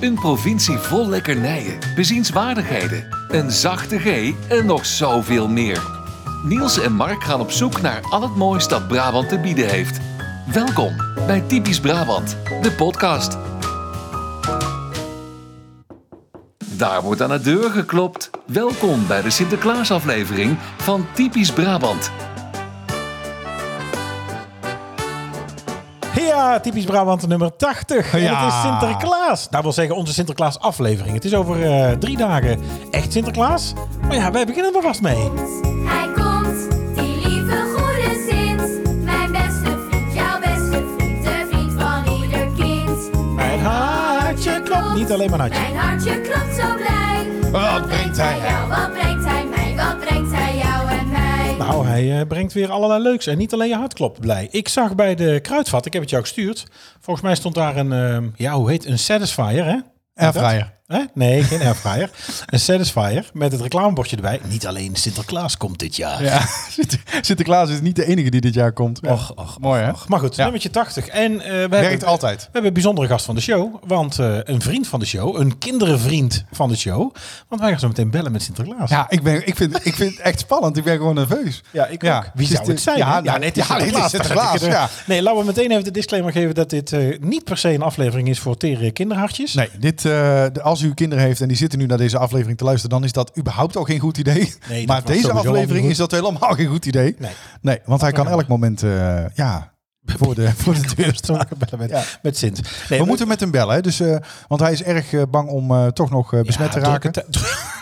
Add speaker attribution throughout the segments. Speaker 1: Een provincie vol lekkernijen, bezienswaardigheden, een zachte G en nog zoveel meer. Niels en Mark gaan op zoek naar al het moois dat Brabant te bieden heeft. Welkom bij Typisch Brabant, de podcast. Daar wordt aan de deur geklopt. Welkom bij de Sinterklaasaflevering van Typisch Brabant.
Speaker 2: Ja, typisch Brabant nummer 80. En
Speaker 3: Ja.
Speaker 2: het is Sinterklaas. Dat wil zeggen onze Sinterklaas aflevering. Het is over eh, drie dagen echt Sinterklaas. Maar ja, wij beginnen er vast mee.
Speaker 4: Hij komt, die lieve goede Sint. Mijn beste vriend, jouw beste vriend, de vriend van ieder kind.
Speaker 2: Mijn hartje klopt. Niet alleen maar hartje.
Speaker 4: Mijn hartje klopt zo blij.
Speaker 3: Wat brengt hij
Speaker 4: jou? Wat brengt hij mij? Wat brengt hij jou en mij?
Speaker 2: Nou, hij eh, brengt weer allerlei leuks. En niet alleen je hart klopt blij. Ik zag bij de kruidvat, ik heb het jou gestuurd. Volgens mij stond daar een, eh, ja, hoe heet Een satisfier, hè?
Speaker 3: Airfryer.
Speaker 2: Hè? Nee, geen airfryer. een satisfier met het reclamebordje erbij. Niet alleen Sinterklaas komt dit jaar.
Speaker 3: Ja, Sinter- Sinterklaas is niet de enige die dit jaar komt. Ja.
Speaker 2: Och, och,
Speaker 3: Mooi hè?
Speaker 2: Maar goed,
Speaker 3: Ja.
Speaker 2: nummertje 80. En eh, we
Speaker 3: Werkt
Speaker 2: hebben,
Speaker 3: altijd.
Speaker 2: We hebben een bijzondere gast van de show. Want eh, een vriend van de show, een kinderenvriend van de show. Want wij gaan zo meteen bellen met Sinterklaas.
Speaker 3: Ja, ik, ben, ik, vind, ik vind het echt spannend. Ik ben gewoon nerveus.
Speaker 2: Ja, ik ook. Wie
Speaker 3: is
Speaker 2: zou
Speaker 3: de-
Speaker 2: het zijn?
Speaker 3: Ja,
Speaker 2: hè?
Speaker 3: nou, ja,
Speaker 2: het is
Speaker 3: Sinterklaas. Sinterklaas, ja.
Speaker 2: Nee, laten we meteen even de disclaimer geven dat dit eh, niet per se een aflevering is voor tere kinderhartjes.
Speaker 3: Nee, dit, eh, de- als u kinderen heeft en die zitten nu naar deze aflevering te luisteren, dan is dat überhaupt al geen goed idee.
Speaker 2: Nee, dat
Speaker 3: maar
Speaker 2: was
Speaker 3: deze
Speaker 2: sowieso al niet
Speaker 3: aflevering
Speaker 2: goed.
Speaker 3: is dat helemaal geen goed idee.
Speaker 2: Nee.
Speaker 3: Nee, want hij kan elk moment eh, ja, voor, de, voor de deur
Speaker 2: Dus dan
Speaker 3: staan.
Speaker 2: gaan we bellen met,
Speaker 3: Ja.
Speaker 2: met Sint. Nee,
Speaker 3: We moeten met hem bellen, hè, dus, eh, want hij is erg eh, bang om eh, toch nog eh, besmet te raken.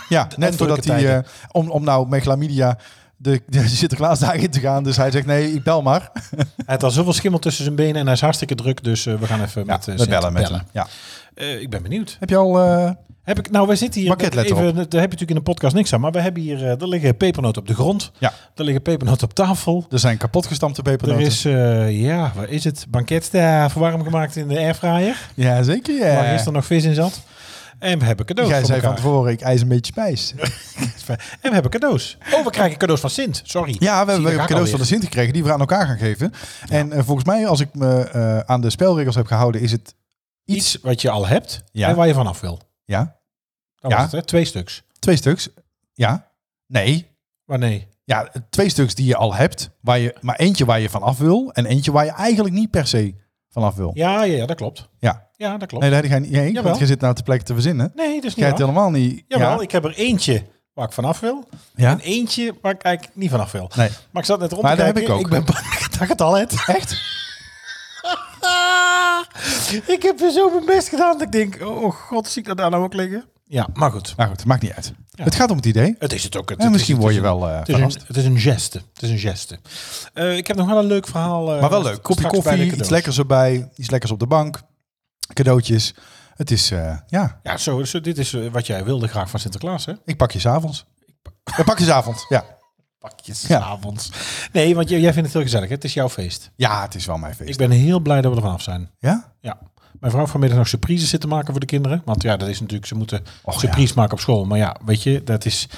Speaker 3: Ja, net
Speaker 2: drukke
Speaker 3: voordat hij,
Speaker 2: tijden.
Speaker 3: eh, om, om nou met chlamydia de, de Sinterklaas daarin te gaan. Dus hij zegt, nee, ik bel maar.
Speaker 2: Hij had al zoveel schimmel tussen zijn benen en hij is hartstikke druk. Dus eh, we gaan even
Speaker 3: Ja,
Speaker 2: met eh,
Speaker 3: we
Speaker 2: Sint
Speaker 3: bellen met hem. Ja.
Speaker 2: Eh, ik ben benieuwd.
Speaker 3: Heb je al... eh,
Speaker 2: Heb ik, nou, wij zitten hier.
Speaker 3: Maquetletter
Speaker 2: even, daar heb je natuurlijk in de podcast niks aan, maar we hebben hier. eh, Er liggen pepernoten op de grond.
Speaker 3: Ja.
Speaker 2: Er liggen pepernoten op tafel.
Speaker 3: er zijn kapotgestampte pepernoten.
Speaker 2: Er is, eh, ja, waar is het? Banketstaaf warm gemaakt in de airfryer.
Speaker 3: Ja, zeker. Ja.
Speaker 2: Waar gisteren nog vis in zat. En we hebben cadeaus.
Speaker 3: Eh. Jij
Speaker 2: voor
Speaker 3: zei van
Speaker 2: elkaar.
Speaker 3: tevoren, ik eis een beetje spijs.
Speaker 2: En we hebben cadeaus. Oh, we krijgen cadeaus van Sint. Sorry.
Speaker 3: Ja, we
Speaker 2: Zie,
Speaker 3: hebben
Speaker 2: daar ga ik
Speaker 3: cadeaus van de
Speaker 2: alweer.
Speaker 3: Sint gekregen die we aan elkaar gaan geven. En eh, volgens mij, als ik me eh, aan de spelregels heb gehouden, is het iets...
Speaker 2: Iets wat je al hebt
Speaker 3: Ja.
Speaker 2: en waar je vanaf wil.
Speaker 3: Ja,
Speaker 2: Dat
Speaker 3: Ja.
Speaker 2: was het, hè? Twee stuks.
Speaker 3: twee stuks. Ja, nee.
Speaker 2: Maar nee.
Speaker 3: Ja, twee stuks die je al hebt, waar je, maar eentje waar je vanaf wil en eentje waar je eigenlijk niet per se vanaf wil.
Speaker 2: Ja, ja, ja, dat klopt.
Speaker 3: Ja.
Speaker 2: Ja, dat klopt.
Speaker 3: Nee, daar heb je geen idee,
Speaker 2: Jawel.
Speaker 3: want je zit nou te plek te verzinnen.
Speaker 2: Nee, dat is niet
Speaker 3: Jij het
Speaker 2: waar.
Speaker 3: helemaal niet.
Speaker 2: Jawel,
Speaker 3: ja.
Speaker 2: ik heb er eentje waar ik vanaf wil.
Speaker 3: Ja?
Speaker 2: En eentje waar ik eigenlijk niet vanaf wil.
Speaker 3: Nee.
Speaker 2: Maar ik zat net rond te
Speaker 3: Maar dat heb
Speaker 2: kijken.
Speaker 3: ik ook.
Speaker 2: ben bang dat ik het al heb.
Speaker 3: Echt?
Speaker 2: Ah, ik heb weer zo mijn best gedaan. Dat ik denk, oh god, zie ik dat daar nou ook liggen? Ja, maar goed.
Speaker 3: Nou goed, maakt niet uit. Het gaat om het idee.
Speaker 2: Het is het ook. Het,
Speaker 3: En
Speaker 2: het
Speaker 3: misschien
Speaker 2: is-
Speaker 3: word je
Speaker 2: het is een-
Speaker 3: wel eh,
Speaker 2: Het is,
Speaker 3: verrast.
Speaker 2: een, het is een geste. Het is een geste. Eh, ik heb nog wel een leuk verhaal. eh,
Speaker 3: Maar wel
Speaker 2: st-
Speaker 3: leuk. Kopje
Speaker 2: straks bij de
Speaker 3: koffie, iets
Speaker 2: cadeaus.
Speaker 3: lekkers erbij, iets lekkers op de bank, cadeautjes. Het is, eh, ja,
Speaker 2: Ja, zo, zo, dit is eh, wat jij wilde graag van Sinterklaas, hè?
Speaker 3: ik pak je s'avonds. Ik pak je s'avonds, ja.
Speaker 2: Pakjes,
Speaker 3: Ja.
Speaker 2: avonds. Nee, want jij, jij vindt het heel gezellig. Hè? Het is jouw feest.
Speaker 3: Ja, het is wel mijn feest.
Speaker 2: Ik ben heel blij dat we er vanaf zijn.
Speaker 3: Ja?
Speaker 2: Ja. Mijn vrouw heeft vanmiddag nog surprises zitten maken voor de kinderen. Want ja, dat is natuurlijk, ze moeten
Speaker 3: Och,
Speaker 2: surprise maken op school. Maar ja, weet je, dat is,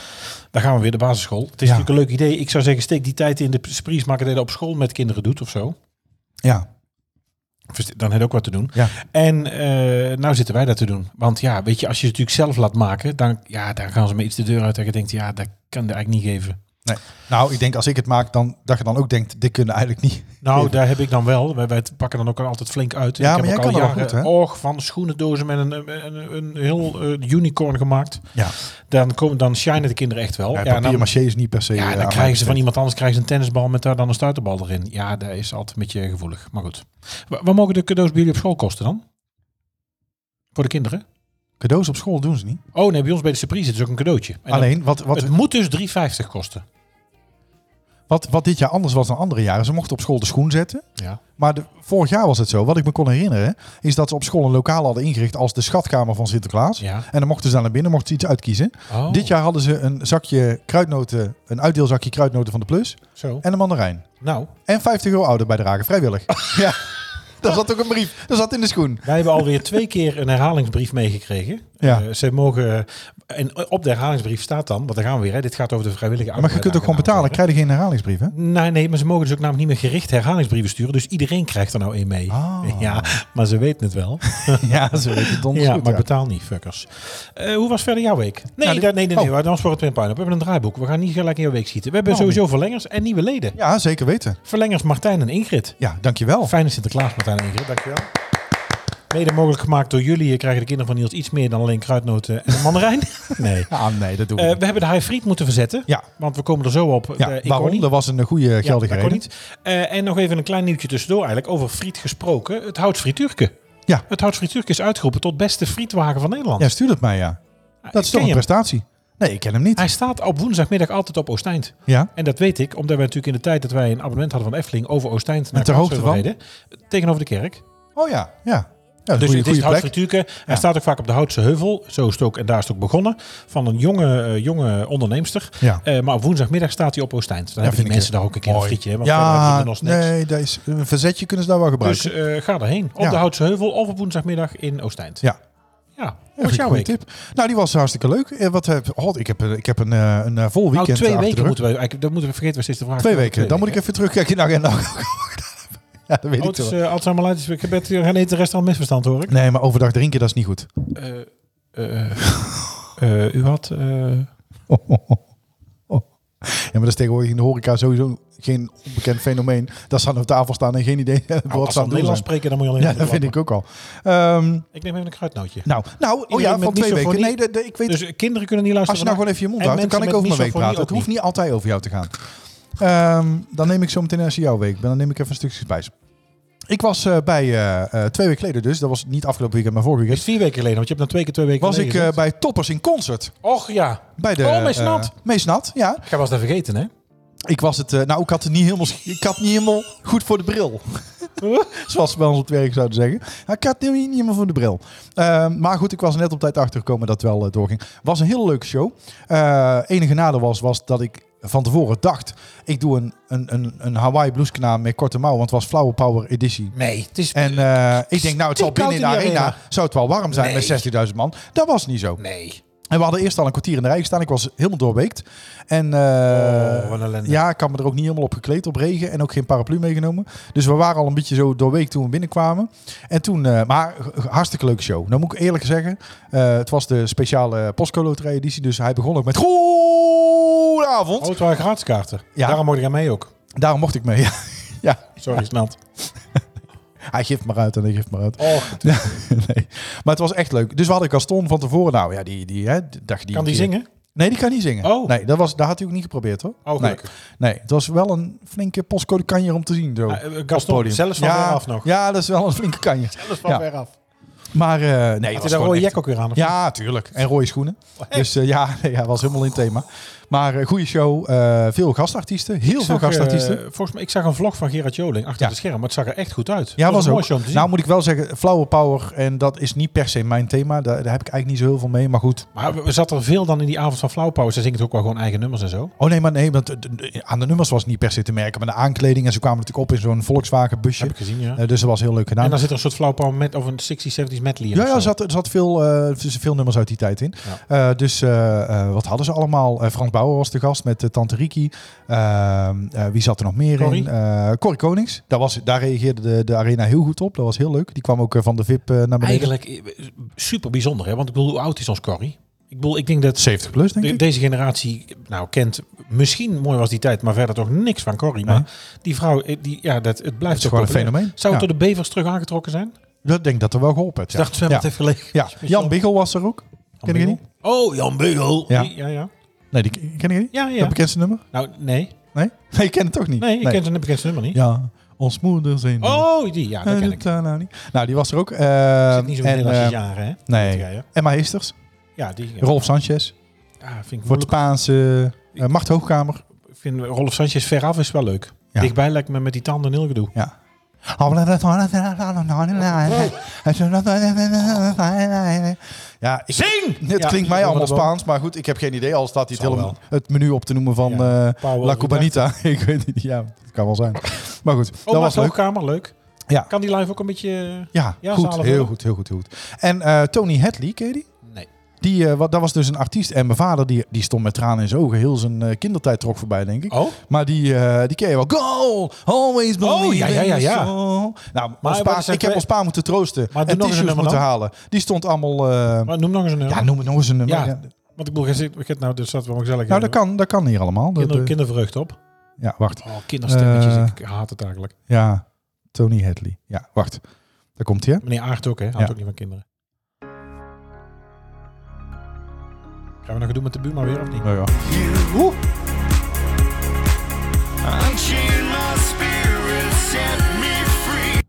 Speaker 2: daar gaan we weer de basisschool. Het is
Speaker 3: Ja.
Speaker 2: natuurlijk een leuk idee. Ik zou zeggen, steek die tijd in de surprise maken die je op school met kinderen doet of zo.
Speaker 3: Ja.
Speaker 2: Verste- Dan heb je ook wat te doen.
Speaker 3: Ja.
Speaker 2: En eh, nou zitten wij dat te doen. Want ja, weet je, als je het natuurlijk zelf laat maken, dan, ja, dan gaan ze me iets de deur uit en je denkt, ja, dat kan je eigenlijk niet geven.
Speaker 3: Nee. Nou, ik denk als ik het maak, dan, dat je dan ook denkt, dit kunnen eigenlijk niet.
Speaker 2: Nou,
Speaker 3: Even.
Speaker 2: daar heb ik dan wel. Wij, wij pakken dan ook altijd flink uit.
Speaker 3: Ja,
Speaker 2: ik
Speaker 3: maar
Speaker 2: heb
Speaker 3: jij
Speaker 2: ook
Speaker 3: kan
Speaker 2: al
Speaker 3: dat wel
Speaker 2: jaren oog van schoenendozen met een, een, een, een heel eh, unicorn gemaakt.
Speaker 3: Ja.
Speaker 2: Dan, komen, dan shinen de kinderen echt wel.
Speaker 3: ja,
Speaker 2: dan-
Speaker 3: papier maché is niet per se...
Speaker 2: ja,
Speaker 3: eh,
Speaker 2: dan
Speaker 3: aan
Speaker 2: krijgen ze
Speaker 3: mij
Speaker 2: van iemand anders krijgen ze een tennisbal met daar dan een stuiterbal erin. Ja, dat is altijd een beetje gevoelig. Maar goed. Wa- Wat mogen de cadeaus bij jullie op school kosten dan? Voor de kinderen?
Speaker 3: Cadeaus op school doen ze niet.
Speaker 2: Oh nee, bij ons bij de surprise het is ook een cadeautje. En dat-
Speaker 3: Alleen, wat, wat,
Speaker 2: het moet dus 3,50 kosten.
Speaker 3: wat, wat dit jaar anders was dan andere jaren, ze mochten op school de schoen zetten.
Speaker 2: Ja.
Speaker 3: Maar de, vorig jaar was het zo, wat ik me kon herinneren, is dat ze op school een lokaal hadden ingericht als de schatkamer van Sinterklaas.
Speaker 2: Ja.
Speaker 3: En dan mochten ze daar naar binnen, mochten ze iets uitkiezen.
Speaker 2: Oh,
Speaker 3: Dit jaar hadden ze een zakje kruidnoten, een uitdeelzakje kruidnoten van de Plus
Speaker 2: Zo.
Speaker 3: en een mandarijn.
Speaker 2: Nou,
Speaker 3: En 50 euro ouder bijdragen, vrijwillig. ja, daar zat ook een brief. Dat zat in de schoen.
Speaker 2: wij hebben alweer twee keer een herhalingsbrief meegekregen.
Speaker 3: Ja.
Speaker 2: Eh, ze mogen, en op de herhalingsbrief staat dan, want daar gaan we weer, hè, dit gaat over de vrijwillige
Speaker 3: Maar je kunt ook gewoon betalen. Ik krijg je geen herhalingsbrief, hè?
Speaker 2: Nee, nee, maar ze mogen dus ook namelijk niet meer gericht herhalingsbrieven sturen. Dus iedereen krijgt er nou een mee.
Speaker 3: Ah.
Speaker 2: Ja, maar ze weten het wel.
Speaker 3: Ja, ze weten het donders
Speaker 2: ja,
Speaker 3: goed,
Speaker 2: maar
Speaker 3: ja.
Speaker 2: betaal niet, fuckers. Eh, hoe was verder jouw week? Nee,
Speaker 3: die-
Speaker 2: daar- nee, nee, nee.
Speaker 3: Oh.
Speaker 2: we Dan voor het Pinpijn op. We hebben een draaiboek. We gaan niet gelijk in jouw week schieten. We hebben
Speaker 3: Oh.
Speaker 2: sowieso verlengers en nieuwe leden.
Speaker 3: Ja, zeker weten.
Speaker 2: Verlengers Martijn en Ingrid.
Speaker 3: Ja, dankjewel.
Speaker 2: Fijne Sinterklaas, Martijn en Ingrid. Dankjewel. Mede mogelijk gemaakt door jullie. eh, Krijgen de kinderen van Niels iets meer dan alleen kruidnoten en een mandarijn? nee.
Speaker 3: Ah, nee, dat doen we
Speaker 2: Eh,
Speaker 3: niet.
Speaker 2: we hebben de high friet moeten verzetten.
Speaker 3: Ja.
Speaker 2: Want we komen er zo op.
Speaker 3: Ja,
Speaker 2: Eh, ik kon
Speaker 3: waarom?
Speaker 2: niet.
Speaker 3: Dat was een goede
Speaker 2: Ja,
Speaker 3: geldige
Speaker 2: dat kon
Speaker 3: reden.
Speaker 2: niet. Eh, en nog even een klein nieuwtje tussendoor eigenlijk. Over friet gesproken. Het houtfrituurke.
Speaker 3: Ja.
Speaker 2: Het houtfrituurke is uitgeroepen tot beste frietwagen van Nederland.
Speaker 3: Ja, stuur het mij, ja. Dat is
Speaker 2: Ken
Speaker 3: toch een
Speaker 2: je hem?
Speaker 3: prestatie. Nee, ik ken hem niet.
Speaker 2: Hij staat op woensdagmiddag altijd op Oosteind.
Speaker 3: Ja,
Speaker 2: En dat weet ik, omdat we natuurlijk in de tijd dat wij een abonnement hadden van Efteling over Oosteind naar
Speaker 3: ter hoogte
Speaker 2: Karlsheuvel reden. Tegenover de kerk.
Speaker 3: oh ja, ja.
Speaker 2: Dus
Speaker 3: ja
Speaker 2: het
Speaker 3: goede,
Speaker 2: is
Speaker 3: goede
Speaker 2: het
Speaker 3: plek.
Speaker 2: Houtfrituurke. Hij
Speaker 3: Ja.
Speaker 2: staat ook vaak op de Houtse Heuvel. Zo is het ook, en daar is het ook begonnen. Van een jonge, eh, jonge onderneemster.
Speaker 3: Ja.
Speaker 2: Eh, maar op woensdagmiddag staat hij op Oosteind. Dan hebben die mensen daar ook een keer een frietje. Hè, want verder hebben
Speaker 3: eh, ja,
Speaker 2: we nog niks.
Speaker 3: nee, daar is, een verzetje kunnen ze daar wel gebruiken.
Speaker 2: Dus eh, ga daarheen. Op
Speaker 3: Ja.
Speaker 2: de Houtse Heuvel of op woensdagmiddag in Oosteind.
Speaker 3: ja,
Speaker 2: Ja,
Speaker 3: dat
Speaker 2: wat is Dus- jouw week?
Speaker 3: tip. Nou, die was hartstikke leuk. Eh, Wat heb, oh, ik heb, een- ik heb een, eh, een eh, vol
Speaker 2: Nou,
Speaker 3: weekend
Speaker 2: twee
Speaker 3: achter de
Speaker 2: weken
Speaker 3: rug.
Speaker 2: moeten we... Eigenlijk, dat moeten we vergeten, we steeds de vraag.
Speaker 3: Twee weken. Dan moet ik even terugkijken in de agenda. ja, dat weet ik
Speaker 2: Oh, het
Speaker 3: toch
Speaker 2: is
Speaker 3: wel.
Speaker 2: uh, Alzheimer Light. is weer- Ik heb het gaan eten, de rest al misverstand hoor ik.
Speaker 3: Nee, maar overdag drinken, dat is niet goed.
Speaker 2: Eh, eh, eh, u had... eh,
Speaker 3: Ja, maar dat is tegenwoordig in de horeca sowieso geen onbekend fenomeen. Dat ze aan de tafel staan en geen idee
Speaker 2: als
Speaker 3: wat
Speaker 2: ze
Speaker 3: ze aan het doen
Speaker 2: Nederlands
Speaker 3: zijn.
Speaker 2: spreken, dan moet je alleen
Speaker 3: Ja,
Speaker 2: maar
Speaker 3: dat vind
Speaker 2: klappen.
Speaker 3: ik ook al. Ehm,
Speaker 2: Ik neem even een kruidnootje.
Speaker 3: nou, nou oh
Speaker 2: Iedereen
Speaker 3: ja,
Speaker 2: met
Speaker 3: van twee weken.
Speaker 2: misofonie.
Speaker 3: Nee, de- de- ik weet
Speaker 2: Dus eh, kinderen kunnen niet
Speaker 3: Als
Speaker 2: luisteren.
Speaker 3: je nou gewoon
Speaker 2: vandaag.
Speaker 3: even je mond
Speaker 2: En
Speaker 3: houdt, dan kan ik
Speaker 2: mensen
Speaker 3: over
Speaker 2: met
Speaker 3: mijn week
Speaker 2: misofonie
Speaker 3: praten. Het
Speaker 2: ook
Speaker 3: hoeft niet altijd over jou te gaan. Ehm, dan neem ik zo meteen als jouw week. Dan neem ik even een stukje bij. Ik was eh, bij eh, eh, twee weken geleden dus. Dat was niet afgelopen weekend, maar vorige
Speaker 2: Het is
Speaker 3: weekend.
Speaker 2: vier weken geleden, want je hebt na twee keer twee weken
Speaker 3: Was ik
Speaker 2: geleden
Speaker 3: eh,
Speaker 2: gezegd.
Speaker 3: bij Toppers in concert.
Speaker 2: Och ja,
Speaker 3: Bij de,
Speaker 2: Oh, Mees
Speaker 3: eh,
Speaker 2: Nat.
Speaker 3: Mees Nat, ja.
Speaker 2: ik was dat vergeten hè.
Speaker 3: Ik was het... eh, nou, ik had het niet helemaal, ik had niet helemaal goed voor de bril. Zoals ze bij ons op het werk zouden zeggen. Nou, Ik had het niet helemaal voor de bril. Eh, maar goed, ik was er net op tijd achtergekomen dat het wel eh, doorging. was een hele leuke show. Eh enige nadeel was, was dat ik van tevoren dacht... ik doe een, een, een, een Hawaii bloeskanaal met korte mouwen... want het was Flower Power editie.
Speaker 2: Nee, het is...
Speaker 3: En eh, ik denk, nou, het zal
Speaker 2: Te koud
Speaker 3: binnen in de
Speaker 2: in die
Speaker 3: arena...
Speaker 2: arena.
Speaker 3: zou het wel warm zijn met 60.000 man. Dat was niet zo.
Speaker 2: Nee.
Speaker 3: En we hadden eerst al een kwartier in de rij gestaan. Ik was helemaal doorweekt. En, eh,
Speaker 2: Oh, wat een ellende.
Speaker 3: ja, ik had me er ook niet helemaal op gekleed op regen. En ook geen paraplu meegenomen. Dus we waren al een beetje zo doorweekt toen we binnenkwamen. En toen, eh, maar g- g- hartstikke leuke show. Nou moet ik eerlijk zeggen, eh, het was de speciale Postco Loterij editie. Dus hij begon ook met goedenavond.
Speaker 2: Oh, het waren gratis
Speaker 3: Ja.
Speaker 2: Daarom mocht ik aan mee ook.
Speaker 3: Daarom mocht ik mee. Ja. ja,
Speaker 2: Sorry, Snat.
Speaker 3: hij geeft maar uit en hij geeft maar uit.
Speaker 2: Och,
Speaker 3: nee. Maar het was echt leuk. Dus we hadden Gaston van tevoren. Nou ja, die, die, hè, dacht die
Speaker 2: kan die zingen?
Speaker 3: Nee, die kan niet zingen.
Speaker 2: Oh.
Speaker 3: Nee, dat, was, dat had hij ook niet geprobeerd hoor.
Speaker 2: Oh,
Speaker 3: nee.
Speaker 2: gelukkig.
Speaker 3: nee, het was wel een flinke postcode kanjer om te zien. Zo.
Speaker 2: Ah, eh,
Speaker 3: op het
Speaker 2: Gaston,
Speaker 3: podium.
Speaker 2: zelfs van
Speaker 3: ja,
Speaker 2: weer af nog.
Speaker 3: Ja, dat is wel een flinke kanjer.
Speaker 2: Zelfs van
Speaker 3: Ja.
Speaker 2: ver af.
Speaker 3: Maar eh, nee, het
Speaker 2: Had je
Speaker 3: was
Speaker 2: daar
Speaker 3: gewoon
Speaker 2: rode
Speaker 3: echt-
Speaker 2: jack ook weer aan? of Oh,
Speaker 3: Ja, tuurlijk. En rode schoenen. Dus eh, ja, nee, ja, was helemaal in het thema. Maar eh, goede show. eh, veel gastartiesten. Heel
Speaker 2: Ik
Speaker 3: veel
Speaker 2: zag, eh,
Speaker 3: gastartiesten.
Speaker 2: volgens mij, ik zag een vlog van Gerard Joling achter
Speaker 3: Ja.
Speaker 2: het scherm, maar het zag er echt goed uit.
Speaker 3: ja,
Speaker 2: Het
Speaker 3: was
Speaker 2: een
Speaker 3: ook.
Speaker 2: mooi show om te zien.
Speaker 3: Nou moet ik wel zeggen, flower power. En dat is niet per se mijn thema. Daar, daar heb ik eigenlijk niet zo heel veel mee. Maar goed.
Speaker 2: maar we- we zat er veel dan in die avond van Flauwpauw. Ze zingt ook wel gewoon eigen nummers en zo.
Speaker 3: Oh nee, maar nee, want eh, d- d- aan de nummers was het niet per se te merken. Maar de aankleding. En ze kwamen natuurlijk op in zo'n Volkswagen busje.
Speaker 2: Heb ik gezien, ja.
Speaker 3: Eh, dus dat was heel leuk gedaan.
Speaker 2: en dan zit er een soort Flauwpauw met of een 60s, 70s medley in
Speaker 3: Ja,
Speaker 2: of
Speaker 3: ja,
Speaker 2: zo.
Speaker 3: er zat, er zat veel, eh, veel nummers uit die tijd in. Eh, dus eh, eh, wat hadden ze allemaal? Eh, Frans Bauer was de gast met eh, Tante Riki. Eh, eh, wie zat er nog meer
Speaker 2: Corrie.
Speaker 3: in? Eh Corrie Konings. Daar, was, daar reageerde de, de arena heel goed op. Dat was heel leuk. Die kwam ook eh, van de VIP eh, naar beneden.
Speaker 2: Eigenlijk eh, super bijzonder, hè? Want ik bedoel, hoe oud is ons Corrie? Ik bedoel, ik denk dat
Speaker 3: 70 plus, denk
Speaker 2: de-
Speaker 3: ik.
Speaker 2: deze generatie, nou, kent misschien mooi was die tijd, maar verder toch niks van Corrie. Maar die vrouw, eh, die, ja, dat, het blijft
Speaker 3: Dat is
Speaker 2: toch
Speaker 3: gewoon een
Speaker 2: populair.
Speaker 3: fenomeen.
Speaker 2: Zou het
Speaker 3: Ja.
Speaker 2: door de bevers terug aangetrokken zijn? Ik
Speaker 3: Dat denk ik dat er wel geholpen heeft. Ja.
Speaker 2: dacht, zwem
Speaker 3: ja.
Speaker 2: het heeft gelegen.
Speaker 3: Ja. Jan Biggel was er ook. Ken je die niet?
Speaker 2: Oh, Jan Bigel.
Speaker 3: Ja.
Speaker 2: Die- ja, ja.
Speaker 3: Nee, die ken je die?
Speaker 2: Ja, ja.
Speaker 3: Dat bekendste nummer?
Speaker 2: Nou, nee.
Speaker 3: Nee? Nee, je kent het toch niet?
Speaker 2: Nee, ik ken zijn bekendste nummer niet.
Speaker 3: Ja, ons moeder zijn.
Speaker 2: Oh, die. Ja, dat ken ik.
Speaker 3: Nou, die was er ook. Eh,
Speaker 2: Zit niet zo
Speaker 3: en,
Speaker 2: heel als
Speaker 3: eh,
Speaker 2: je jaren, hè?
Speaker 3: Nee.
Speaker 2: Ja, ja.
Speaker 3: Emma Heesters,
Speaker 2: Ja, die. Ja.
Speaker 3: Rolf Sanchez,
Speaker 2: Ja, vind ik
Speaker 3: voor het
Speaker 2: moeilijk.
Speaker 3: Spaanse eh, Macht Hoogkamer.
Speaker 2: Ik vind Rolf Sanchez veraf is wel leuk.
Speaker 3: Ja.
Speaker 2: Dichtbij lijkt me met die tanden heel gedoe.
Speaker 3: Ja. Ja, ik,
Speaker 2: Zing!
Speaker 3: het
Speaker 2: Ja, Oh,
Speaker 3: klinkt mij
Speaker 2: ik
Speaker 3: allemaal
Speaker 2: hoor dat wel.
Speaker 3: Spaans, maar goed, ik heb geen idee. Al staat hij het,
Speaker 2: Zal
Speaker 3: hele, het menu op te noemen van
Speaker 2: Ja,
Speaker 3: eh,
Speaker 2: Pauw
Speaker 3: La
Speaker 2: over
Speaker 3: Cubanita. ik weet het niet, ja, dat kan wel zijn. Maar goed,
Speaker 2: Oh,
Speaker 3: dat
Speaker 2: maar
Speaker 3: was leuk.
Speaker 2: Hoogkamer, leuk.
Speaker 3: Ja.
Speaker 2: Kan die live ook een beetje...
Speaker 3: Ja,
Speaker 2: Ja,
Speaker 3: goed,
Speaker 2: zalen
Speaker 3: heel
Speaker 2: vullen.
Speaker 3: goed, heel goed, heel goed. En eh, Tony Hadley, ken je die?
Speaker 2: Nee.
Speaker 3: Die, eh, wat, dat was dus een artiest. En mijn vader die, die stond met tranen in zijn ogen. Heel zijn eh, kindertijd trok voorbij, denk ik.
Speaker 2: Oh.
Speaker 3: Maar die, eh, die ken je wel. Go! Always believe
Speaker 2: Oh, ja, ja, ja,
Speaker 3: in
Speaker 2: ja.
Speaker 3: the soul.
Speaker 2: Maar
Speaker 3: Nou,
Speaker 2: wat
Speaker 3: ons pa,
Speaker 2: is het
Speaker 3: ik heb
Speaker 2: we-
Speaker 3: ons pa moeten troosten.
Speaker 2: Maar doe
Speaker 3: en
Speaker 2: nog eens een nummer
Speaker 3: tissues moeten
Speaker 2: dan.
Speaker 3: halen. Die stond allemaal... eh,
Speaker 2: Maar noem nog eens een nummer.
Speaker 3: ja, noem het nog eens een nummer.
Speaker 2: Ja,
Speaker 3: Ja.
Speaker 2: want ik bedoel, je zit- je hebt nou, dus dat wel gezellig.
Speaker 3: Nou, dat kan, dat kan hier allemaal. Dat,
Speaker 2: Kinder,
Speaker 3: eh,
Speaker 2: kindervreugd op.
Speaker 3: Ja, wacht.
Speaker 2: Oh, kinderstemmetjes.
Speaker 3: Eh.
Speaker 2: ik haat het eigenlijk.
Speaker 3: Ja, Tony Hadley. Ja, wacht. Daar komt hij, hè?
Speaker 2: Meneer Aart ook, hè? Houdt
Speaker 3: Ja.
Speaker 2: ook niet van kinderen. Gaan we nog doen met de buurman weer of niet?
Speaker 3: Nou ja. Oeh.
Speaker 5: Unchain my spirit, set me free.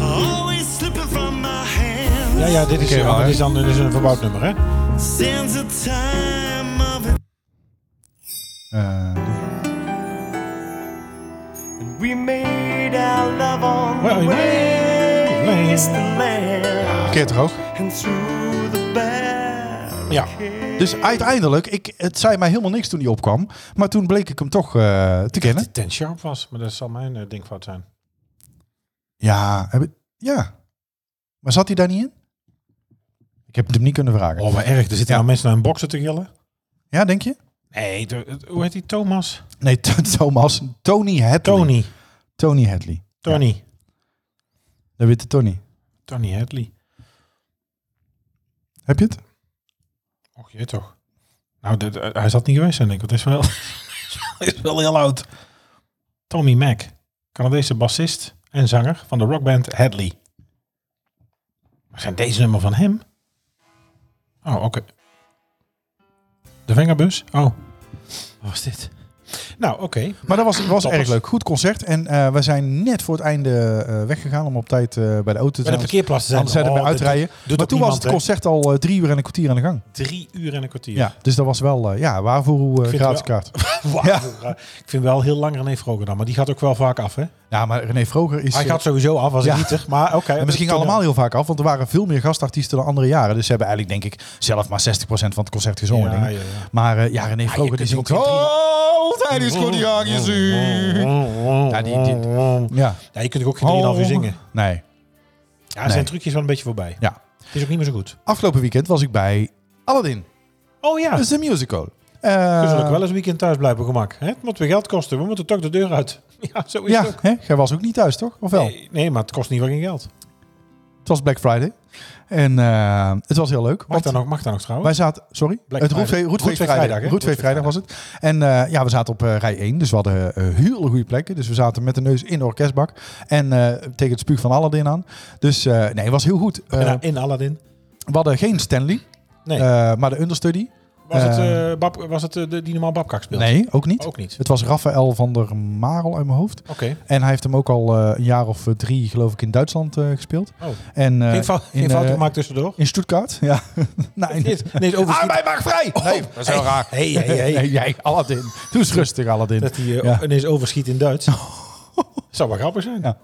Speaker 5: Always slipping from my hands.
Speaker 2: Ja, ja, dit is,
Speaker 3: Oké,
Speaker 2: eh,
Speaker 3: maar,
Speaker 2: dit is dan dit is een verbouwd nummer, hè?
Speaker 5: Sends a time of it.
Speaker 3: Eh,
Speaker 5: We made our love on
Speaker 2: Well,
Speaker 5: the
Speaker 2: you made-
Speaker 5: wasteland land
Speaker 3: verkeerd toch ook?
Speaker 5: and through the barricades.
Speaker 2: Ja.
Speaker 3: Dus uiteindelijk, ik, het zei mij helemaal niks toen hij opkwam. Maar toen bleek ik hem toch eh, te kennen.
Speaker 2: Ten Sharp was, maar dat zal mijn eh, denkfout zijn.
Speaker 3: Ja, heb ik- ja. Maar zat hij daar niet in? Ik heb het hem niet kunnen vragen.
Speaker 2: Oh, maar erg. Er zitten
Speaker 3: Ja.
Speaker 2: nou mensen naar een boksen te gillen.
Speaker 3: Ja, denk je?
Speaker 2: Nee, de- het- hoe heet die? Thomas?
Speaker 3: Nee, Thomas. Tony Hadley.
Speaker 2: Tony.
Speaker 3: Tony Hadley.
Speaker 2: Tony.
Speaker 3: De witte Tony.
Speaker 2: Tony Hadley.
Speaker 3: Heb je het?
Speaker 2: Och je toch. Nou, dat- eh, hij zat niet geweest zijn, denk ik. Want hij is wel, hij is wel heel oud. Tommy Mac. Canadese bassist en zanger van de rockband Hadley. Maar zijn deze nummer van hem? Oh, oké. De Vengerbus? Oh. Wat was dit? Nou, oké.
Speaker 3: Maar dat was, was
Speaker 2: Toppers.
Speaker 3: erg leuk. Goed concert. En eh, we zijn net voor het einde eh, weggegaan om op tijd eh, bij de auto te
Speaker 2: Bij de parkeerplaats te zijn.
Speaker 3: Anders zijn we
Speaker 2: Oh, dat
Speaker 3: uitrijden.
Speaker 2: doet- doet
Speaker 3: maar
Speaker 2: ook
Speaker 3: toen was het
Speaker 2: niemand,
Speaker 3: concert al eh, drie uur en een kwartier aan de gang.
Speaker 2: hè? Drie uur en een kwartier.
Speaker 3: Ja, dus dat was wel, eh, ja, waarvoor hoe
Speaker 2: vind
Speaker 3: gratis
Speaker 2: wel-
Speaker 3: kaart.
Speaker 2: Wauw. Ik vind wel heel lang René Vroger dan. Maar die gaat ook wel vaak af, hè?
Speaker 3: Ja, Nou, maar René Vroger is...
Speaker 2: Hij
Speaker 3: eh,
Speaker 2: gaat sowieso af als
Speaker 3: Ja.
Speaker 2: een gieter. Maar oké.
Speaker 3: en misschien
Speaker 2: dat-
Speaker 3: allemaal heel vaak af, want er waren veel meer gastartiesten dan andere jaren. Dus ze hebben eigenlijk, denk ik, zelf maar 60% van het concert gezongen.
Speaker 2: Ja,
Speaker 3: denk ik.
Speaker 2: ja, ja. Ah,
Speaker 3: Maar eh, ja, René Vroger,
Speaker 2: kunt
Speaker 3: die zingt...
Speaker 2: ook geen drie-
Speaker 3: Oh, hij is goed, die gang je
Speaker 2: oh,
Speaker 3: zuur. Ja, die- die- Ja.
Speaker 2: Ja, je kunt ook geen 3,5 uur
Speaker 3: Oh.
Speaker 2: zingen.
Speaker 3: Nee,
Speaker 2: Ja, zijn trucjes wel een beetje voorbij.
Speaker 3: ja.
Speaker 2: Het is ook niet meer zo goed.
Speaker 3: Afgelopen weekend was ik bij Aladdin.
Speaker 2: Oh ja,
Speaker 3: Dat
Speaker 2: dus
Speaker 3: is een musical. Eh,
Speaker 2: we zullen ook wel eens een weekend thuis blijven gemak. Hè? Het moet weer geld kosten. We moeten toch de deur uit. Ja, zo is het
Speaker 3: Ja,
Speaker 2: ook.
Speaker 3: hè? jij was ook niet thuis, toch? Of wel?
Speaker 2: Nee, nee, maar het kost niet wel geen geld.
Speaker 3: Het was Black Friday. En eh, het was heel leuk.
Speaker 2: Mag
Speaker 3: Want
Speaker 2: dat nog, mag dat nog trouwens?
Speaker 3: wij zaten, sorry,
Speaker 2: Black
Speaker 3: het
Speaker 2: Friday.
Speaker 3: Roetve- Roetveeg
Speaker 2: Roetveeg
Speaker 3: Vrijdag.
Speaker 2: Vrijdag, hè?
Speaker 3: Roetveeg Vrijdag was het. En eh, ja, we zaten op eh, rij 1, dus we hadden eh, heel goede plekken. Dus we zaten met de neus in de orkestbak en eh, tegen het spuug van Aladdin aan. Dus eh, nee, het was heel goed. Eh,
Speaker 2: En dan in Aladdin.
Speaker 3: we hadden geen Stanley,
Speaker 2: Nee.
Speaker 3: eh, maar de understudy.
Speaker 2: Was het,
Speaker 3: eh,
Speaker 2: eh, Bab- was het eh, de, die normaal Babkak speelt? Oh,
Speaker 3: Nee, ook niet.
Speaker 2: Ook niet.
Speaker 3: Het was Raphaël van der Marel uit mijn hoofd.
Speaker 2: Oké. Oh.
Speaker 3: En hij heeft hem ook al eh, een jaar of eh, drie, geloof ik, in Duitsland eh, gespeeld.
Speaker 2: Oh.
Speaker 3: En, eh,
Speaker 2: Geen, fout, geen
Speaker 3: in,
Speaker 2: fouten
Speaker 3: eh,
Speaker 2: gemaakt tussendoor?
Speaker 3: In Stuttgart? Ja. nee,
Speaker 2: Nee, nee, is overschiet. Oh.
Speaker 3: Arbeid mag vrij! nee, dat is wel raar.
Speaker 2: Hey, hey, hey.
Speaker 3: Nee, jij, Aladdin. Doe eens rustig, Aladdin.
Speaker 2: Dat hij eh,
Speaker 3: Ja.
Speaker 2: ineens overschiet in Duits. Zou wel grappig zijn.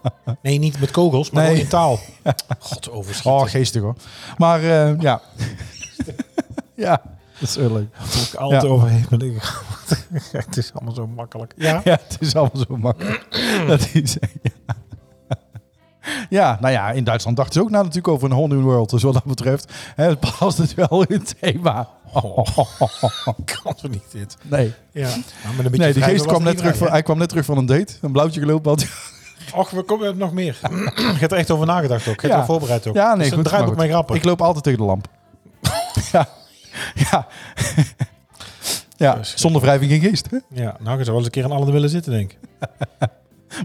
Speaker 2: Nee, niet met kogels, maar
Speaker 3: Nee.
Speaker 2: gewoon in taal. God, overschieten.
Speaker 3: Oh, geestig hoor. Maar eh, ja. ja, dat is heel leuk.
Speaker 2: Moet ik altijd
Speaker 3: Ja.
Speaker 2: overheen met dingen. Het is allemaal zo makkelijk. Ja,
Speaker 3: Ja, het is allemaal zo makkelijk. dat is, ja. ja, nou ja, in Duitsland dachten ze ook na natuurlijk over een whole new world. Dus wat dat betreft hè, het past het wel in het thema.
Speaker 2: kan toch niet dit.
Speaker 3: Nee,
Speaker 2: Ja. Nou, met een beetje
Speaker 3: nee die
Speaker 2: wrijven
Speaker 3: geest
Speaker 2: was
Speaker 3: kwam
Speaker 2: het
Speaker 3: net, terug
Speaker 2: niet
Speaker 3: van, hij kwam net terug van een date. Een blauwtje gelopen had.
Speaker 2: waar, hè? Och, we komen met nog meer. Je hebt er echt over nagedacht ook. Je hebt er voorbereid ook.
Speaker 3: Ja, nee,
Speaker 2: Dus
Speaker 3: goed.
Speaker 2: Dan draai ik
Speaker 3: maar
Speaker 2: ook mijn
Speaker 3: goed.
Speaker 2: grappen.
Speaker 3: Ik loop altijd tegen de lamp. ja. Ja. ja.
Speaker 2: Dus-
Speaker 3: Zonder wrijving geen geest. Hè?
Speaker 2: Ja, nou, ik zou wel eens een keer aan alle willen zitten, denk ik.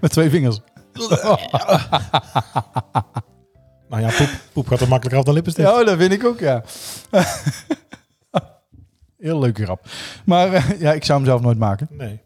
Speaker 3: Met twee vingers.
Speaker 2: Nou ja, poep, poep gaat er makkelijker af dan lippenstift.
Speaker 3: Ja, oh, dat vind ik ook, ja. heel leuke grap. Maar eh, ja, ik zou hem zelf nooit maken.
Speaker 2: Nee.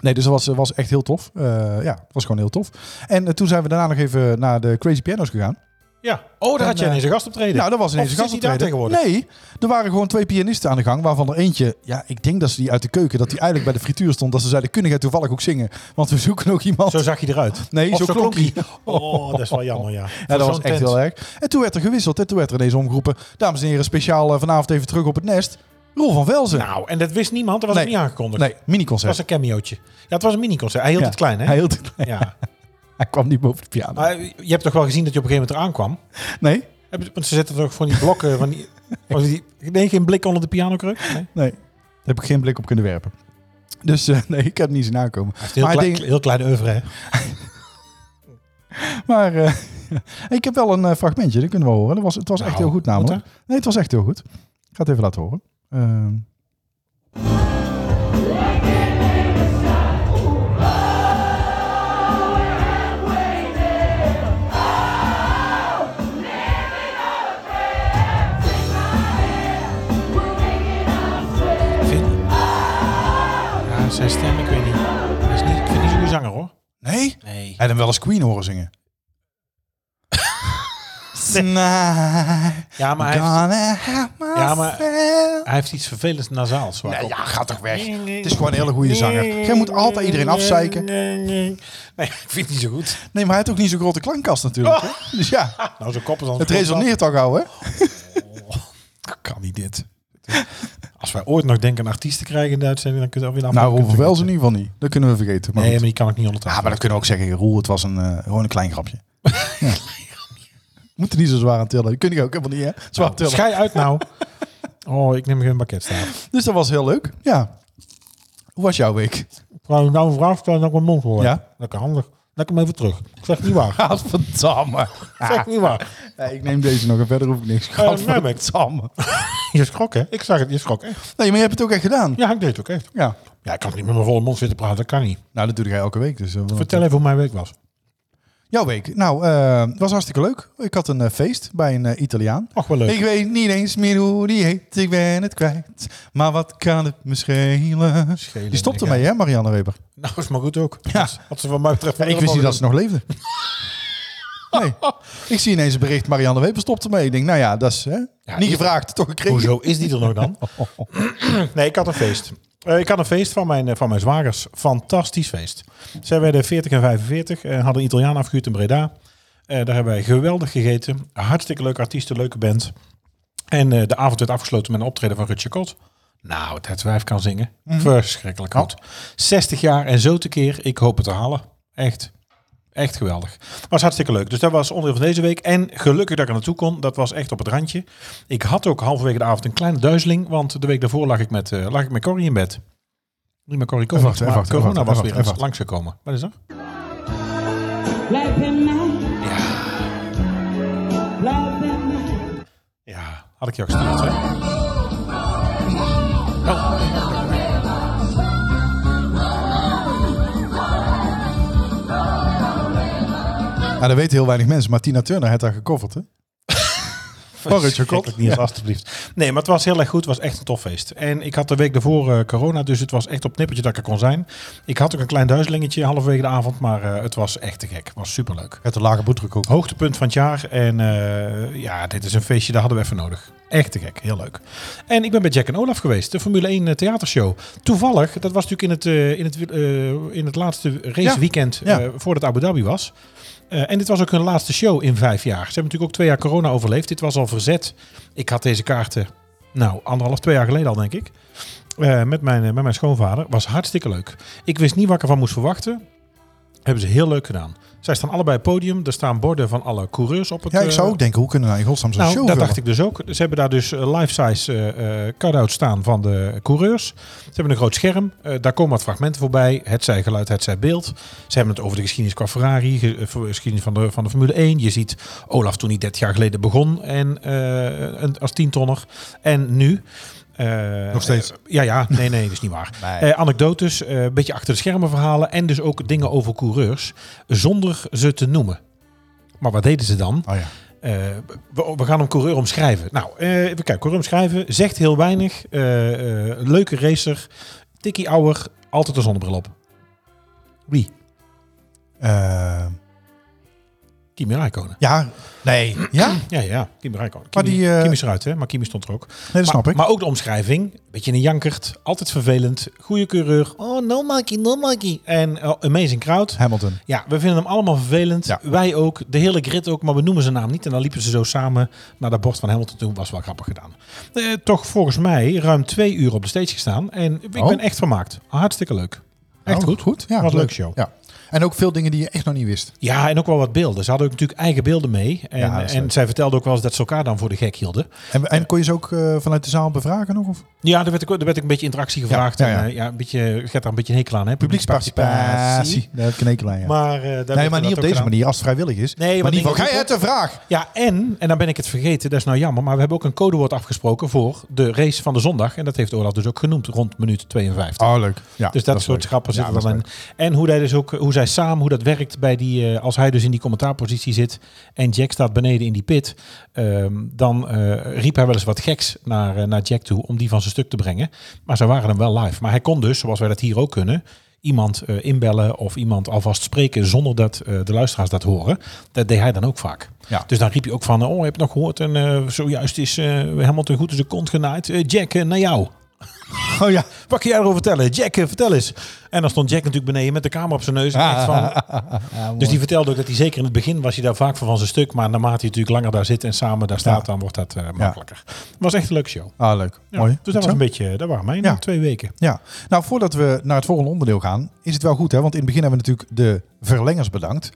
Speaker 3: Nee, dus dat was, was echt heel tof. Eh, ja, het was gewoon heel tof. En eh, toen zijn we daarna nog even naar de Crazy Pianos gegaan.
Speaker 2: Ja. Oh, daar
Speaker 3: En,
Speaker 2: had jij
Speaker 3: eh,
Speaker 2: ineens een gastoptreden.
Speaker 3: Nou, dat was ineens
Speaker 2: Of
Speaker 3: een
Speaker 2: zit hij daar
Speaker 3: gastoptreden.
Speaker 2: tegenwoordig?
Speaker 3: Nee, er waren gewoon twee pianisten aan de gang, waarvan er eentje, ja, ik denk dat ze die uit de keuken, dat die eigenlijk bij de frituur stond, dat ze zeiden, kun jij toevallig ook zingen? Want we zoeken ook iemand.
Speaker 2: Zo zag hij eruit.
Speaker 3: Nee,
Speaker 2: Of
Speaker 3: zo klonk hij.
Speaker 2: Oh, dat is wel jammer, ja.
Speaker 3: ja, dat was
Speaker 2: Zo'n
Speaker 3: echt
Speaker 2: tent.
Speaker 3: heel erg. En toen werd er gewisseld en toen werd er ineens omgeroepen, dames en heren, speciaal eh, vanavond even terug op het nest, Roel van Velzen.
Speaker 2: Nou, en dat wist niemand. Dat was
Speaker 3: Nee.
Speaker 2: ook niet aangekondigd.
Speaker 3: nee,
Speaker 2: Het
Speaker 3: miniconcert.
Speaker 2: was een cameootje. Ja, het was een miniconcert. Hij hield
Speaker 3: Ja,
Speaker 2: het klein, hè?
Speaker 3: Hij, hield het klein.
Speaker 2: Ja.
Speaker 3: hij kwam niet boven de piano.
Speaker 2: Maar je hebt toch wel gezien dat je op een gegeven moment eraan kwam?
Speaker 3: Nee?
Speaker 2: Hebben ze- Want ze zetten toch van die blokken van die... was die nee, geen blik onder de pianokruk? Nee.
Speaker 3: Nee, daar heb ik geen blik op kunnen werpen. Dus eh, nee, ik heb het niet zien aankomen.
Speaker 2: Heel,
Speaker 3: Maar,
Speaker 2: klein,
Speaker 3: ik denk-
Speaker 2: heel klein oeuvre, hè?
Speaker 3: maar eh, ik heb wel een eh, fragmentje, dat kunnen we horen. Dat was, het was echt
Speaker 2: Nou,
Speaker 3: heel goed
Speaker 2: moet
Speaker 3: namelijk. Nee, het was echt heel goed. Ik ga het even laten horen. Ehm,
Speaker 2: Vind Ja, zijn stem, ik weet niet. Hij is niet ik vind het niet zo'n goede zanger, hoor.
Speaker 3: nee?
Speaker 2: Nee.
Speaker 3: En dan wel eens Queen horen zingen.
Speaker 2: Ja, maar hij heeft,
Speaker 3: Gonna have
Speaker 2: Ja, maar-
Speaker 3: myself.
Speaker 2: hij heeft iets vervelends nasaals. waar ik
Speaker 3: Nee,
Speaker 2: op-
Speaker 3: ja, ga toch weg. Het is gewoon een hele goede zanger. Jij moet altijd iedereen afzeiken.
Speaker 2: Nee, ik vind het niet zo goed.
Speaker 3: Nee, maar hij heeft ook niet zo'n grote klankkast natuurlijk. hè? Dus ja,
Speaker 2: Nou, zo'n kop is dan...
Speaker 3: het resoneert toch gauw, hè? Oh.
Speaker 2: Kan niet dit. Als wij ooit nog denken een artiest te krijgen in de uitzending, dan kunnen we alweer
Speaker 3: Nou, hoeveel wel ze in ieder geval niet. Dat kunnen we vergeten. Maar
Speaker 2: Nee, maar
Speaker 3: goed.
Speaker 2: die kan ik niet onder
Speaker 3: Ja, maar
Speaker 2: tafel.
Speaker 3: dat kunnen we ook zeggen. Roel, het was een, eh, gewoon een klein grapje. ja. Moet er niet zo zwaar aan tillen. Dat kun je ook helemaal niet, hè? Zwaar tillen.
Speaker 2: Schij uit nou. Oh, ik neem geen bakketstaaf.
Speaker 3: Dus dat was heel leuk. Ja. Hoe was jouw week?
Speaker 2: Kan ik nou een vraag stellen dat ik mijn mond hoor?
Speaker 3: Ja.
Speaker 2: Lekker handig. Lekker hem even terug. Ik zeg niet waar.
Speaker 3: Gadverdamme.
Speaker 2: Ik zeg niet waar.
Speaker 3: Nee, ik neem deze nog en verder hoef ik niks. Gadverdamme.
Speaker 2: Je schrok, hè? Ik zag het, je schrok, hè?
Speaker 3: Nee, maar je hebt het ook echt gedaan.
Speaker 2: Ja, ik deed het ook echt.
Speaker 3: Ja.
Speaker 2: Ja, ik kan niet met mijn volle mond zitten praten. Dat kan niet.
Speaker 3: Nou, dat doe jij elke week. Dus, eh, wat-
Speaker 2: Vertel even hoe mijn week was.
Speaker 3: Jouw week. Nou, eh was hartstikke leuk. Ik had een eh, feest bij een eh, Italiaan.
Speaker 2: Ach, wel leuk.
Speaker 3: Ik weet niet eens meer hoe die heet. Ik ben het kwijt. Maar wat kan het me schelen?
Speaker 2: Schelen,
Speaker 3: die stopte
Speaker 2: ja.
Speaker 3: mee, hè, Marianne Weber?
Speaker 2: Nou, is maar goed ook.
Speaker 3: Ja.
Speaker 2: Wat- Wat ze van mij betreft...
Speaker 3: ik wist niet dat ze nog leefde. nee. Ik zie ineens een bericht. Marianne Weber stopte mee. Ik denk, nou ja, dat is hè, niet
Speaker 2: die-
Speaker 3: gevraagd, toch gekregen.
Speaker 2: Hoezo is die er nog dan? nee, ik had een feest. Eh, ik had een feest van mijn, eh, van mijn zwagers. Fantastisch feest. Zij werden 40 en 45 en hadden een Italiaan afgehuurd in Breda. Eh, daar hebben wij geweldig gegeten. Hartstikke leuke artiesten, leuke band. En eh, de avond werd afgesloten met een optreden van Rutje Kot. Nou, dat wijf kan zingen.
Speaker 3: Mhm.
Speaker 2: Verschrikkelijk goed. 60 jaar en zo tekeer. Ik hoop het te halen. Echt. Echt geweldig. Was hartstikke leuk. Dus dat was onderdeel van deze week. En gelukkig dat ik er naartoe kon. Dat was echt op het randje. Ik had ook halverwege de avond een kleine duizeling. Want de week daarvoor lag ik met, eh, lag ik met Corrie in bed. Niet met Corrie Kovacs,
Speaker 3: wacht,
Speaker 2: maar
Speaker 3: even wacht, even
Speaker 2: corona
Speaker 3: wacht,
Speaker 2: was
Speaker 3: even
Speaker 2: weer
Speaker 3: wacht.
Speaker 2: langsgekomen. Wat is dat?
Speaker 6: Blijf bij mij. Blijf bij mij.
Speaker 2: Ja, had ik jou gestuurd, hè?
Speaker 3: Nou, dat weten heel weinig mensen. Maar Tina Turner heeft daar gecoverd, hè? Van Rutger Kot.
Speaker 2: Verschrikkelijk nieuws, alstublieft. Nee, maar het was heel erg goed. Het was echt een tof feest. En ik had de week daarvoor eh, corona, dus het was echt op het nippertje dat ik er kon zijn. Ik had ook een klein duizelingetje halverwege de avond, maar eh, het was echt te gek. Het was superleuk.
Speaker 3: Met de lage bloeddruk ook.
Speaker 2: Hoogtepunt van het jaar. En eh, ja, dit is een feestje, daar hadden we even nodig. Echt te gek, heel leuk. En ik ben bij Jack en Olaf geweest, de Formule 1 theatershow. Toevallig, dat was natuurlijk in het, eh, in het, wiel- eh, in het laatste raceweekend
Speaker 3: Ja,
Speaker 2: eh
Speaker 3: ja.
Speaker 2: voordat Abu Dhabi was. Eh, en dit was ook hun laatste show in vijf jaar. Ze hebben natuurlijk ook twee jaar corona overleefd. Dit was al verzet. Ik had deze kaarten, nou, anderhalf, twee jaar geleden al, denk ik. Eh, met, mijn, eh, met mijn schoonvader. Was hartstikke leuk. Ik wist niet wat ik ervan moest verwachten. Hebben ze heel leuk gedaan. Zij staan allebei op het podium. Er staan borden van alle coureurs op het...
Speaker 3: Ja, ik zou
Speaker 2: eh,
Speaker 3: ook denken, hoe kunnen we nou in godsnaam zo'n
Speaker 2: nou,
Speaker 3: show
Speaker 2: dat
Speaker 3: vullen?
Speaker 2: dacht ik dus ook. Ze hebben daar dus eh, life-size eh eh, cut-outs staan van de coureurs. Ze hebben een groot scherm. Eh, daar komen wat fragmenten voorbij. Het zij geluid, het zij beeld. Ze hebben het over de geschiedenis qua Ferrari, ge- eh, voor- geschiedenis van de, van de Formule 1. Je ziet Olaf toen hij 30 jaar geleden begon en, eh, een, als tientonner. En nu. Eh,
Speaker 3: Nog steeds.
Speaker 2: eh, ja, ja. Nee, nee, dat is niet waar.
Speaker 3: Nee.
Speaker 2: Eh, anekdotes, eh, een beetje achter de schermen verhalen. En dus ook dingen over coureurs. Zonder ze te noemen. Maar wat deden ze dan?
Speaker 3: Oh ja.
Speaker 2: Eh, we, we gaan hem coureur omschrijven. Nou, eh, even kijken. Coureur omschrijven zegt heel weinig. Eh, eh, leuke racer. Tikkie ouwer. Altijd een zonnebril op. Wie?
Speaker 3: Eh,
Speaker 2: Kimi Räikkönen.
Speaker 3: ja. Nee. Ja? Nee,
Speaker 2: Ja, ja. Kimi Räikkönen.
Speaker 3: Maar
Speaker 2: Kimi,
Speaker 3: die, eh,
Speaker 2: Kimi is eruit, hè? Maar Kimi stond er ook.
Speaker 3: dat snap
Speaker 2: maar,
Speaker 3: ik.
Speaker 2: maar ook de omschrijving. Beetje een jankert. Altijd vervelend. Goede coureur. Oh, no monkey, no monkey. En eh, amazing crowd.
Speaker 3: Hamilton.
Speaker 2: Ja, we vinden hem allemaal vervelend.
Speaker 3: Ja.
Speaker 2: Wij ook. De hele grid ook. Maar we noemen zijn naam niet. En dan liepen ze zo samen naar dat bord van Hamilton toe. Was wel grappig gedaan. Eh, toch volgens mij ruim twee uur op de stage gestaan. En ik
Speaker 3: Oh.
Speaker 2: ben echt vermaakt. Hartstikke leuk. Echt
Speaker 3: Oh,
Speaker 2: goed.
Speaker 3: Goed. Ja,
Speaker 2: Wat een leuk show.
Speaker 3: Ja. En ook veel dingen die je echt nog niet wist.
Speaker 2: Ja, en ook wel wat beelden. Ze hadden ook natuurlijk eigen beelden mee. En,
Speaker 3: Ja, dat is
Speaker 2: en
Speaker 3: leuk.
Speaker 2: zij vertelde ook wel eens dat ze elkaar dan voor de gek hielden.
Speaker 3: En, en kon je ze ook eh, vanuit de zaal bevragen nog? Of?
Speaker 2: Ja, daar werd ik, daar werd ik een beetje interactie gevraagd.
Speaker 3: ja,
Speaker 2: En,
Speaker 3: ja.
Speaker 2: eh, ja, een beetje, je hebt daar een beetje een hekel aan, hè?
Speaker 3: Publieksparticipatie. Ja, dat knekelijn, ja.
Speaker 2: Maar, eh, daar
Speaker 3: nee,
Speaker 2: werd
Speaker 3: maar
Speaker 2: dat
Speaker 3: niet
Speaker 2: ook
Speaker 3: op deze
Speaker 2: gedaan.
Speaker 3: manier, als het vrijwillig is.
Speaker 2: Nee, maar
Speaker 3: maar niet
Speaker 2: dingen
Speaker 3: van, ga
Speaker 2: die-
Speaker 3: je het een vraag?
Speaker 2: Ja, en, en dan ben ik het vergeten, dat is nou jammer, maar we hebben ook een codewoord afgesproken voor de race van de zondag. En dat heeft Olaf dus ook genoemd, rond minuut 52.
Speaker 3: Oh, leuk. Ja,
Speaker 2: dus dat, soort grappen
Speaker 3: Ja,
Speaker 2: zitten
Speaker 3: dat
Speaker 2: er
Speaker 3: is
Speaker 2: dan in. En hoe, hij dus ook, hoe zij samen, hoe dat werkt bij die, eh, als hij dus in die commentaarpositie zit en Jack staat beneden in die pit, ehm, dan eh, riep hij wel eens wat geks naar, eh, naar Jack toe om die van zijn stuk te brengen. Maar zij waren hem wel live. Maar hij kon dus, zoals wij dat hier ook kunnen, iemand eh, inbellen of iemand alvast spreken zonder dat eh, de luisteraars dat horen. Dat deed hij dan ook vaak.
Speaker 3: Ja.
Speaker 2: Dus dan riep je ook van, oh, heb je nog gehoord? En eh, zojuist is helemaal Hamilton goed als de kont genaaid. Eh, Jack, eh, naar jou.
Speaker 3: Oh ja.
Speaker 2: Wat kun jij erover vertellen? Jack, eh, vertel eens. En dan stond Jack natuurlijk beneden met de camera op zijn neus. En
Speaker 3: Ah.
Speaker 2: echt van... Dus die vertelde ook dat hij zeker in het begin was hij daar vaak van van zijn stuk. Maar naarmate hij natuurlijk langer daar zit en samen daar staat,
Speaker 3: Ja.
Speaker 2: dan wordt dat eh, makkelijker. Het was echt een leuke show.
Speaker 3: Ah, leuk.
Speaker 2: Ja.
Speaker 3: Mooi.
Speaker 2: Dus dat was een beetje, daar waren mijn
Speaker 3: Ja.
Speaker 2: twee weken.
Speaker 3: Ja, nou voordat we naar het volgende onderdeel gaan, is het wel goed hè, want in het begin hebben we natuurlijk de verlengers bedankt.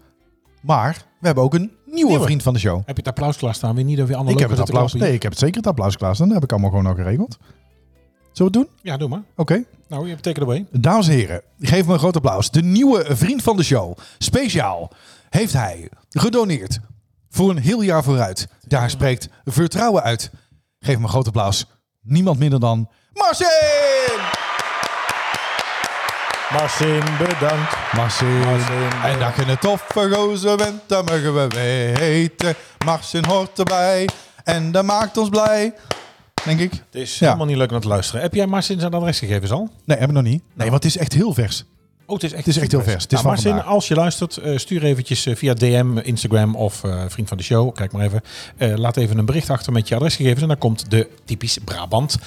Speaker 3: Maar we hebben ook een nieuwe,
Speaker 2: Nieuwe.
Speaker 3: vriend van de show.
Speaker 2: Heb je het applaus klaarstaan? Weer niet dat we andere
Speaker 3: ik heb het
Speaker 2: lopen te
Speaker 3: applaus.
Speaker 2: klappen
Speaker 3: Nee,
Speaker 2: hier?
Speaker 3: ik heb het zeker het applaus klaar Dan heb ik allemaal gewoon al geregeld. Zullen we het doen?
Speaker 2: Ja, doe maar.
Speaker 3: Oké.
Speaker 2: Nou, je betekent erbij.
Speaker 3: Dames en heren, geef me een groot applaus. De nieuwe vriend van de show, speciaal, heeft hij gedoneerd voor een heel jaar vooruit. Daar spreekt vertrouwen uit. Geef me een groot applaus. Niemand minder dan Marcin!
Speaker 2: Marcin, bedankt.
Speaker 3: Marcin. En dat je een toffe gozer bent, dat mogen we weten. Marcin hoort erbij en dat maakt ons blij. Denk ik.
Speaker 2: Het is
Speaker 3: Ja.
Speaker 2: helemaal niet leuk om te luisteren. Heb jij Marcin zijn adresgegevens al?
Speaker 3: Nee, hebben we nog niet. Nee, want het is echt heel vers.
Speaker 2: Oh, het is echt,
Speaker 3: Het is echt heel vers. Het
Speaker 2: Nou,
Speaker 3: is van
Speaker 2: Marcin,
Speaker 3: vandaag.
Speaker 2: als je luistert, eh, stuur eventjes eh, via DM, Instagram of eh, vriend van de show. Kijk maar even. Eh, laat even een bericht achter met je adresgegevens. En dan komt de typisch Brabant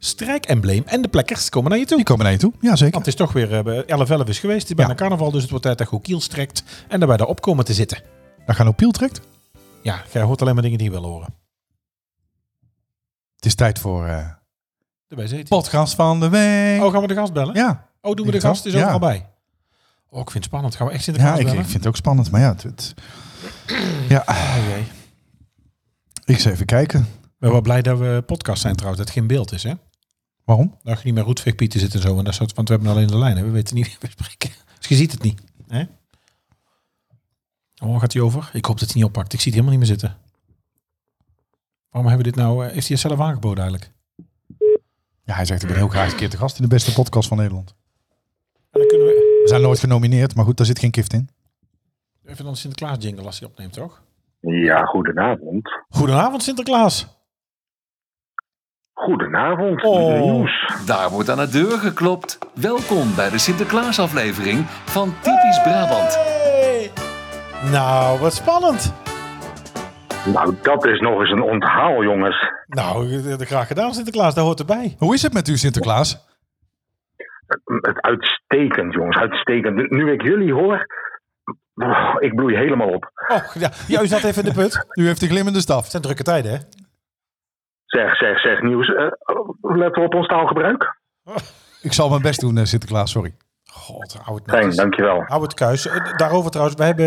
Speaker 2: strijkembleem. En de plekkers komen naar je toe.
Speaker 3: Die komen naar je toe. Ja, zeker.
Speaker 2: Want het is toch weer eh, 11-11 is geweest. Het is bijna
Speaker 3: Ja.
Speaker 2: carnaval, dus het wordt tijd dat je goed kiel strekt. En daarbij daarop komen te zitten.
Speaker 3: Dat gaan op Piel trekt.
Speaker 2: Ja, jij hoort alleen maar dingen die je wil horen.
Speaker 3: Het is tijd voor eh,
Speaker 2: Daarbij zit hij.
Speaker 3: podcast van de week.
Speaker 2: Oh, gaan we de gast bellen?
Speaker 3: Ja,
Speaker 2: Oh, doen we de
Speaker 3: Ik wel.
Speaker 2: gast? Is overal
Speaker 3: Ja.
Speaker 2: bij. Oh, ik vind het spannend. Gaan we echt
Speaker 3: ja
Speaker 2: Sinterklaas
Speaker 3: ik, ik
Speaker 2: bellen?
Speaker 3: vind het ook spannend. Maar ja, het, het- ja. ik zal even kijken.
Speaker 2: Ik ben wel blij dat we podcast zijn trouwens, dat het geen beeld is, hè?
Speaker 3: Waarom?
Speaker 2: Dat je niet meer Roetveeg Pieter zit en zo. En dat soort, want we hebben alleen de lijn. Hè? We weten niet wie we spreken. Dus je ziet het niet. Hè? Oh, gaat hij over? Ik hoop dat hij niet oppakt. Ik zie het helemaal niet meer zitten. Waarom hebben we dit nou... eh, Heeft hij het zelf aangeboden eigenlijk?
Speaker 3: Ja, hij zegt ik ben heel graag een keer te gast in de beste podcast van Nederland.
Speaker 2: En dan kunnen we...
Speaker 3: We zijn nooit genomineerd, maar goed, daar zit geen gift in.
Speaker 2: Even dan Sinterklaas jingle als hij opneemt, toch?
Speaker 7: Ja, goedenavond.
Speaker 2: Goedenavond Sinterklaas.
Speaker 7: Goedenavond,
Speaker 2: Oh.
Speaker 7: nieuws.
Speaker 1: Daar wordt aan de deur geklopt. Welkom bij de Sinterklaasaflevering van Typisch Brabant.
Speaker 2: Hey! Nou, wat spannend.
Speaker 7: Nou, dat is nog eens een onthaal, jongens.
Speaker 2: Nou, eh, graag gedaan Sinterklaas. Daar hoort erbij.
Speaker 3: Hoe is het met u, Sinterklaas?
Speaker 7: Het uitstekend, jongens, uitstekend. Nu- Nu ik jullie hoor, oh, ik bloei helemaal op.
Speaker 2: Oh, ja. ja, u zat even in de put.
Speaker 3: U heeft een glimmende staf.
Speaker 2: Het zijn drukke tijden, hè?
Speaker 7: Zeg, zeg, zeg, nieuws. eh, let op ons taalgebruik.
Speaker 3: Ik zal mijn best doen, eh, Sinterklaas, sorry.
Speaker 2: God, oud
Speaker 7: Fijn, dankjewel.
Speaker 2: Hou het kuis. Eh, Daarover trouwens, wij hebben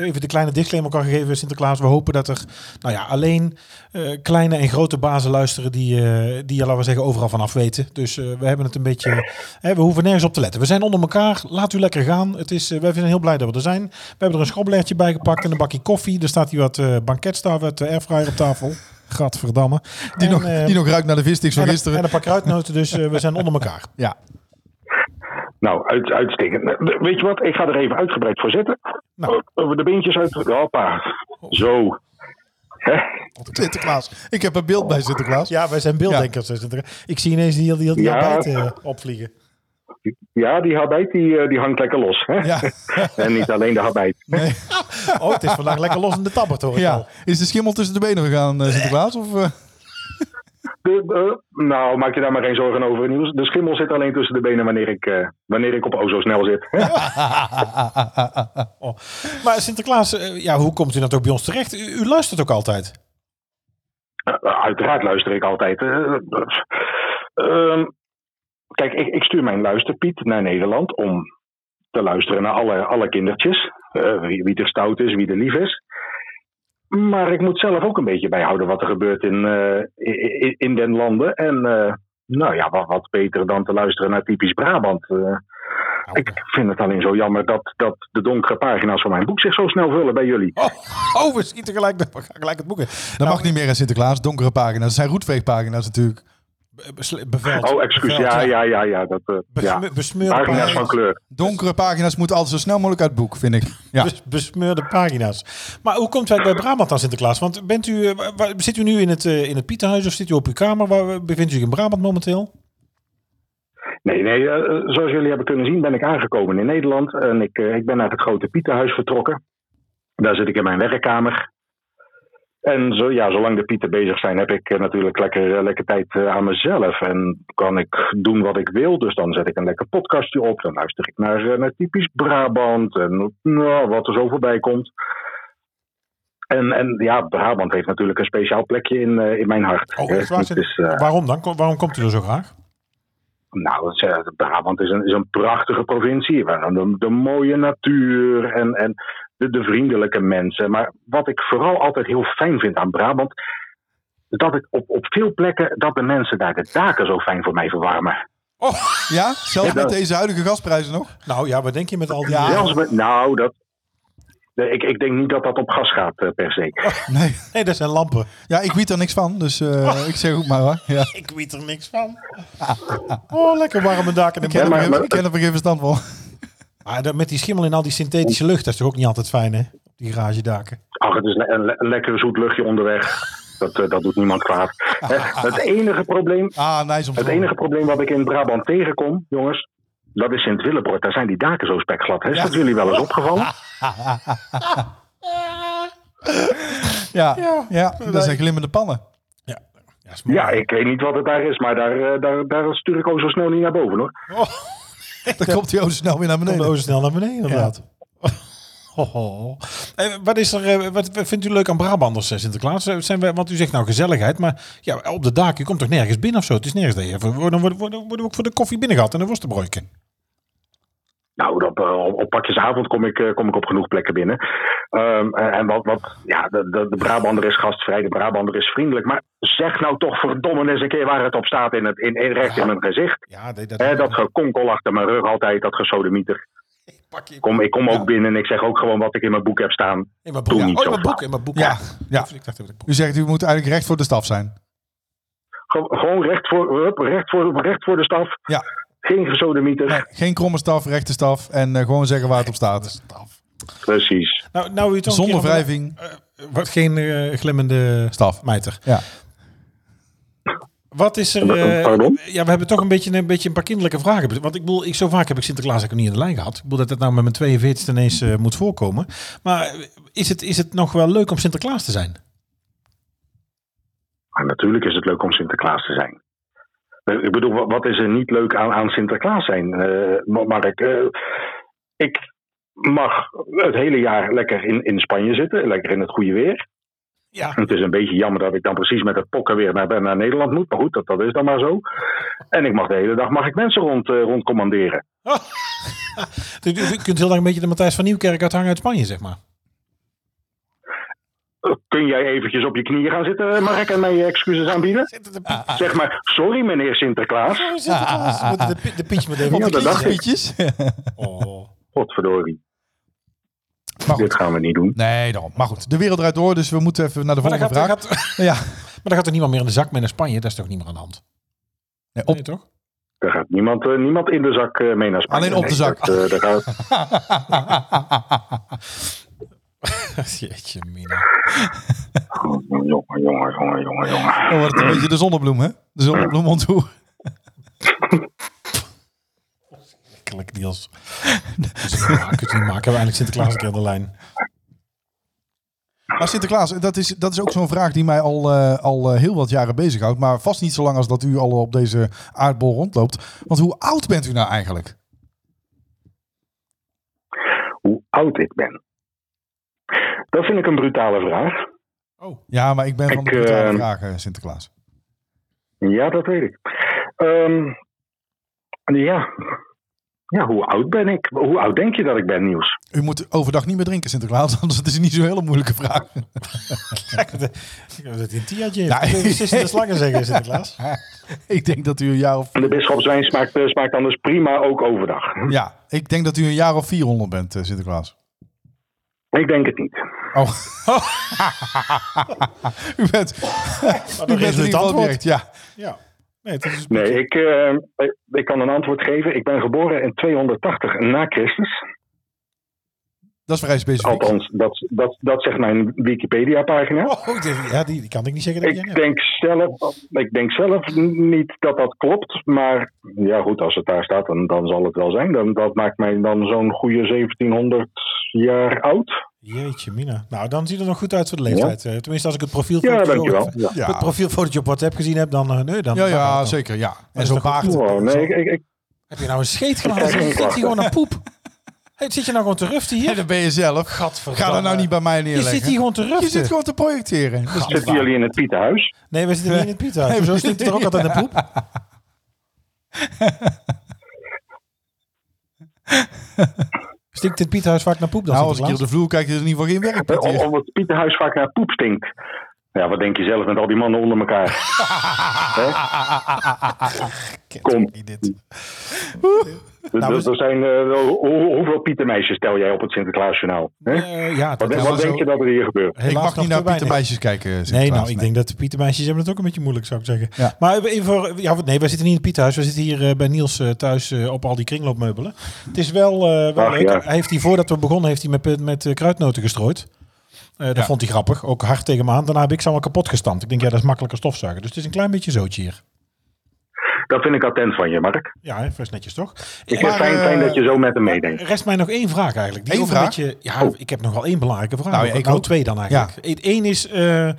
Speaker 2: eh, even de kleine disclaimer kan gegeven, Sinterklaas. We hopen dat er nou ja, alleen eh, kleine en grote bazen luisteren die, eh, die laten we zeggen, overal vanaf weten. Dus eh, we hebben het een beetje, hè, we hoeven nergens op te letten. We zijn onder elkaar, laat u lekker gaan. Het is, eh, wij zijn heel blij dat we er zijn. We hebben er een schrobbelertje bij gepakt en een bakje koffie. Er staat hier wat eh banketstaaf uit de airfryer op tafel. Gadverdamme.
Speaker 3: Die,
Speaker 2: En,
Speaker 3: nog,
Speaker 2: eh,
Speaker 3: die nog ruikt naar de vissticks van
Speaker 2: en, een-
Speaker 3: gisteren.
Speaker 2: en een paar kruidnoten, dus eh, we zijn onder elkaar.
Speaker 3: ja.
Speaker 7: Nou, uit, uitstekend. Eh, Weet je wat? Ik ga er even uitgebreid voor zitten.
Speaker 2: Nou.
Speaker 7: Over de beentjes uit. Hoppa. Zo. Hè?
Speaker 3: Sinterklaas. Ik heb een beeld bij Sinterklaas.
Speaker 2: Oh. Ja, wij zijn beelddenkers. dus het- Ik zie ineens die, die, die
Speaker 7: Ja.
Speaker 2: arbeid eh, opvliegen.
Speaker 7: Ja, die habijt die, eh, die hangt lekker los. Hè?
Speaker 3: Ja.
Speaker 7: En niet alleen de habijt.
Speaker 3: Nee.
Speaker 2: Oh, het is vandaag lekker los in de tabbert hoor ik al.
Speaker 3: ja. Is de schimmel tussen de benen gegaan, eh, Sinterklaas? Of, eh?
Speaker 7: De- de- nou, maak je daar maar geen zorgen over, Niels. De schimmel zit alleen tussen de benen wanneer ik, eh, wanneer ik op o zo snel zit.
Speaker 2: Oh. Maar Sinterklaas, eh, ja, hoe komt u dat ook bij ons terecht? U, u luistert ook altijd.
Speaker 7: Eh, Uiteraard luister ik altijd. Eh, ehm, kijk, ik, ik stuur mijn luisterpiet naar Nederland om te luisteren naar alle, alle kindertjes. Eh, wie, wie er stout is, wie er lief is. Maar ik moet zelf ook een beetje bijhouden wat er gebeurt in, eh, i- i- in den landen. En eh, nou ja, wat, wat beter dan te luisteren naar typisch Brabant. eh. ik vind het alleen zo jammer dat, dat de donkere pagina's van mijn boek zich zo snel vullen bij jullie.
Speaker 2: Oh, oh, we schieten gelijk, de- we gaan gelijk het boek in. Eh,
Speaker 3: Dat mag niet meer in Sinterklaas. Donkere pagina's. Dat zijn roetveegpagina's natuurlijk.
Speaker 2: Be- besle- Beveld.
Speaker 7: Oh, excuus.
Speaker 2: Beveld,
Speaker 7: Ja, ja, ja, ja. Dat, eh, ja.
Speaker 2: Besme- Besmeurde
Speaker 7: Pagina's van
Speaker 2: pagina's.
Speaker 7: kleur.
Speaker 3: Donkere pagina's moeten altijd zo snel mogelijk uit het boek, vind ik. Ja.
Speaker 2: Bes- Besmeurde pagina's. Maar hoe komt het bij Brabant aan Sinterklaas? Want bent u, eh, wa- wa- zit u nu in het, eh, in het Pieterhuis of zit u op uw kamer? Waar bevindt u zich in Brabant momenteel?
Speaker 7: Nee, nee. eh, zoals jullie hebben kunnen zien ben ik aangekomen in Nederland. En ik, eh, ik ben naar het Grote Pietenhuis vertrokken. Daar zit ik in mijn werkkamer. En zo, ja, zolang de Pieten bezig zijn, heb ik eh, natuurlijk lekker, eh, lekker tijd eh, aan mezelf. En kan ik doen wat ik wil. Dus dan zet ik een lekker podcastje op. Dan luister ik naar, eh, naar typisch Brabant. En nou, wat er zo voorbij komt. En, en ja, Brabant heeft natuurlijk een speciaal plekje in, eh, in mijn hart.
Speaker 2: Oh,
Speaker 7: Eh,
Speaker 2: echt waar,
Speaker 7: het is, eh,
Speaker 2: Waarom dan? Ko- Waarom komt u er zo graag?
Speaker 7: nou, het is, eh, Brabant is een, is een prachtige provincie. Waar De, de mooie natuur en, en de, de vriendelijke mensen. Maar wat ik vooral altijd heel fijn vind aan Brabant. is Dat ik op, op veel plekken. dat de mensen daar de daken zo fijn voor mij verwarmen.
Speaker 3: Ja? Zelfs
Speaker 7: Ja, dat-
Speaker 3: met deze huidige gasprijzen nog?
Speaker 2: Nou ja, wat denk je met al die...
Speaker 3: Ja.
Speaker 2: eh,
Speaker 7: Zelfs met, nou, dat. nee, Ik, ik denk niet dat dat op gas gaat, eh, per se.
Speaker 3: Nee.
Speaker 2: Nee, dat zijn lampen.
Speaker 3: Ja, ik weet er niks van, dus eh, ik zeg ook maar hoor. Ja.
Speaker 2: Ik weet er niks van. Oh, lekker warme daken in
Speaker 3: Ik, heb
Speaker 2: Brabant.
Speaker 7: maar-
Speaker 3: er,
Speaker 7: maar-
Speaker 3: geen- ik heb er geen verstand van.
Speaker 2: Maar dat- met die schimmel en al die synthetische lucht, dat is toch ook niet altijd fijn, hè? Op die garagedaken.
Speaker 7: Ach, het is le- een, le- een lekker zoet luchtje onderweg. Dat, eh, dat doet niemand kwaad. Hè, Het enige probleem
Speaker 3: Ah, nee, soms
Speaker 7: Het
Speaker 2: Oh.
Speaker 3: wel.
Speaker 7: enige probleem wat ik in Brabant tegenkom, jongens, dat is Sint-Willebroord. Daar zijn die daken zo spekglad. Hè? Is dat jullie wel eens opgevallen?
Speaker 3: Ja, ja. dat zijn glimmende pannen.
Speaker 2: Ja, ja, is mooi.
Speaker 7: Ja, ik weet niet wat het daar is, maar daar, eh, daar, daar stuur ik ook zo snel niet naar boven hoor.
Speaker 3: Dan komt hij ook snel weer naar
Speaker 2: Kom de
Speaker 3: beneden.
Speaker 2: ozen snel naar beneden, inderdaad. Oh, oh. Eh, wat, is er, eh, wat wat vindt u leuk aan Brabanders, eh, Sinterklaas? Eh, Zijn we, want u zegt nou gezelligheid, maar ja, op de daken, je komt toch nergens binnen of zo? Het is nergens dat je... even- Dan worden, worden, worden we ook voor de koffie binnengehaald en de worstenbroodje.
Speaker 7: Nou, op, eh, op, op pakjesavond kom ik, eh, kom ik op genoeg plekken binnen. Ehm, eh, en wat, wat ja, de, de, de Brabander is gastvrij, de Brabander is vriendelijk. Maar zeg nou toch verdomme eens een keer waar het op staat in het, in, in- recht in mijn gezicht.
Speaker 2: Ja, nee, dat...
Speaker 7: Hè, dat gekonkel achter mijn rug altijd, dat gesodemieter.
Speaker 2: pak je...
Speaker 7: Kom, ik kom ook binnen en ik zeg ook gewoon wat ik in mijn boek heb staan.
Speaker 2: In mijn
Speaker 7: Doe
Speaker 2: boek, ja.
Speaker 7: niet
Speaker 2: Oh, in
Speaker 7: zo
Speaker 2: mijn boek,
Speaker 7: flauw.
Speaker 2: in mijn boek.
Speaker 3: Ja, ja.
Speaker 2: Ik dacht even dat ik boek-
Speaker 3: U zegt, u moet eigenlijk recht voor de staf zijn.
Speaker 7: Gew- Gewoon recht voor, hup, recht voor, recht voor de staf.
Speaker 3: Ja.
Speaker 7: Geen gesodemieter.
Speaker 3: Nee, geen kromme staf, rechte staf. En eh, gewoon zeggen waar het op staat.
Speaker 7: Precies.
Speaker 2: Nou, nou, u toch een
Speaker 3: Zonder
Speaker 2: keer aan de-
Speaker 3: wrijving.
Speaker 2: Eh, Wordt geen eh, glimmende
Speaker 3: Staf.
Speaker 2: mijter.
Speaker 3: Ja.
Speaker 2: Wat is er?
Speaker 7: Eh,
Speaker 2: eh,
Speaker 7: pardon?
Speaker 2: ja, we hebben toch een beetje een, beetje een paar kinderlijke vragen. Want ik bedoel, ik, zo vaak heb ik Sinterklaas eigenlijk niet in de lijn gehad. Ik bedoel dat het nou met mijn 42 ineens eh, moet voorkomen. Maar eh, is het, is het nog wel leuk om Sinterklaas te zijn?
Speaker 7: Maar natuurlijk is het leuk om Sinterklaas te zijn. Eh, Ik bedoel, wa- wat is er niet leuk aan, aan Sinterklaas zijn, eh, Ma- Mark? Eh, ik mag het hele jaar lekker in, in Spanje zitten, lekker in het goede weer.
Speaker 2: Ja.
Speaker 7: Het is een beetje jammer dat ik dan precies met het pokken weer naar, naar Nederland moet. Maar goed, dat, dat is dan maar zo. En ik mag de hele dag mag ik mensen rond, eh, rond commanderen.
Speaker 2: U, u- u kunt heel erg een beetje de Matthijs van Nieuwkerk uithangen uit Spanje, zeg maar.
Speaker 7: Eh, Kun jij eventjes op je knieën gaan zitten, Mark, en mij je excuses aanbieden?
Speaker 3: Ah,
Speaker 7: Zeg maar, sorry meneer Sinterklaas.
Speaker 2: Oh, Sinterklaas, we
Speaker 3: ah.
Speaker 2: moeten de, pi- de Pietje moet even
Speaker 3: Op
Speaker 7: Ja,
Speaker 3: de
Speaker 7: dat dacht ik.
Speaker 3: kniespietjes.
Speaker 2: Oh.
Speaker 7: Godverdorie,
Speaker 3: maar
Speaker 7: dit
Speaker 3: goed.
Speaker 7: gaan we niet doen.
Speaker 3: Nee, dan. Maar goed. De wereld draait door, dus we moeten even naar de
Speaker 2: Maar dan
Speaker 3: volgende
Speaker 2: gaat, dan
Speaker 3: vraag.
Speaker 2: gaat, maar
Speaker 3: Ja.
Speaker 2: dan gaat er niemand meer in de zak mee naar Spanje. Dat is toch niet meer aan de hand?
Speaker 3: Nee, op.
Speaker 2: Nee, toch?
Speaker 7: Daar gaat niemand, eh, niemand in de zak eh, mee naar Spanje.
Speaker 3: Alleen op de
Speaker 7: Nee,
Speaker 3: zak.
Speaker 7: dat, eh, daar gaat,
Speaker 2: Jeetje, mina.
Speaker 7: Oh, jongen, jongen, jongen, jongen, jongen.
Speaker 3: Dan wordt het een beetje de zonnebloem, hè? De zonnebloem onthoer.
Speaker 2: Klik Niels. Dus, ja, kunt u niet maken. Hebben we eigenlijk Sinterklaas een keer aan de lijn.
Speaker 3: Maar Sinterklaas, dat is, dat is ook zo'n vraag die mij al, eh, al eh, heel wat jaren bezighoudt. Maar vast niet zo lang als dat u al op deze aardbol rondloopt. Want hoe oud bent u nou eigenlijk?
Speaker 7: Hoe oud ik ben? Dat vind ik een brutale vraag.
Speaker 2: Oh.
Speaker 3: Ja, maar ik ben van de
Speaker 7: Ik,
Speaker 3: brutale
Speaker 7: eh,
Speaker 3: vragen, Sinterklaas.
Speaker 7: Ja, dat weet ik. Ehm, ja, ja, hoe oud ben ik? Hoe oud denk je dat ik ben, Niels?
Speaker 3: U moet overdag niet meer drinken, Sinterklaas. Anders is het niet zo'n hele moeilijke vraag.
Speaker 2: Kijk, dat ik heb dat in Tiatje heeft.
Speaker 3: Nou,
Speaker 2: Nou, de slangen zeggen, Sinterklaas.
Speaker 3: ik denk dat u een jaar of...
Speaker 7: De bisschopswijn smaakt, eh, smaakt anders prima ook overdag.
Speaker 3: Ja, ik denk dat u een jaar of 400 bent, eh, Sinterklaas.
Speaker 7: Ik denk het niet.
Speaker 3: Oh. u bent... u
Speaker 2: is het antwoord.
Speaker 3: direct, ja.
Speaker 2: Ja. Nee, dat is...
Speaker 7: Nee, ik, eh, ik kan een antwoord geven. Ik ben geboren in 280 na Christus.
Speaker 3: Dat is vrij specifiek.
Speaker 7: Althans, dat, dat, dat zegt mijn Wikipedia-pagina.
Speaker 2: Oh, dit- ja, die, die kan ik niet zeggen. Dat jij
Speaker 7: Ik
Speaker 2: hebt.
Speaker 7: denk, zelf, ik denk zelf niet dat dat klopt. Maar ja, goed, als het daar staat, dan, dan zal het wel zijn. Dan, dat maakt mij dan zo'n goede 1700 jaar oud.
Speaker 2: Jeetje, Mina. Nou, dan ziet het er nog goed uit voor de leeftijd. Eh, Tenminste, als ik het profiel
Speaker 7: Ja, dankjewel. Ja.
Speaker 2: Ja. Het profielfotootje op WhatsApp gezien heb, dan... eh, nee, dan
Speaker 3: Ja,
Speaker 2: dan-
Speaker 3: ja,
Speaker 2: dan-
Speaker 3: zeker, ja. En
Speaker 2: is
Speaker 3: zo'n
Speaker 2: toch
Speaker 3: baard.
Speaker 2: goed?
Speaker 7: Oh, nee, ik, ik, ik-
Speaker 2: Heb je nou een scheet gehaald?
Speaker 7: krijg geen
Speaker 2: Zit je
Speaker 7: klachten.
Speaker 2: gewoon aan poep? Hey, zit je nou gewoon te ruften
Speaker 3: En
Speaker 2: hier?
Speaker 3: dan ben je zelf.
Speaker 2: Gadverdamme.
Speaker 3: Ga dat nou niet bij mij
Speaker 2: Je
Speaker 3: neerleggen.
Speaker 2: zit hier gewoon te
Speaker 3: Je zit
Speaker 2: ruften.
Speaker 3: gewoon te projecteren. Dat is niet
Speaker 7: zitten
Speaker 3: waar.
Speaker 7: jullie in het Pietenhuis?
Speaker 2: Nee, we zitten niet in het pizza. Hoezo
Speaker 3: we-
Speaker 2: stinkt het er ook altijd naar poep? Stinkt het Pieterhuis vaak naar poep dan?
Speaker 3: Nou, als ik hier op
Speaker 2: Sinterklaas?
Speaker 3: de vloer kijk, is er in ieder geval geen werk. Piet,
Speaker 7: Of,
Speaker 3: hier.
Speaker 7: of het Pietenhuis vaak naar poep stinkt? Ja, wat denk je zelf met al die mannen onder elkaar? Hè? Kom,
Speaker 3: Niet dit.
Speaker 2: Nou,
Speaker 7: er, er zijn, eh, wel- hoe- hoeveel Pietenmeisjes tel jij op het Sinterklaasjournaal? Hè?
Speaker 2: Eh, ja,
Speaker 7: Wat,
Speaker 2: dat is
Speaker 7: wat
Speaker 2: zo-
Speaker 7: denk je dat er hier gebeurt?
Speaker 3: Ik
Speaker 2: helaas
Speaker 3: mag
Speaker 2: nog
Speaker 3: niet naar
Speaker 2: te weinig.
Speaker 3: Pietermeisjes kijken.
Speaker 2: Nee, nou,
Speaker 3: Sinterklaas.
Speaker 2: ik denk dat de Pietermeisjes hebben het ook een beetje moeilijk, zou ik zeggen.
Speaker 3: Ja.
Speaker 2: Maar even voor, ja, nee, wij zitten niet in het Pieterhuis. We zitten hier eh, bij Niels eh, thuis eh, op al die kringloopmeubelen. Het is wel, eh, wel
Speaker 7: Ach,
Speaker 2: leuk.
Speaker 7: ja.
Speaker 2: Hij heeft hier, voordat we begonnen, heeft hij met, met eh, kruidnoten gestrooid. Eh, dat
Speaker 3: Ja.
Speaker 2: vond hij grappig. Ook hard tegen me aan. Daarna heb ik ze allemaal kapot gestampt. Ik denk, ja, dat is makkelijker stofzuigen. Dus het is een klein beetje zootje hier.
Speaker 7: Dat vind ik attent van je, Mark.
Speaker 2: Ja, hè, best netjes toch?
Speaker 7: Ik
Speaker 2: Maar,
Speaker 7: vind fijn,
Speaker 2: eh,
Speaker 7: fijn dat je zo met hem meedenkt.
Speaker 2: Rest mij nog één vraag eigenlijk. Die
Speaker 3: Eén
Speaker 2: ook een
Speaker 3: vraag?
Speaker 2: beetje- ja, ik heb nog wel één belangrijke vraag.
Speaker 3: Nou,
Speaker 2: Nou,
Speaker 3: ja, ik
Speaker 2: ik nou
Speaker 3: ook.
Speaker 2: twee dan eigenlijk. Eén is, eh,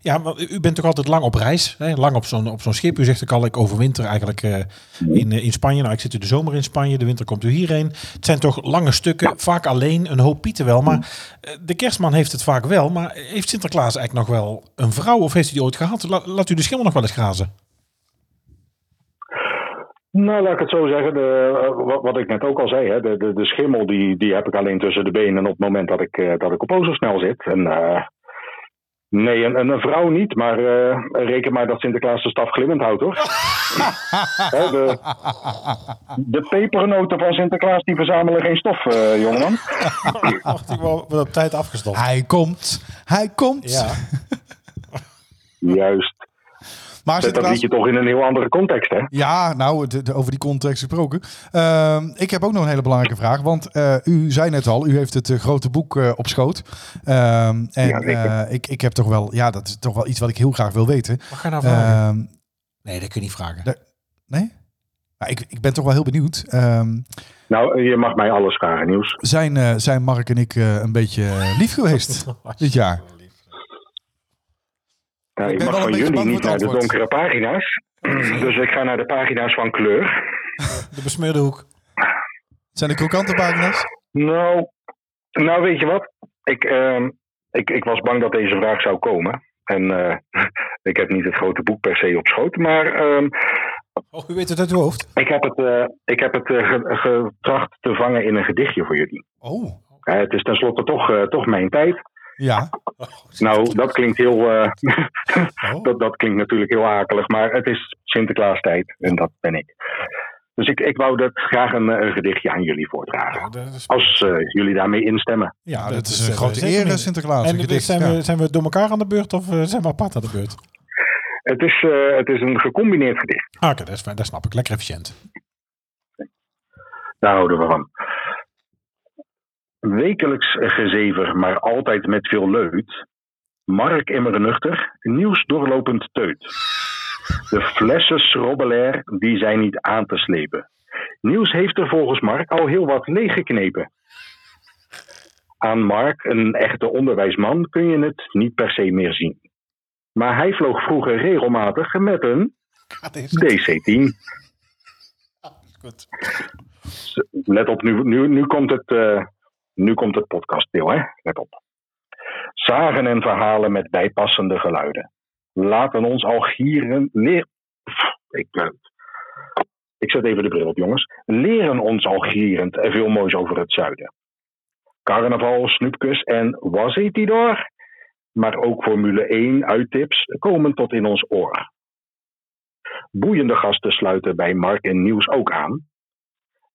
Speaker 2: ja, maar u bent toch altijd lang op reis, hè? lang op zo'n op zo'n schip. U zegt ook al, ik overwinter eigenlijk eh, in, eh, in Spanje. Nou, ik zit u de zomer in Spanje, de winter komt u hierheen. Het zijn toch lange stukken, vaak alleen, een hoop pieten wel. Maar eh, de kerstman heeft het vaak wel. Maar heeft Sinterklaas eigenlijk nog wel een vrouw of heeft hij die ooit gehad? La- laat u de schimmel nog wel eens grazen.
Speaker 7: Nou, laat ik het zo zeggen. De, eh, wat, wat ik net ook al zei, hè, de, de, de schimmel die, die heb ik alleen tussen de benen op het moment dat ik, eh, dat ik op Oostersnel zit. En, eh, nee, een, een- een vrouw niet, maar eh, reken maar dat Sinterklaas de staf glimmend houdt hoor. Hè, de, de pepernoten van Sinterklaas die verzamelen geen stof, eh, jongeman.
Speaker 2: Wacht, ik wel op Oh, tijd afgestopt.
Speaker 3: Hij komt. Hij komt.
Speaker 2: Ja.
Speaker 7: Juist.
Speaker 3: Maar
Speaker 7: Zet dat
Speaker 3: Sinterklaas...
Speaker 7: liedje toch in een heel andere context, hè?
Speaker 3: Ja, nou, de- de- over die context gesproken. Ehm, ik heb ook nog een hele belangrijke vraag. Want eh, u zei net al, u heeft het eh, grote boek eh, op schoot. Ehm, en
Speaker 7: Ja, zeker.
Speaker 3: eh, ik, ik heb toch wel, ja, dat is toch wel iets wat ik heel graag wil weten.
Speaker 2: Mag ik haar nou vragen?
Speaker 3: Ehm,
Speaker 2: nee, dat kun je niet vragen.
Speaker 3: nee? Nou, ik, ik ben toch wel heel benieuwd. Ehm,
Speaker 7: Nou, eh, je mag mij alles vragen, Nieuws.
Speaker 3: zijn, eh, zijn Mark en ik eh, een beetje eh, lief geweest
Speaker 2: Oh,
Speaker 3: dit jaar?
Speaker 7: Ja,
Speaker 3: Ik
Speaker 7: ik
Speaker 3: ben
Speaker 7: mag
Speaker 3: wel een
Speaker 7: van
Speaker 3: beetje
Speaker 7: jullie
Speaker 3: bang voor
Speaker 7: niet
Speaker 3: het
Speaker 7: naar de
Speaker 3: antwoord.
Speaker 7: donkere pagina's. Dus ik ga naar de pagina's van kleur.
Speaker 2: De besmeurde hoek.
Speaker 3: Zijn er krokante pagina's?
Speaker 7: Nou, nou weet je wat? Ik, ehm, ik, ik was bang dat deze vraag zou komen. En eh, ik heb niet het grote boek per se op schoot. Maar ehm,
Speaker 2: Oh, u weet het uit uw hoofd.
Speaker 7: ik heb het, eh, ik heb het eh, ge- getracht te vangen in een gedichtje voor jullie.
Speaker 3: Oh,
Speaker 7: Eh, het is tenslotte toch, eh, toch mijn tijd.
Speaker 3: ja.
Speaker 7: Nou, dat klinkt heel. eh,
Speaker 3: Oh.
Speaker 7: dat, dat klinkt natuurlijk heel akelig, maar het is Sinterklaastijd en dat ben ik. Dus ik, ik wou dat graag een, eh, een gedichtje aan jullie voordragen. Als eh, jullie daarmee instemmen.
Speaker 2: Ja,
Speaker 3: dat is een grote
Speaker 2: zeker
Speaker 3: eer, eh,
Speaker 2: niet.
Speaker 3: Sinterklaas, een
Speaker 2: En
Speaker 3: gedicht,
Speaker 2: zijn,
Speaker 3: ja.
Speaker 2: we, zijn we door elkaar aan de beurt of eh, zijn we apart aan de beurt?
Speaker 7: Het is, eh, het is een gecombineerd gedicht.
Speaker 2: Ah, oké, dat, is fijn, dat snap ik. Lekker efficiënt.
Speaker 7: Daar houden we van. Wekelijks gezever, maar altijd met veel leut. Mark immer nuchter, nieuws doorlopend teut. De flessen schrobbelair, die zijn niet aan te slepen. Nieuws heeft er volgens Mark al heel wat leeggeknepen. Aan Mark, een echte onderwijsman, kun je het niet per se meer zien. Maar hij vloog vroeger regelmatig met een DC-10. Dus Let op, nu, nu, nu komt het, eh, nu komt het podcastdeel, hè? Let op. Zagen en verhalen met bijpassende geluiden. Laten ons al gieren. Nee, pff, ik, eh, Ik zet even de bril op, jongens. Leren ons al gierend en veel moois over het zuiden. Carnaval, snoepkus en was het die door? Maar ook Formule 1 uittips komen tot in ons oor. Boeiende gasten sluiten bij Mark en Nieuws ook aan.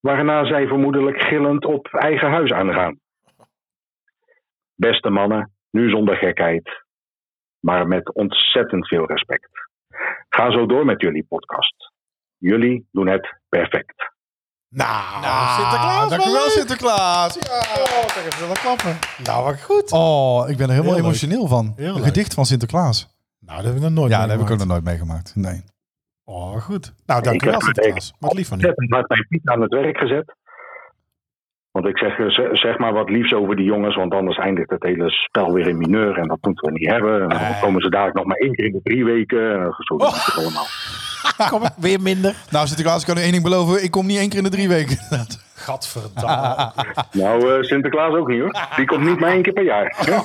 Speaker 7: Waarna zij vermoedelijk gillend op eigen huis aangaan. Beste mannen, nu zonder gekheid, maar met ontzettend veel respect. Ga zo door met jullie podcast. Jullie doen het perfect.
Speaker 3: Nou,
Speaker 2: Sinterklaas,
Speaker 3: dankjewel
Speaker 2: wat leuk.
Speaker 3: Sinterklaas.
Speaker 2: kijk even wel klappen. Nou, wat goed.
Speaker 3: Oh, ik ben er helemaal
Speaker 2: Heel leuk.
Speaker 3: emotioneel van.
Speaker 2: Heel
Speaker 3: een
Speaker 2: leuk.
Speaker 3: gedicht van Sinterklaas.
Speaker 2: Nou, dat heb ik nog nooit
Speaker 3: ja, dat heb ik ook
Speaker 2: meegemaakt.
Speaker 3: nog nooit meegemaakt. Nee.
Speaker 2: Oh, wat goed. Nou, dankjewel
Speaker 7: heb-
Speaker 2: Sinterklaas. Wat lief van u.
Speaker 7: Ontzettend hard mijn piet aan het werk gezet. Want ik zeg, eh, ze- zeg maar wat liefs over die jongens, want anders eindigt het hele spel weer in mineur en dat moeten we niet hebben. En dan komen ze dadelijk nog maar één keer in de drie weken. En zo doet het allemaal.
Speaker 2: Kom maar, weer minder.
Speaker 3: Nou, Sinterklaas, ik kan u één ding beloven. Ik kom niet één keer in de drie weken.
Speaker 2: Gadverdamme.
Speaker 7: Nou, eh, Sinterklaas ook niet hoor. Die komt niet maar één keer per jaar. Ja.
Speaker 2: Ah,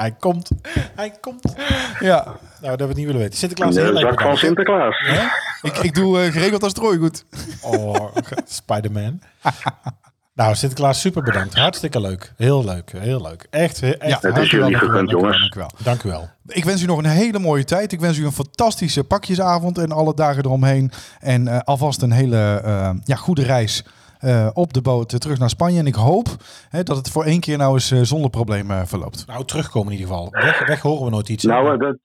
Speaker 2: Hij komt. Hij komt.
Speaker 3: ja,
Speaker 2: Nou, dat we het niet willen weten. Sinterklaas,
Speaker 7: De
Speaker 2: heel erg
Speaker 7: zak van
Speaker 2: bedankt.
Speaker 7: Sinterklaas.
Speaker 3: ik, ik doe eh, geregeld als strooigoed.
Speaker 2: Oh, ge- Spider-Man. nou, Sinterklaas, super bedankt. Hartstikke leuk. Heel leuk. Heel leuk. Echt. he- echt
Speaker 3: Ja,
Speaker 7: Het is jullie gegund, jongens.
Speaker 3: Dank u wel.
Speaker 2: Dank u wel.
Speaker 3: Ik wens u nog een hele mooie tijd. Ik wens u een fantastische pakjesavond en alle dagen eromheen. En eh, alvast een hele eh, ja, goede reis eh, op de boot eh, terug naar Spanje. En ik hoop hè, dat het voor één keer nou eens eh, zonder problemen verloopt.
Speaker 2: Nou, terugkomen in ieder geval. Weg, weg horen we nooit iets.
Speaker 7: Nou, eh, dat,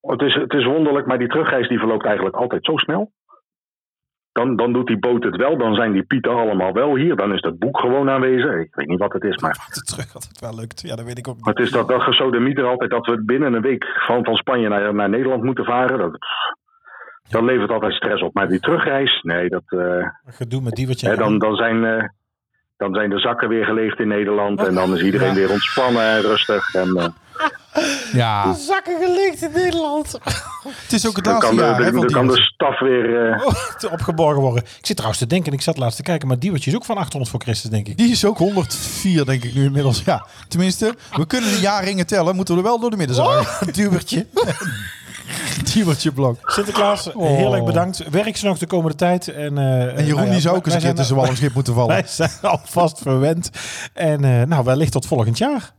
Speaker 7: het, is, het is wonderlijk, maar die terugreis die verloopt eigenlijk altijd zo snel. Dan, dan doet die boot het wel, dan zijn die pieten allemaal wel hier. Dan is dat boek gewoon aanwezig. Ik weet niet wat het is, maar
Speaker 2: Wacht, terug dat het wel lukt. Ja, dat weet ik ook niet.
Speaker 7: het is dat, dat gesodemieter altijd dat we binnen een week van, van Spanje naar, naar Nederland moeten varen. Dat, dat levert altijd stress op. Maar die terugreis, nee, dat, eh,
Speaker 2: Gedoe met die wat jij...
Speaker 7: hè, dan, dan, zijn, eh, dan zijn de zakken weer geleegd in Nederland. En dan is iedereen weer ontspannen en rustig. En, eh,
Speaker 3: Ja,
Speaker 2: zakken gelicht in Nederland.
Speaker 3: het is ook het
Speaker 7: dan
Speaker 3: laatste
Speaker 7: kan de,
Speaker 3: jaar. hè,
Speaker 7: de-
Speaker 3: van
Speaker 7: dan
Speaker 3: die
Speaker 7: kan de
Speaker 3: jongens.
Speaker 7: staf weer... eh,
Speaker 2: Oh, te opgeborgen worden. Ik zit trouwens te denken, en ik zat laatst te kijken, maar Diewertje is ook van 800 voor Christus, denk ik.
Speaker 3: Die is ook 104, denk ik nu inmiddels. Ja, tenminste, we kunnen de jaarringen tellen. Moeten we er wel door de midden zijn.
Speaker 2: Oh, Diewertje.
Speaker 3: Diewertje blok.
Speaker 2: Sinterklaas,
Speaker 3: Oh.
Speaker 2: heel erg bedankt. Werk ze nog de komende tijd. En, eh,
Speaker 3: En Jeroen
Speaker 2: nou ja,
Speaker 3: die zou
Speaker 2: wij- wij
Speaker 3: ook eens een keer
Speaker 2: zijn-
Speaker 3: tussen wal en schip moeten vallen.
Speaker 2: Wij zijn alvast verwend. En eh, nou, wellicht tot volgend jaar.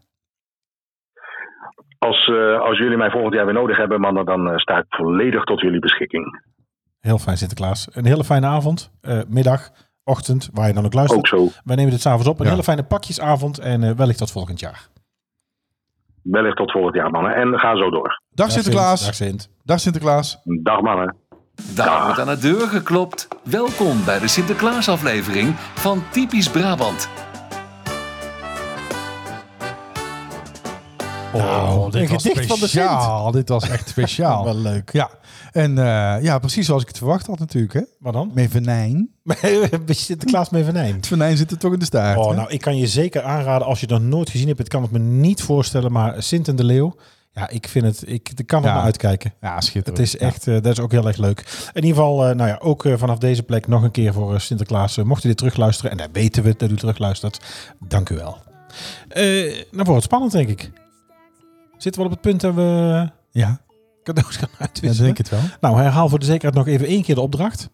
Speaker 7: Als, eh, als jullie mij volgend jaar weer nodig hebben, mannen, dan eh, sta ik volledig tot jullie beschikking.
Speaker 2: Heel fijn Sinterklaas. Een hele fijne avond, eh, middag, ochtend, waar je dan ook luistert.
Speaker 7: Ook zo.
Speaker 2: Wij nemen dit s'avonds op. Een
Speaker 3: Ja.
Speaker 2: hele fijne pakjesavond en eh, wellicht tot volgend jaar.
Speaker 7: Wellicht tot volgend jaar, mannen. En ga zo door.
Speaker 3: Dag Sinterklaas.
Speaker 2: Dag Sint.
Speaker 3: Dag Sinterklaas.
Speaker 7: Dag, mannen.
Speaker 1: Daar wordt aan de deur geklopt. Welkom bij de Sinterklaasaflevering van Typisch Brabant.
Speaker 2: Nou, een gedicht van de Sint.
Speaker 3: Oh, speciaal. Dit was echt speciaal.
Speaker 2: Wel leuk.
Speaker 3: Ja, en eh, ja, precies zoals ik het verwacht had natuurlijk. Hè?
Speaker 2: Wat dan?
Speaker 3: Met venijn.
Speaker 2: Sinterklaas mee venijn.
Speaker 3: Het venijn zit er toch in de staart.
Speaker 2: Oh,
Speaker 3: hè?
Speaker 2: nou, ik kan je zeker aanraden, als je dat nooit gezien hebt, ik kan het me niet voorstellen, maar Sint en de Leeuw, ja, ik vind het, ik ik kan er
Speaker 3: Ja.
Speaker 2: maar uitkijken.
Speaker 3: ja, schitterend.
Speaker 2: Het is echt, eh, dat is ook heel erg leuk. In ieder geval, eh, nou ja, ook eh, vanaf deze plek nog een keer voor eh, Sinterklaas. Eh, mocht u dit terugluisteren, en dat weten we dat u terugluistert, dank u wel. Eh nou, wordt het spannend, denk ik. Zitten we al op het punt dat we
Speaker 3: Ja,
Speaker 2: cadeaus gaan
Speaker 3: ja dat
Speaker 2: uitwisselen?
Speaker 3: denk ik het wel.
Speaker 2: Nou, herhaal voor de zekerheid nog even één keer de opdracht.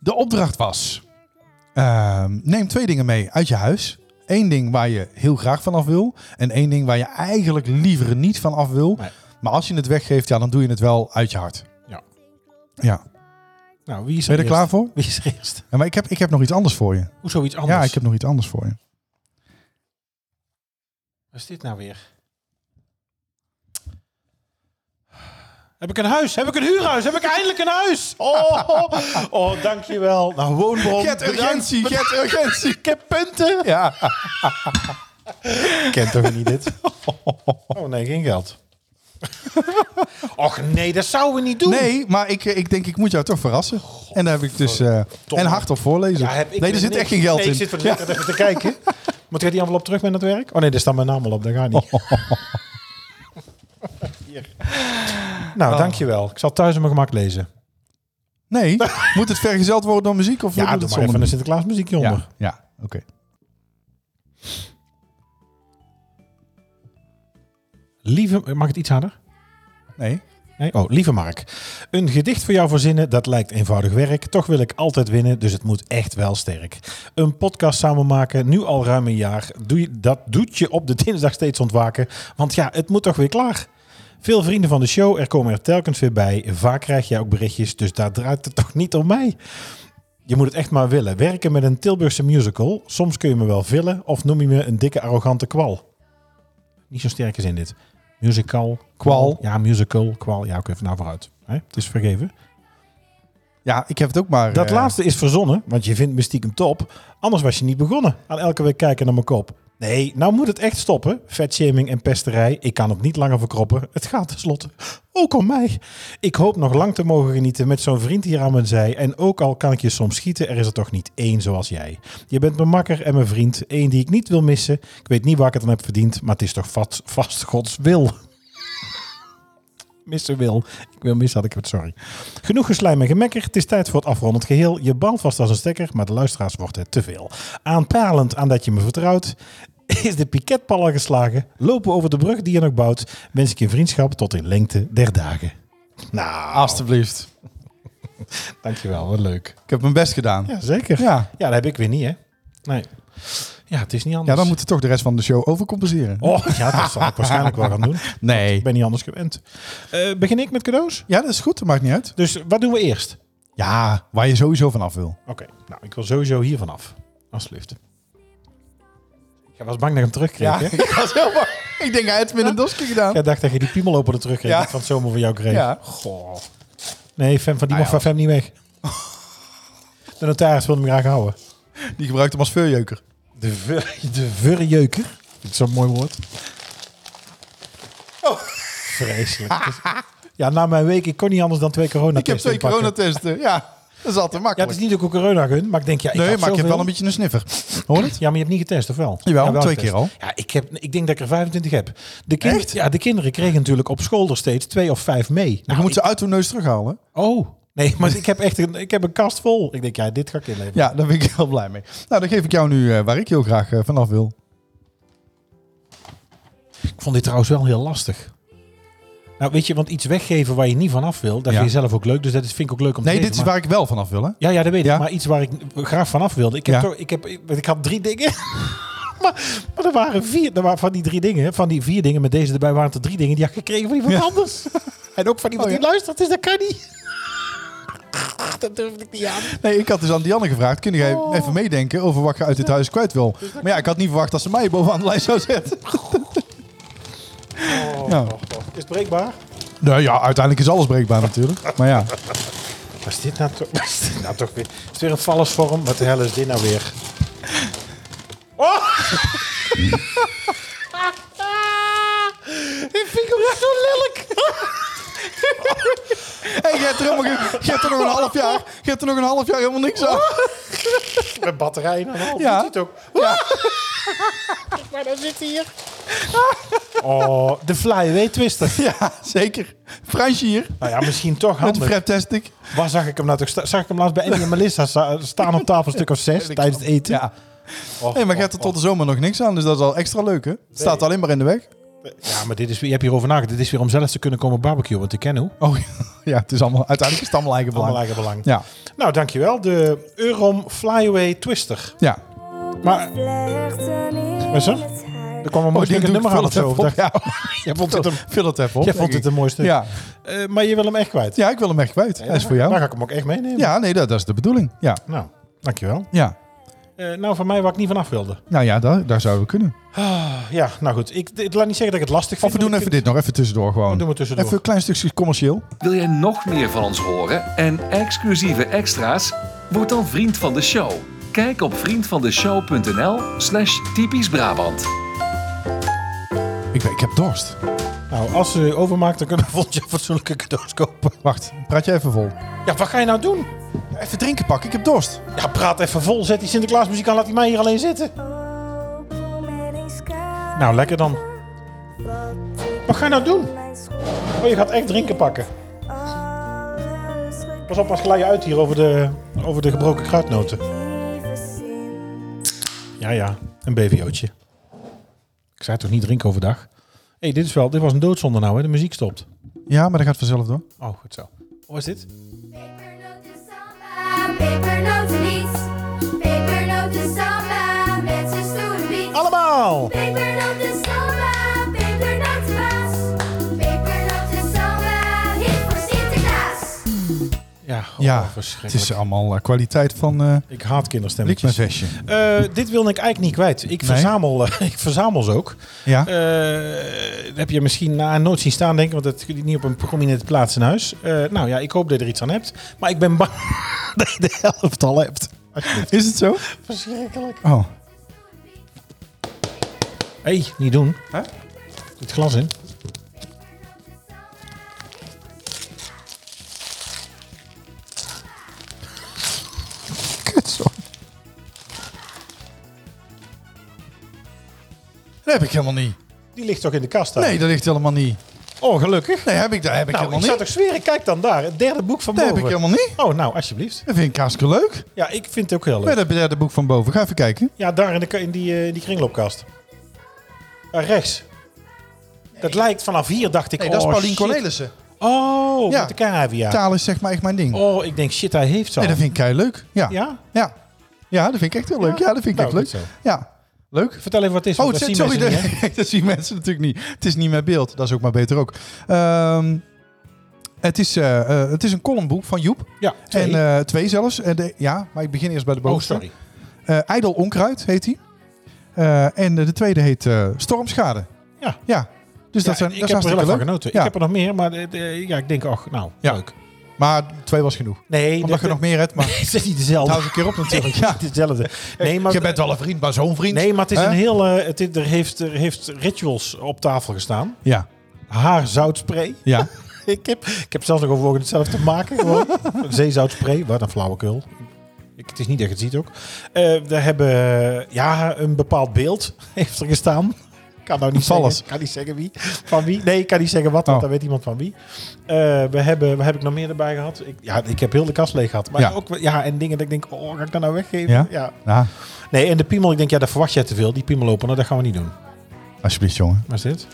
Speaker 3: De opdracht was... ehm, neem twee dingen mee uit je huis. Eén ding waar je heel graag vanaf wil. En één ding waar je eigenlijk liever niet van af wil.
Speaker 2: Nee.
Speaker 3: Maar als je het weggeeft, ja, dan doe je het wel uit je hart.
Speaker 2: Ja.
Speaker 3: Ja, ben
Speaker 2: Nou, wie is
Speaker 3: je er klaar voor?
Speaker 2: Wie is er eerst?
Speaker 3: Ja, maar ik heb, ik heb nog iets anders voor je.
Speaker 2: Hoezo iets anders?
Speaker 3: Ja, ik heb nog iets anders voor je.
Speaker 2: Wat is dit nou weer? Heb ik een huis? Heb ik een huurhuis? Heb ik eindelijk een huis? Oh, oh, oh dankjewel. Nou, woonbron.
Speaker 3: Get
Speaker 2: bedankt.
Speaker 3: urgentie, get urgentie.
Speaker 2: Ik heb punten.
Speaker 3: Ja.
Speaker 2: Kent toch niet dit? Oh nee, geen geld. Och nee, dat zouden we niet doen.
Speaker 3: Nee, maar ik, eh, ik denk, ik moet jou toch verrassen. en daar heb ik dus... eh, en hardop voorlezen.
Speaker 2: Ja, heb ik
Speaker 3: nee, er
Speaker 2: weer
Speaker 3: zit
Speaker 2: niks.
Speaker 3: echt geen geld
Speaker 2: Nee,
Speaker 3: in.
Speaker 2: Ik zit voor de lekker even te kijken. Moet ik die envelop terug met het werk? Oh nee, daar staat mijn naam al op. Dat gaat niet. Hier.
Speaker 3: Oh.
Speaker 2: Nou, dankjewel. Ik zal thuis op mijn gemak lezen.
Speaker 3: Nee, moet het vergezeld worden door muziek? Of
Speaker 2: Ja,
Speaker 3: moet
Speaker 2: doe
Speaker 3: het
Speaker 2: maar even
Speaker 3: zonder
Speaker 2: een Sinterklaas muziekje
Speaker 3: muziek?
Speaker 2: onder.
Speaker 3: Ja, ja oké.
Speaker 2: Lieve, mag het iets harder?
Speaker 3: Nee.
Speaker 2: Nee? Oh, lieve Mark. Een gedicht voor jou verzinnen, dat lijkt eenvoudig werk. Toch wil ik altijd winnen, dus het moet echt wel sterk. Een podcast samen maken, nu al ruim een jaar. Doe je, dat doet je op de dinsdag steeds ontwaken. Want ja, het moet toch weer klaar. Veel vrienden van de show, er komen er telkens weer bij. Vaak krijg jij ook berichtjes, dus daar draait het toch niet om mij. Je moet het echt maar willen. Werken met een Tilburgse musical. Soms kun je me wel villen of noem je me een dikke arrogante kwal. Niet zo sterk is in dit. Musical.
Speaker 3: Kwal.
Speaker 2: Ja, musical. Kwal. Ja, oké, even nou vooruit. Hè? Het is vergeven.
Speaker 3: Ja, ik heb het ook maar...
Speaker 2: Dat
Speaker 3: eh,
Speaker 2: laatste is verzonnen, want je vindt me stiekem top. Anders was je niet begonnen aan elke week kijken naar mijn kop. Nee, nou moet het echt stoppen. Vetshaming en pesterij. Ik kan het niet langer verkroppen. Het gaat tenslotte ook om mij. Ik hoop nog lang te mogen genieten met zo'n vriend hier aan mijn zij. En ook al kan ik je soms schieten, er is er toch niet één zoals jij. Je bent mijn makker en mijn vriend. Eén die ik niet wil missen. Ik weet niet waar ik het aan heb verdiend, maar het is toch vast, vast Gods wil. Mister Wil. Ik wil mis, had ik het, sorry. Genoeg geslijm en gemekker. Het is tijd voor het afrondend geheel. Je balt vast als een stekker, maar de luisteraars wordt het te veel. Aanpalend aan dat je me vertrouwt. Is de piketpal al geslagen? Lopen we over de brug die je nog bouwt? Wens ik je vriendschap tot in lengte der dagen. Nou,
Speaker 3: Alsjeblieft.
Speaker 2: dankjewel. Wat leuk.
Speaker 3: Ik heb mijn best gedaan. Ja,
Speaker 2: Ja, zeker. Ja.
Speaker 3: ja.
Speaker 2: dat heb ik weer niet, hè? Nee. Ja, het is niet anders.
Speaker 3: dan moeten we toch de rest van de show overcompenseren.
Speaker 2: dus- Oh, ja, dat zal ik waarschijnlijk wel gaan doen.
Speaker 3: Nee.
Speaker 2: Ik ben niet anders gewend. Eh, begin ik met cadeaus?
Speaker 3: Ja, dat is goed. Dat maakt niet uit.
Speaker 2: Dus wat doen we eerst?
Speaker 3: Ja, waar je sowieso vanaf wil.
Speaker 2: Oké, nou, ik wil sowieso hier vanaf. Alsjeblieft. Ik was bang dat ik hem terugkreeg, hè?
Speaker 3: ik was heel bang. Ik denk, hij heeft met een dosje gedaan.
Speaker 2: Jij dacht dat je die piemelopener terugkreeg.
Speaker 3: Ja.
Speaker 2: Ja. Van het zomaar van jou kreeg.
Speaker 3: Ja. Ah,
Speaker 2: Goh. Nee, Fem van die mocht
Speaker 3: ja.
Speaker 2: van Fem niet weg. De notaris wil hem graag houden.
Speaker 3: Die gebruikt hem als veurjeuker.
Speaker 2: De, ver, de verjeuker. Dat is zo'n mooi woord.
Speaker 3: Oh.
Speaker 2: Vreselijk. Het is- Ja, na mijn week, ik kon niet anders dan twee corona
Speaker 3: Ik heb twee coronatesten. Ja, dat is altijd
Speaker 2: Ja, het
Speaker 3: makkelijk.
Speaker 2: is niet ook een corona gun, maar ik denk, ja, ik
Speaker 3: nee,
Speaker 2: had
Speaker 3: maar ik heb
Speaker 2: zoveel.
Speaker 3: wel een beetje een sniffer. Hoor het?
Speaker 2: Ja, maar je hebt niet getest, of wel?
Speaker 3: Jawel,
Speaker 2: Ja, wel
Speaker 3: twee
Speaker 2: getest.
Speaker 3: keer al.
Speaker 2: Ja, ik, heb, ik denk dat ik er 25 heb. De kind, Ja, de kinderen kregen natuurlijk op school er steeds twee of vijf mee.
Speaker 3: Je moet ze uit hun neus terughalen.
Speaker 2: Oh. Nee, maar ik heb echt een, ik heb een kast vol. Ik denk, ja, dit ga ik inleveren.
Speaker 3: Ja, daar ben ik heel blij mee. Nou, dan geef ik jou nu eh, waar ik heel graag eh, vanaf wil.
Speaker 2: Ik vond dit trouwens wel heel lastig. Nou, weet je, want iets weggeven waar je niet vanaf wil, dat
Speaker 3: Ja.
Speaker 2: vind je zelf ook leuk. Dus dat is- vind ik ook leuk om te
Speaker 3: Nee, dit
Speaker 2: geven,
Speaker 3: is
Speaker 2: maar-
Speaker 3: waar ik wel vanaf wil, hè?
Speaker 2: Ja, ja, dat weet
Speaker 3: Ja.
Speaker 2: ik. Maar iets waar ik graag vanaf wilde. Ik, heb
Speaker 3: Ja.
Speaker 2: toch, ik, heb, ik, ik had drie dingen. maar, maar er waren vier. Er waren van die drie dingen. Van die vier dingen met deze erbij waren er drie dingen die had ik gekregen van iemand anders. En ook van iemand
Speaker 3: Oh, ja.
Speaker 2: die luistert. Dus dat kan niet. dat durfde ik niet aan.
Speaker 3: Nee, ik had dus aan Dianne gevraagd, kun jij even meedenken over wat je uit dit huis kwijt wil? Maar ja, ik had niet verwacht dat ze mij bovenaan de lijst zou zetten. Nou,
Speaker 2: Is het breekbaar?
Speaker 3: nou ja, uiteindelijk is alles breekbaar natuurlijk. Maar ja,
Speaker 2: Was dit nou toch, was dit nou toch weer... Is het weer een vallersvorm? Wat de hel is dit nou weer? Oh! Ik vind hem zo lelijk.
Speaker 3: hey, je, hebt er helemaal ge- je hebt er nog een half jaar, je hebt er nog een half jaar helemaal niks aan.
Speaker 2: Met batterijen en al.
Speaker 3: Ja.
Speaker 2: Ja. Ziet ook. maar dan zit hij hier. oh, de flyaway twister.
Speaker 3: Ja, zeker. Fransje hier,
Speaker 2: Nou ja, misschien toch
Speaker 3: met de
Speaker 2: handig.
Speaker 3: preptastic.
Speaker 2: Waar zag ik hem nou toch? sta- Zag ik hem laatst bij Andy en Melissa sta- staan op tafel een stuk of zes tijdens het eten? Oh,
Speaker 3: Ja. Nee, maar je hebt er tot de zomer nog niks aan, dus dat is al extra leuk, hè? Het staat alleen maar in de weg.
Speaker 2: Ja, maar dit is, weer- je hebt hierover nagedacht. Dit is weer om zelf te kunnen komen barbecuen, want ik ken hoe.
Speaker 3: Oh ja, het is allemaal, uiteindelijk is het allemaal eigen
Speaker 2: Allemaal
Speaker 3: belang.
Speaker 2: eigen belang.
Speaker 3: Ja,
Speaker 2: Nou, dankjewel. De Eurom Flyaway Twister.
Speaker 3: ja.
Speaker 2: Maar, is er? Er kwam
Speaker 3: Oh,
Speaker 2: een mooi stuk een nummer aan of zo. of dacht-
Speaker 3: Ja.
Speaker 2: Jij vond het, hem,
Speaker 3: Vul het even op.
Speaker 2: jij vond het
Speaker 3: denk ik.
Speaker 2: een mooi stuk.
Speaker 3: Ja.
Speaker 2: Eh, maar je wil hem echt kwijt.
Speaker 3: ja, ik wil hem echt kwijt. Hij is voor
Speaker 2: Dan
Speaker 3: jou.
Speaker 2: ga ik hem ook echt meenemen.
Speaker 3: Ja, nee, dat, dat is de bedoeling. Ja,
Speaker 2: Nou, dankjewel.
Speaker 3: ja.
Speaker 2: Eh nou, van mij waar ik niet vanaf wilde.
Speaker 3: Nou ja, daar, daar zouden we kunnen.
Speaker 2: Ja, nou goed. Ik, ik laat niet zeggen dat ik het lastig vind.
Speaker 3: Of we doen
Speaker 2: want
Speaker 3: even
Speaker 2: ik
Speaker 3: dit nog, even tussendoor gewoon.
Speaker 2: Oh, doen we tussendoor.
Speaker 3: Even een klein stukje commercieel.
Speaker 1: Wil jij nog meer van ons horen en exclusieve extra's? Word dan vriend van de show. Kijk op vriendvandeshow.nl slash typisch Brabant.
Speaker 3: Ik, weet- ik heb dorst.
Speaker 2: vind- Nou, als ze overmaakt, dan kunnen we volgend jaar fatsoenlijke cadeaus kopen.
Speaker 3: Wacht, praat jij even vol.
Speaker 2: Ja, wat ga je nou doen?
Speaker 3: Even drinken pakken, ik heb dorst.
Speaker 2: Ja, praat even vol. Zet die Sinterklaasmuziek aan. Laat die mij hier alleen zitten. Nou, lekker dan. Wat ga je nou doen? Oh, je gaat echt drinken pakken. Pas op, pas glij je uit hier over de, over de gebroken kruidnoten. Ja, ja, een BVO'tje. Ik zei toch niet drinken overdag? Hé, hey, dit, is wel- dit was een doodzonde nou, hè? De muziek stopt.
Speaker 3: Ja, maar dat gaat vanzelf door.
Speaker 2: Oh, goed zo. Hoe is dit?
Speaker 4: Pepernoten samba, pepernoten lied. Pepernoten samba, met zijn stoere biet.
Speaker 2: Oh, Allemaal!
Speaker 4: Pepernoten samba, pepernoten baas. Pepernoten samba, hit voor Sinterklaas.
Speaker 2: Ja, oh,
Speaker 3: ja, het
Speaker 2: verschrikkelijk.
Speaker 3: is allemaal eh, kwaliteit van eh
Speaker 2: Ik haat kinderstemmetjes.
Speaker 3: Likmevestje.
Speaker 2: Eh, dit wilde ik eigenlijk niet kwijt. Ik,
Speaker 3: Nee?
Speaker 2: verzamel, eh, ik verzamel ze ook.
Speaker 3: Ja,
Speaker 2: Eh, dat heb je misschien na nooit zien staan, denk ik. Want dat kun je niet op een prominente plaats in huis. Eh, nou ja, ik hoop dat je er iets aan hebt. Maar ik ben bang dat je de helft al hebt.
Speaker 3: is het zo?
Speaker 2: Verschrikkelijk.
Speaker 3: Oh,
Speaker 2: Hé, hey, niet doen. Het glas in.
Speaker 3: kut zo. Dat heb ik helemaal niet.
Speaker 2: Die ligt toch in de kast daar?
Speaker 3: Nee, dat ligt helemaal niet.
Speaker 2: Oh, gelukkig.
Speaker 3: Nee, heb ik, dat heb ik
Speaker 2: nou, ik
Speaker 3: helemaal
Speaker 2: zou
Speaker 3: niet.
Speaker 2: toch zweren. Kijk dan daar. Het derde boek van
Speaker 3: Dat heb
Speaker 2: boven.
Speaker 3: ik helemaal niet.
Speaker 2: Oh, nou, alsjeblieft.
Speaker 3: Dat vind ik hartstikke leuk.
Speaker 2: Ja, ik vind het ook heel
Speaker 3: Met
Speaker 2: leuk.
Speaker 3: dat derde boek van boven. Ga even kijken.
Speaker 2: Ja, daar in, de, in die, eh, die kringloopkast. Daar rechts. Dat lijkt vanaf hier, dacht ik.
Speaker 3: Nee, dat is
Speaker 2: oh,
Speaker 3: Paulien
Speaker 2: shit.
Speaker 3: Cornelissen.
Speaker 2: Oh,
Speaker 3: Ja.
Speaker 2: met de cavia.
Speaker 3: Taal is zeg maar echt mijn ding.
Speaker 2: Oh, ik denk, shit, hij heeft ze al.
Speaker 3: Nee, dat vind ik kei leuk. Ja. ja.
Speaker 2: Ja?
Speaker 3: Ja. dat vind ik echt heel leuk. Ja, dat vind ik
Speaker 2: Nou,
Speaker 3: echt
Speaker 2: goed
Speaker 3: leuk.
Speaker 2: zo.
Speaker 3: Ja. Leuk.
Speaker 2: Vertel even wat het is.
Speaker 3: Oh,
Speaker 2: want dat
Speaker 3: het zit-
Speaker 2: zien
Speaker 3: sorry,
Speaker 2: mensen niet, hè?
Speaker 3: dat, dat zien mensen natuurlijk niet. Het is niet met beeld, dat is ook maar beter ook. Ehm, het, is, eh, eh, het is een columnboek van Joep.
Speaker 2: Ja,
Speaker 3: En
Speaker 2: twee.
Speaker 3: eh, twee zelfs. En de, ja, maar ik begin eerst bij de
Speaker 2: oh,
Speaker 3: bovenste.
Speaker 2: sorry.
Speaker 3: Eh, IJdel Onkruid heet hij. en eh, de tweede heet eh, Stormschade.
Speaker 2: Ja.
Speaker 3: ja. Dus
Speaker 2: Ja,
Speaker 3: dat zijn
Speaker 2: ik
Speaker 3: dat is
Speaker 2: heb er heel
Speaker 3: hartstikke
Speaker 2: erg van
Speaker 3: leuk.
Speaker 2: genoten.
Speaker 3: Ja.
Speaker 2: Ik heb er nog meer, maar eh, eh, ja, ik denk, ach, nou,
Speaker 3: Ja.
Speaker 2: leuk.
Speaker 3: Maar twee was genoeg.
Speaker 2: Nee,
Speaker 3: Omdat je nog meer hebt, maar
Speaker 2: Het is niet dezelfde.
Speaker 3: hou eens een keer op natuurlijk. Ja.
Speaker 2: Het is hetzelfde. Nee, maar,
Speaker 3: Je bent wel een vriend, maar zo'n vriend.
Speaker 2: nee, maar het is
Speaker 3: Hè?
Speaker 2: een heel... eh, het, is- er, heeft, er heeft rituals op tafel gestaan.
Speaker 3: Ja,
Speaker 2: Haar zoutspray.
Speaker 3: ja.
Speaker 2: Ik heb, ik heb zelfs nog overwogen het zelf te maken. Gewoon. Zeezoutspray, wat een flauwekul. Ik, het is niet echt, het ziet ook. Eh we hebben eh, ja, een bepaald beeld heeft er gestaan. Ik Kan nou niet
Speaker 3: Van alles.
Speaker 2: zeggen. Kan niet zeggen wie. Van wie? Nee, ik kan niet zeggen wat, want
Speaker 3: Oh.
Speaker 2: dan weet iemand van wie. Eh, we hebben, wat heb ik nog meer erbij gehad? Ik, ja, ik heb heel de kast leeg gehad. Maar
Speaker 3: Ja.
Speaker 2: ook, wel- ja, en dingen dat ik denk, oh, ga ik dat nou weggeven?
Speaker 3: Ja? Nou,
Speaker 2: Nee, en de piemel, ik denk, ja, daar verwacht jij te veel. Die piemel openen, dat gaan we niet doen.
Speaker 3: alsjeblieft jongen.
Speaker 2: Waar is dit?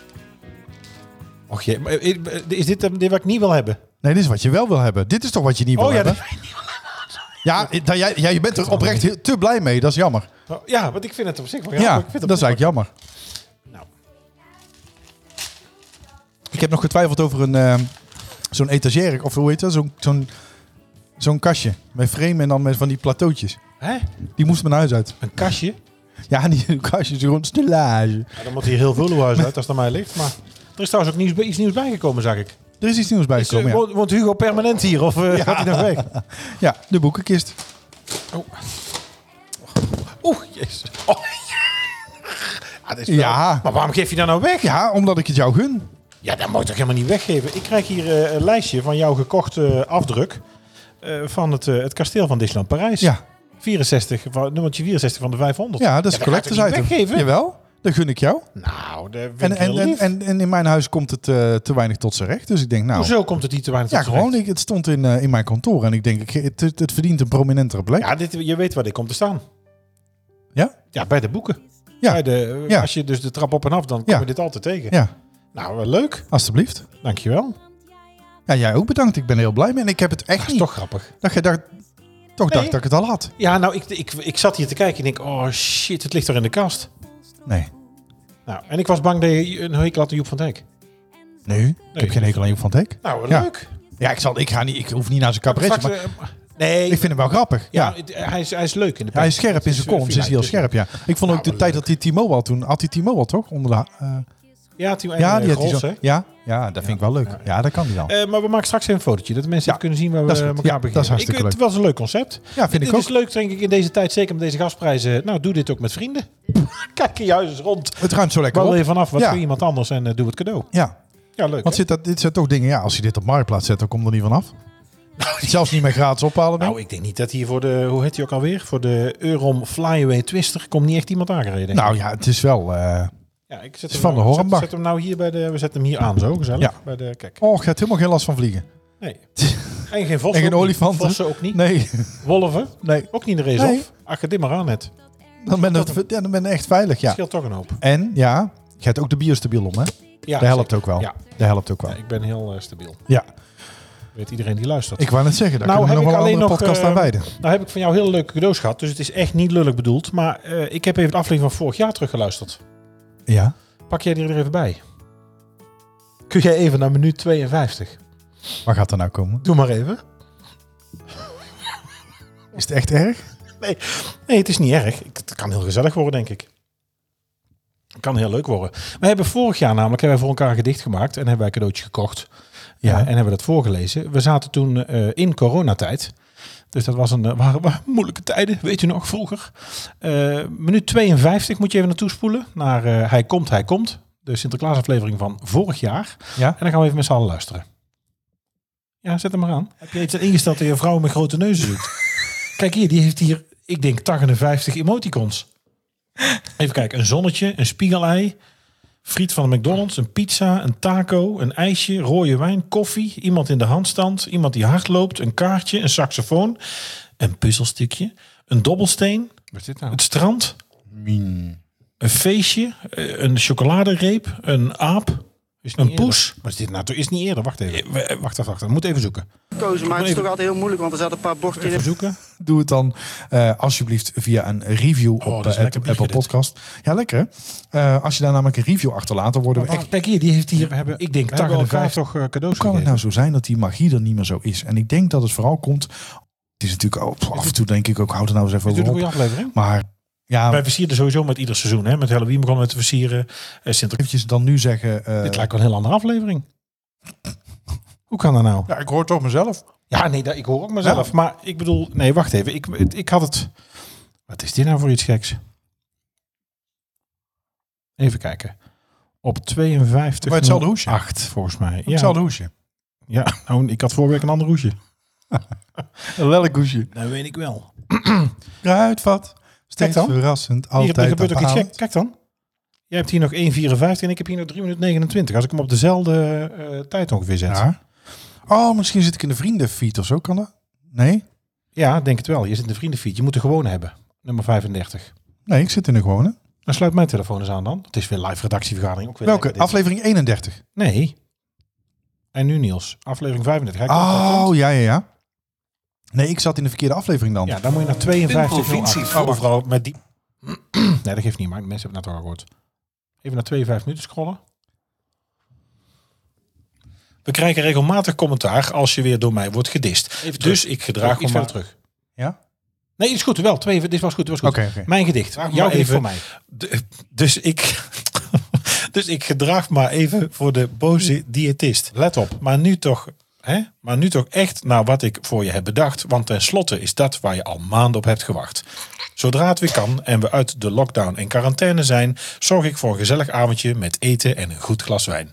Speaker 2: Och jee, maar, eh, eh, is dit, eh, dit wat ik niet wil hebben?
Speaker 3: Nee, dit is wat je wel wil hebben. Dit is toch wat je niet wil
Speaker 2: Oh ja,
Speaker 3: hebben? Ja, dat jij, ja, je bent er oprecht heel- te blij mee. Dat is jammer.
Speaker 2: Oh, Ja, want ik vind het op zich wel
Speaker 3: Ja,
Speaker 2: grappig. ik
Speaker 3: dat is
Speaker 2: vind het
Speaker 3: eigenlijk jammer.
Speaker 2: Nou.
Speaker 3: Ik heb nog getwijfeld over een ehm, zo'n etagère of hoe heet dat? Zo'n zo'n zo'n kastje met frame en dan met van die plateautjes.
Speaker 2: Hè?
Speaker 3: Die moest mijn huis uit.
Speaker 2: Een kastje?
Speaker 3: Ja, niet een kastje, zo'n stellage.
Speaker 2: Ja, dan moet hier heel veel huis uit als het aan mij ligt. Maar er is trouwens ook nieuws, iets nieuws bijgekomen, zag ik.
Speaker 3: Er is iets nieuws
Speaker 2: Is, eh,
Speaker 3: bijgekomen. Ja.
Speaker 2: woont, woont Hugo permanent hier of eh, gaat hij nog weg?
Speaker 3: ja, de boekenkist.
Speaker 2: Oeh, jezus. Oh. Ja, dit is wel-
Speaker 3: Ja.
Speaker 2: Maar waarom geef je dat nou weg? Ja.
Speaker 3: Ja, omdat ik het jou gun.
Speaker 2: dat moet je toch helemaal niet weggeven? Ik krijg hier eh, een lijstje van jouw gekochte afdruk eh, van het, eh, het kasteel van Disneyland Parijs.
Speaker 3: Ja,
Speaker 2: 64, van- nummertje 64 van de 500.
Speaker 3: ja dat is een
Speaker 2: dat ga ik toch
Speaker 3: collectors
Speaker 2: niet
Speaker 3: item.
Speaker 2: weggeven?
Speaker 3: Jawel, dat gun ik jou.
Speaker 2: Nou, dat vind
Speaker 3: En,
Speaker 2: ik heel
Speaker 3: en, en,
Speaker 2: lief.
Speaker 3: en, en in mijn huis komt het eh, te weinig tot zijn recht. Dus ik denk, nou...
Speaker 2: Hoezo komt het niet te weinig
Speaker 3: Ja,
Speaker 2: tot
Speaker 3: gewoon. Ik, het stond in, eh, in mijn kantoor. En ik denk, ik, het, het, het verdient een prominentere plek.
Speaker 2: Ja, dit, je weet waar dit komt te staan.
Speaker 3: Ja?
Speaker 2: Ja, bij de boeken.
Speaker 3: Ja.
Speaker 2: Bij de,
Speaker 3: Ja.
Speaker 2: Als je dus de trap op en af, dan kom
Speaker 3: Ja.
Speaker 2: je dit altijd tegen.
Speaker 3: Ja,
Speaker 2: Nou, wel leuk.
Speaker 3: alstublieft.
Speaker 2: Dankjewel.
Speaker 3: Ja, jij ook bedankt. Ik ben heel blij mee. En ik heb het echt
Speaker 2: Dat is
Speaker 3: niet...
Speaker 2: toch grappig.
Speaker 3: Dat je dacht, toch dacht dat ik het al had.
Speaker 2: Ja, nou, ik, ik, ik zat hier te kijken en ik oh shit, het ligt er in de kast.
Speaker 3: Nee.
Speaker 2: Nou, en ik was bang dat je een hekel had aan Joep van Dijk.
Speaker 3: Nee, ik heb geen hekel aan Joep van Teek.
Speaker 2: Nou, wel
Speaker 3: Ja.
Speaker 2: leuk.
Speaker 3: Ja, ik, zal, ik, ga niet, ik hoef niet naar zijn cabaretje,
Speaker 2: Straks,
Speaker 3: maar
Speaker 2: eh, nee,
Speaker 3: ik vind hem wel grappig.
Speaker 2: ja,
Speaker 3: Ja.
Speaker 2: het- hij, is, hij is leuk in de
Speaker 3: Hij is
Speaker 2: pers.
Speaker 3: scherp
Speaker 2: Het
Speaker 3: in zijn
Speaker 2: eh,
Speaker 3: columns, is
Speaker 2: fijn.
Speaker 3: heel scherp, ja. Ik vond ook
Speaker 2: Nou,
Speaker 3: de
Speaker 2: wel
Speaker 3: tijd dat hij Timo al toen... Had hij Timo al toch? Onder de, eh,
Speaker 2: Ja, die, en,
Speaker 3: ja,
Speaker 2: ja,
Speaker 3: die had hij
Speaker 2: Grols,
Speaker 3: zo.
Speaker 2: hè?
Speaker 3: Ja, ja, dat vind ik wel leuk. Ja, dat kan hij dan.
Speaker 2: Eh, maar we maken straks even een fotootje, dat mensen even
Speaker 3: Ja,
Speaker 2: kunnen zien waar we
Speaker 3: dat is
Speaker 2: elkaar
Speaker 3: goed.
Speaker 2: elkaar
Speaker 3: Ja,
Speaker 2: beginnen.
Speaker 3: dat is hartstikke
Speaker 2: ik, Het was een leuk concept.
Speaker 3: Ja, vind
Speaker 2: dit
Speaker 3: ik ook.
Speaker 2: is leuk, denk ik, in deze tijd, zeker met deze gasprijzen. Nou, doe dit ook met vrienden. Kijk je huis eens rond.
Speaker 3: Het ruimt zo lekker
Speaker 2: Wel
Speaker 3: op.
Speaker 2: even vanaf, wat
Speaker 3: Ja.
Speaker 2: voor iemand anders en eh, doe het cadeau.
Speaker 3: Ja,
Speaker 2: Ja, leuk.
Speaker 3: Want
Speaker 2: hè?
Speaker 3: zit dat, dit zijn toch dingen, ja, als je dit op Marktplaats zet, dan kom je er niet vanaf. Zelfs niet meer gratis ophalen. denk ik.
Speaker 2: Nou, ik denk niet dat hier voor de, hoe heet die ook alweer? Voor de Eurom Flyaway Twister komt niet echt iemand aangereden. denk ik.
Speaker 3: Nou ja, het is wel... eh
Speaker 2: ja, ik zet
Speaker 3: is van de
Speaker 2: nou-
Speaker 3: Hornbach.
Speaker 2: Zet, zet hem nou hier bij de, we zetten hem hier aan zo, gezellig.
Speaker 3: Ja.
Speaker 2: Bij de, kijk.
Speaker 3: oh, je hebt helemaal geen last van vliegen.
Speaker 2: Nee. En geen vossen.
Speaker 3: En geen
Speaker 2: ook niet.
Speaker 3: olifanten.
Speaker 2: Vossen ook niet.
Speaker 3: Nee,
Speaker 2: Wolven.
Speaker 3: nee.
Speaker 2: Ook niet in de race
Speaker 3: Nee.
Speaker 2: of. Ach, dit maar aan het.
Speaker 3: Dan ben, je, ja, dan ben je echt veilig, ja.
Speaker 2: Scheelt toch een hoop.
Speaker 3: En, ja, je hebt ook de biostabiel om, hè?
Speaker 2: Ja,
Speaker 3: dat helpt
Speaker 2: zeker.
Speaker 3: ook wel.
Speaker 2: Ja.
Speaker 3: Dat helpt ook wel.
Speaker 2: Ja, ik ben heel eh, stabiel.
Speaker 3: Ja.
Speaker 2: Weet iedereen die luistert.
Speaker 3: Ik wou net zeggen, daar
Speaker 2: Nou,
Speaker 3: kunnen we
Speaker 2: heb
Speaker 3: nog
Speaker 2: ik
Speaker 3: wel een
Speaker 2: alleen
Speaker 3: andere
Speaker 2: nog,
Speaker 3: podcast
Speaker 2: eh,
Speaker 3: aan wijden.
Speaker 2: Nou heb ik van jou hele leuke cadeaus gehad, dus het is echt niet lullig bedoeld. Maar eh, ik heb even de aflevering van vorig jaar teruggeluisterd.
Speaker 3: Ja.
Speaker 2: Pak jij die er even bij? Kun jij even naar minuut 52?
Speaker 3: Waar gaat dat nou komen?
Speaker 2: Doe maar even.
Speaker 3: Is het echt erg?
Speaker 2: Nee, het is niet erg. Ik- Het kan heel gezellig worden, denk ik. Het kan heel leuk worden. We hebben vorig jaar namelijk hebben wij voor elkaar een gedicht gemaakt en hebben wij een cadeautje gekocht. Ja. en hebben dat voorgelezen. We zaten toen eh, in coronatijd. Dus dat was een, eh, waren, waren moeilijke tijden, weet je nog, vroeger. Eh, minuut 52 moet je even naartoe spoelen. Naar eh, Hij komt, hij komt. De Sinterklaasaflevering van vorig jaar.
Speaker 3: Ja.
Speaker 2: En dan gaan we even met z'n allen luisteren. Ja, zet hem maar aan. Heb je iets ingesteld dat je een vrouw met grote neuzen zoekt? Kijk hier, die heeft hier, ik denk, 58 emoticons. Even kijken, een zonnetje, een spiegelei, friet van de McDonald's, een pizza, een taco, een ijsje, rode wijn, koffie, iemand in de handstand, iemand die hardloopt, een kaartje, een saxofoon, een puzzelstukje, een dobbelsteen,
Speaker 3: Wat is dit nou?
Speaker 2: het strand, een feestje, eh, een chocoladereep, een aap, een poes. Wat is dit nou? Is niet eerder, wacht even. Wacht, wacht, wacht. Moet even zoeken.
Speaker 8: gekozen, maar het is toch altijd heel moeilijk, want er zaten een paar bordjes in.
Speaker 2: Even zoeken.
Speaker 3: Doe het dan eh, alsjeblieft via een review op
Speaker 2: Oh, dat is
Speaker 3: eh,
Speaker 2: een
Speaker 3: App-
Speaker 2: lekker biertje
Speaker 3: Apple
Speaker 2: dit.
Speaker 3: Podcast. Ja, lekker. hè? Eh, als je daar namelijk een review achterlaat, dan worden we echt...
Speaker 2: Echt, kijk hier, die heeft hier, hebben, ik denk,
Speaker 3: we hebben elkaar
Speaker 2: 58 eh, cadeaus
Speaker 3: Hoe kan het
Speaker 2: gegeven.
Speaker 3: nou zo zijn dat die magie er niet meer zo is? En ik denk dat het vooral komt... Het is natuurlijk ook- pff, af en toe denk ik ook, houd er nou eens even
Speaker 2: Dit doet
Speaker 3: over
Speaker 2: een goede
Speaker 3: op.
Speaker 2: aflevering.
Speaker 3: Maar ja,
Speaker 2: Wij versieren sowieso met ieder seizoen. Hè? Met Halloween begonnen we te versieren. eh Sinterklaas.
Speaker 3: eventjes dan nu zeggen... eh,
Speaker 2: Dit lijkt wel een heel andere aflevering. Hoe kan dat nou?
Speaker 3: ja, ik hoor toch mezelf.
Speaker 2: Ja, nee, dat, ik hoor ook mezelf. Maar ik bedoel, nee, wacht even. Ik, het- ik had het... Wat is dit nou voor iets geks? Even kijken. Op 52...
Speaker 3: Bij hetzelfde hoesje.
Speaker 2: 8, volgens mij. Ja,
Speaker 3: Hetzelfde hoesje.
Speaker 2: ja nou, ik had vorige week een ander hoesje.
Speaker 3: Een lelijk hoesje.
Speaker 2: Dat weet ik wel.
Speaker 3: Kruidvat. Steeds
Speaker 2: dan.
Speaker 3: verrassend.
Speaker 2: Hier,
Speaker 3: Altijd
Speaker 2: er gebeurt ook iets
Speaker 3: bepalend.
Speaker 2: gek. Kijk dan. Jij hebt hier nog 1,54 en ik heb hier nog 3 minuten 29. Als ik hem op dezelfde eh, tijd ongeveer zet.
Speaker 3: Ja. Oh, misschien zit ik in de vriendenfeed of zo, kan dat? Nee?
Speaker 2: Ja, denk het wel. Je zit in de vriendenfeed. Je moet de gewone hebben. Nummer 35.
Speaker 3: Nee, ik zit in de gewone.
Speaker 2: Dan sluit mijn telefoon eens aan dan. Het is weer live redactievergadering. Ook weer
Speaker 3: Welke?
Speaker 2: lekker dit.
Speaker 3: Aflevering 31.
Speaker 2: Nee. En nu Niels. Aflevering 35. Hij komt
Speaker 3: Oh,
Speaker 2: ook.
Speaker 3: ja, ja, ja. Nee, ik zat in de verkeerde aflevering dan.
Speaker 2: Ja, dan moet je naar
Speaker 1: In
Speaker 2: 52.
Speaker 1: provincie
Speaker 2: Oh,
Speaker 1: voor-
Speaker 2: overal met die... nee, dat geeft niet. Maar de mensen hebben het net al gehoord. Even naar 52 minuten scrollen. We krijgen regelmatig commentaar als je weer door mij wordt gedist. dus ik gedraag
Speaker 3: Iets
Speaker 2: me maar
Speaker 3: verder
Speaker 2: terug.
Speaker 3: Ja?
Speaker 2: Nee, is goed. Wel, twee, dit was goed. Dit was goed.
Speaker 3: Oké, oké.
Speaker 2: Mijn gedicht.
Speaker 3: Vraag me
Speaker 2: Jouw
Speaker 3: maar
Speaker 2: gedicht
Speaker 3: Oh, even.
Speaker 2: voor mij. De- dus ik... dus ik gedraag maar even voor de boze diëtist. Let op. Maar nu toch... Hè? Maar nu toch echt naar wat ik voor je heb bedacht. Want tenslotte is dat waar je al maanden op hebt gewacht. Zodra het weer kan en we uit de lockdown en quarantaine zijn... zorg ik voor een gezellig avondje met eten en een goed glas wijn.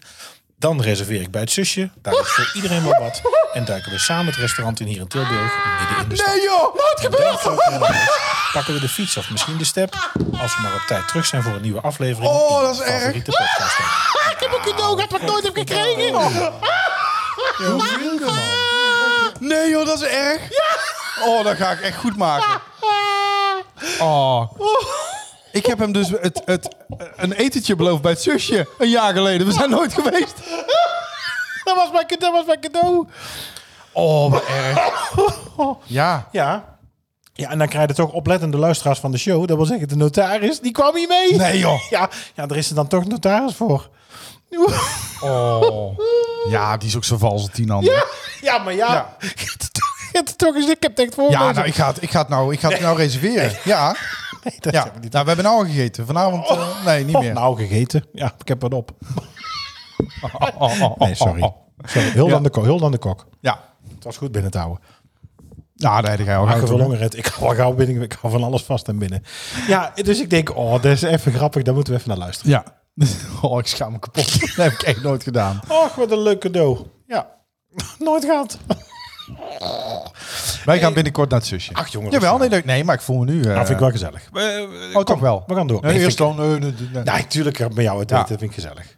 Speaker 2: Dan reserveer ik bij het zusje. Daar is voor iedereen wel wat. En duiken we samen het restaurant in hier in Tilburg. Midden in de stad.
Speaker 3: joh! Wat
Speaker 2: En dan valt er een huis, Pakken we de fiets of misschien de step. Als we maar op tijd terug zijn voor een nieuwe aflevering.
Speaker 3: Oh,
Speaker 2: in
Speaker 3: dat is
Speaker 2: je
Speaker 3: erg.
Speaker 2: favoriete podcast.
Speaker 3: Ik heb een cadeau gehad wat ik nooit heb gekregen. Nee joh, dat is erg. Oh, dat ga ik echt goed maken. Oh. Ik heb hem dus het, het, een etentje beloofd bij het zusje. Een jaar geleden. We zijn nooit geweest.
Speaker 2: Dat was mijn cadeau. Dat was mijn cadeau.
Speaker 3: Oh, wat erg. Ja.
Speaker 2: Ja. Ja, en dan krijg je toch oplettende luisteraars van de show. Dat wil zeggen, de notaris, die kwam hier mee.
Speaker 3: Nee joh.
Speaker 2: Ja, ja, er is er dan toch een notaris voor.
Speaker 3: Oh. Ja, die is ook zo vals als tien anderen.
Speaker 2: Ja, ja maar ja.
Speaker 3: Ja.
Speaker 2: Je hebt het toch- je hebt het toch eens, ik heb het echt voor
Speaker 3: Ja,
Speaker 2: me.
Speaker 3: nou, ik ga het, ik ga het, nou, ik ga het nou reserveren. Ja.
Speaker 2: dat
Speaker 3: ja.
Speaker 2: heb ik
Speaker 3: Nou, we hebben nou al gegeten. Vanavond, eh, nee, niet
Speaker 2: Oh,
Speaker 3: meer.
Speaker 2: nou gegeten. Ja, ik heb wat op.
Speaker 3: Oh, oh, oh,
Speaker 2: Nee, sorry. sorry. Heel,
Speaker 3: Ja.
Speaker 2: dan de kok, heel dan de kok.
Speaker 3: Ja.
Speaker 2: Het was goed binnen te houden.
Speaker 3: Nou, daar heb ik al
Speaker 2: Ach, red. Ik hou al gauw binnen. Ik hou van alles vast en binnen. Ja, dus ik denk, oh, dat is even grappig. Daar moeten we even naar luisteren.
Speaker 3: Ja. Oh, ik schaam me kapot. Dat heb ik echt nooit gedaan.
Speaker 2: Och, wat een leuk cadeau. Ja. Nooit gehad.
Speaker 3: Wij gaan binnenkort naar het zusje.
Speaker 2: Ach, jongen, dat
Speaker 3: Jawel, nee, nee, nee, maar ik voel me nu... eh,
Speaker 2: Dat vind ik wel gezellig.
Speaker 3: oh, toch wel.
Speaker 2: we gaan door.
Speaker 3: Nee,
Speaker 2: Nee,
Speaker 3: eerst
Speaker 2: vind
Speaker 3: dan... eh, nee, nee, nee.
Speaker 2: Nou, natuurlijk met jou het
Speaker 3: Ja.
Speaker 2: eten. Dat vind ik gezellig.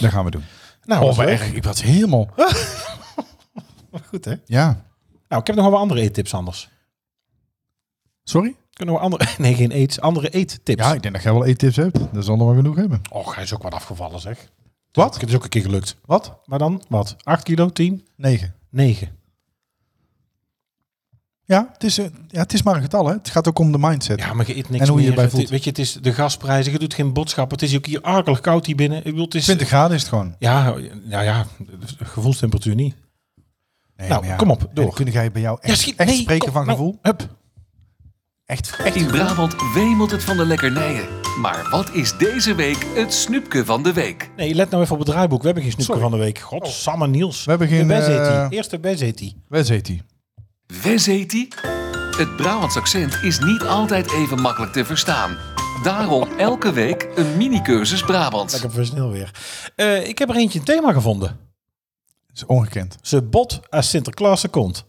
Speaker 3: Dat gaan we doen.
Speaker 2: Nou,
Speaker 3: Oh,
Speaker 2: dat
Speaker 3: wat
Speaker 2: is leuk.
Speaker 3: erg. Ik was helemaal...
Speaker 2: Goed, hè?
Speaker 3: Ja.
Speaker 2: Nou, ik heb nog wel wat andere eettips anders.
Speaker 3: Sorry?
Speaker 2: Kunnen we andere... Nee, geen eet. Andere eettips.
Speaker 3: Ja, ik denk dat jij wel eettips hebt. Dat zal nog wel genoeg hebben.
Speaker 2: Och, hij is ook wat afgevallen, zeg.
Speaker 3: Wat?
Speaker 2: Het is ook een keer gelukt.
Speaker 3: Wat?
Speaker 2: Maar dan, wat? 8 kilo, 10,
Speaker 3: 9.
Speaker 2: 9.
Speaker 3: Ja het, is, eh, ja, het is maar een getal, hè? Het gaat ook om de mindset.
Speaker 2: Ja, maar je eet niks
Speaker 3: En hoe je
Speaker 2: meer.
Speaker 3: erbij
Speaker 2: Het-
Speaker 3: voelt.
Speaker 2: Weet je, het is de gasprijzen. Je doet geen boodschappen. Het is ook hier akelig koud hier binnen. Ik bedoel, het is...
Speaker 3: 20 graden is het gewoon.
Speaker 2: Ja, ja, ja, gevoelstemperatuur niet.
Speaker 3: Nee,
Speaker 2: Nou,
Speaker 3: maar ja.
Speaker 2: kom op, door.
Speaker 3: En Kunnen jij bij jou echt,
Speaker 2: schiet-
Speaker 3: echt
Speaker 2: nee,
Speaker 3: spreken
Speaker 2: kom,
Speaker 3: van
Speaker 2: nou,
Speaker 3: gevoel?
Speaker 2: Hup.
Speaker 3: Echt, echt
Speaker 1: In Brabant wemelt het van de lekkernijen. Maar wat is deze week het snoepje van de week?
Speaker 2: Nee, let nou even op het draaiboek. We hebben geen snoepje van de week. Godsamme Niels.
Speaker 3: Oh. We hebben geen,
Speaker 2: De Bez heet die.
Speaker 3: eh,
Speaker 2: Eerste Bez heet die.
Speaker 3: Wes heet die.
Speaker 1: Wes heet die? Het Brabants accent is niet altijd even makkelijk te verstaan. Daarom elke week een mini-cursus Brabants.
Speaker 2: Lekker versnel weer. Eh, ik heb er eentje een thema gevonden.
Speaker 3: Dat is ongekend.
Speaker 2: Ze bot als Sinterklaas komt.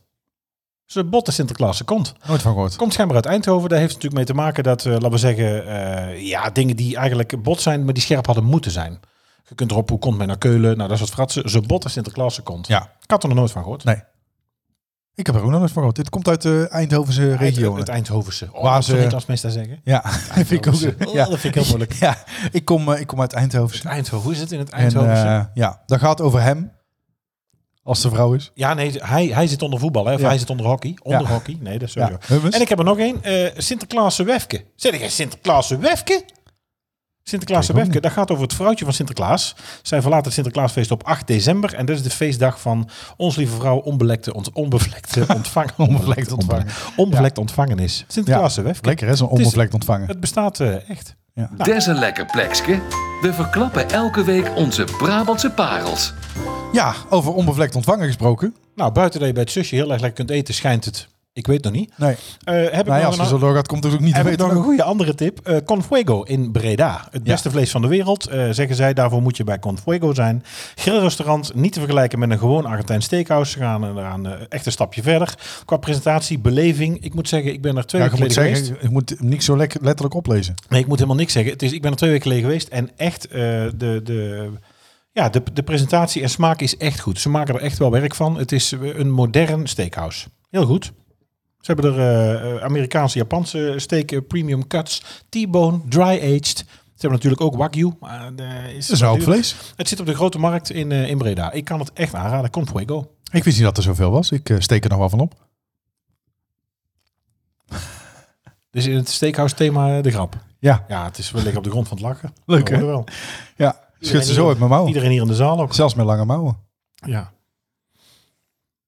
Speaker 2: Ze bot als Sinterklaas komt.
Speaker 3: Nooit van gehoord.
Speaker 2: Komt schijnbaar uit Eindhoven. Daar heeft natuurlijk mee te maken dat, eh, laten we zeggen, eh, ja, dingen die eigenlijk bot zijn, maar die scherp hadden moeten zijn. Je kunt erop, hoe komt men naar Keulen? Nou, dat is wat fratsen. Ze bot als Sinterklaas komt.
Speaker 3: Ja.
Speaker 2: Ik had er nog nooit van gehoord.
Speaker 3: Nee. Ik heb er ook nog nooit van gehoord. Dit komt uit de Eindhovense
Speaker 2: Regio.
Speaker 3: regio. eh.
Speaker 2: Het Eindhovense. Oh,
Speaker 3: Waar
Speaker 2: Waar ze...
Speaker 3: ze-
Speaker 2: Niklas meestal zeggen.
Speaker 3: Ja, vind ik ook.
Speaker 2: Oh,
Speaker 3: Ja.
Speaker 2: Dat vind ik heel moeilijk.
Speaker 3: Ja, ik kom, eh, ik kom uit Eindhoven.
Speaker 2: Eindhoven, hoe is het in het
Speaker 3: En
Speaker 2: Eindhoven?
Speaker 3: eh, ja, dat gaat over hem. Als de vrouw is.
Speaker 2: ja, nee, hij, hij zit onder voetbal, hè? Of
Speaker 3: Ja.
Speaker 2: hij zit onder hockey. Onder
Speaker 3: Ja.
Speaker 2: hockey, nee, dat is
Speaker 3: Ja,
Speaker 2: sowieso.
Speaker 3: hummus.
Speaker 2: En ik heb er nog één. eh Sinterklaase Wefke. Zeg jij Sinterklaase Wefke? Sinterklaase
Speaker 3: Ik weet
Speaker 2: Wefke, dat gaat over het vrouwtje van Sinterklaas. Zij verlaat het Sinterklaasfeest op 8 december. En dat is de feestdag van Ons Lieve Vrouw onbelekte, ont, onbevlekte ontvangen.
Speaker 3: Onbevlekt ontvangen.
Speaker 2: Onbevlekt ontvangenis. Sinterklaas Wefke.
Speaker 3: Lekker hè, zo'n
Speaker 2: Het is-
Speaker 3: onbevlekt ontvangen.
Speaker 2: Het bestaat eh, echt.
Speaker 1: Des een lekker plekske. We verklappen elke week onze Brabantse parels.
Speaker 3: Ja, over onbevlekt ontvangen gesproken.
Speaker 2: Nou, buiten dat je bij het zusje heel erg lekker kunt eten, schijnt het. Ik weet nog niet.
Speaker 3: Nee,
Speaker 2: Eh, heb
Speaker 3: nou
Speaker 2: ik
Speaker 3: ja,
Speaker 2: nog
Speaker 3: als
Speaker 2: een-
Speaker 3: het zo doorgaat, komt het ook niet te
Speaker 2: Heb ik
Speaker 3: weten.
Speaker 2: nog een goede andere tip? Eh, Confuego in Breda. Het
Speaker 3: Ja.
Speaker 2: beste vlees van de wereld, eh, zeggen zij. Daarvoor moet je bij Confuego zijn. Grillrestaurant, niet te vergelijken met een gewoon Argentijn steakhouse. Ze gaan eraan eh, echt een stapje verder. Qua presentatie, beleving. Ik moet zeggen, ik ben er twee
Speaker 3: Ja, je
Speaker 2: weken
Speaker 3: moet
Speaker 2: geleden geweest.
Speaker 3: zeggen, je moet hem niet zo lek- letterlijk oplezen.
Speaker 2: Nee, ik moet helemaal niks zeggen. Het is, ik ben er twee weken geleden geweest. En echt, eh, de, de, ja, de, de presentatie en smaak is echt goed. Ze maken er echt wel werk van. Het is eh, een modern steakhouse. Heel goed. Ze hebben er eh, eh, Amerikaanse, Japanse steak eh, premium cuts, T-bone, dry-aged. Ze hebben natuurlijk ook wagyu. Maar, eh, is
Speaker 3: Het is een hoop
Speaker 2: duur.
Speaker 3: vlees.
Speaker 2: Het zit op de grote markt in, eh, in Breda. Ik kan het echt aanraden. Confuego.
Speaker 3: Ik wist niet dat er zoveel was. Ik eh, steek er nog wel van op.
Speaker 2: Dus in het steakhouse thema eh, de grap.
Speaker 3: Ja,
Speaker 2: Ja, het is we liggen op de grond van het lachen.
Speaker 3: Leuk,
Speaker 2: Dat
Speaker 3: hè?
Speaker 2: hoorde wel.
Speaker 3: ja. Schud ze zo uit mijn mouwen.
Speaker 2: Iedereen hier in de zaal ook.
Speaker 3: Zelfs met lange mouwen.
Speaker 2: Ja.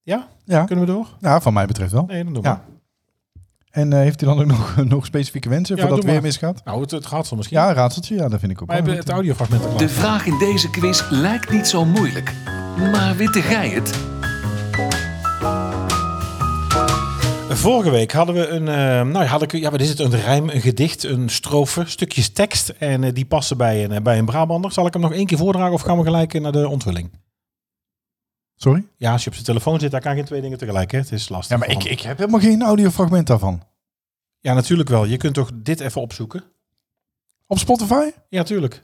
Speaker 2: Ja?
Speaker 3: Ja,
Speaker 2: Kunnen we door?
Speaker 3: ja van mij betreft wel.
Speaker 2: Nee, dan doen we.
Speaker 3: Ja. En eh, heeft hij dan ook nog, nog specifieke wensen
Speaker 2: Ja,
Speaker 3: voordat het
Speaker 2: doe
Speaker 3: weer
Speaker 2: maar.
Speaker 3: misgaat?
Speaker 2: Nou, het, het gaat zo misschien.
Speaker 3: Ja, een raadseltje. Ja, dat vind ik ook
Speaker 2: Maar
Speaker 3: wel
Speaker 2: hebben
Speaker 3: een
Speaker 2: het
Speaker 3: goed
Speaker 2: audiofragment er
Speaker 1: De
Speaker 2: klaar.
Speaker 1: vraag in deze quiz lijkt niet zo moeilijk. Maar witte gij het?
Speaker 2: Vorige week hadden we een, eh, nou ja, had ik, ja, wat is het, een rijm, een gedicht, een strofe, stukjes tekst. En eh, die passen bij een, eh, bij een Brabander. Zal ik hem nog één keer voordragen of gaan we gelijk eh, naar de onthulling?
Speaker 3: Sorry?
Speaker 2: Ja, als je op zijn telefoon zit, daar kan geen twee dingen tegelijk. Hè? Het is lastig.
Speaker 3: Ja, maar ik,
Speaker 2: Want-
Speaker 3: ik heb helemaal geen audiofragment daarvan.
Speaker 2: ja, natuurlijk wel. Je kunt toch dit even opzoeken?
Speaker 3: Op Spotify?
Speaker 2: Ja, tuurlijk.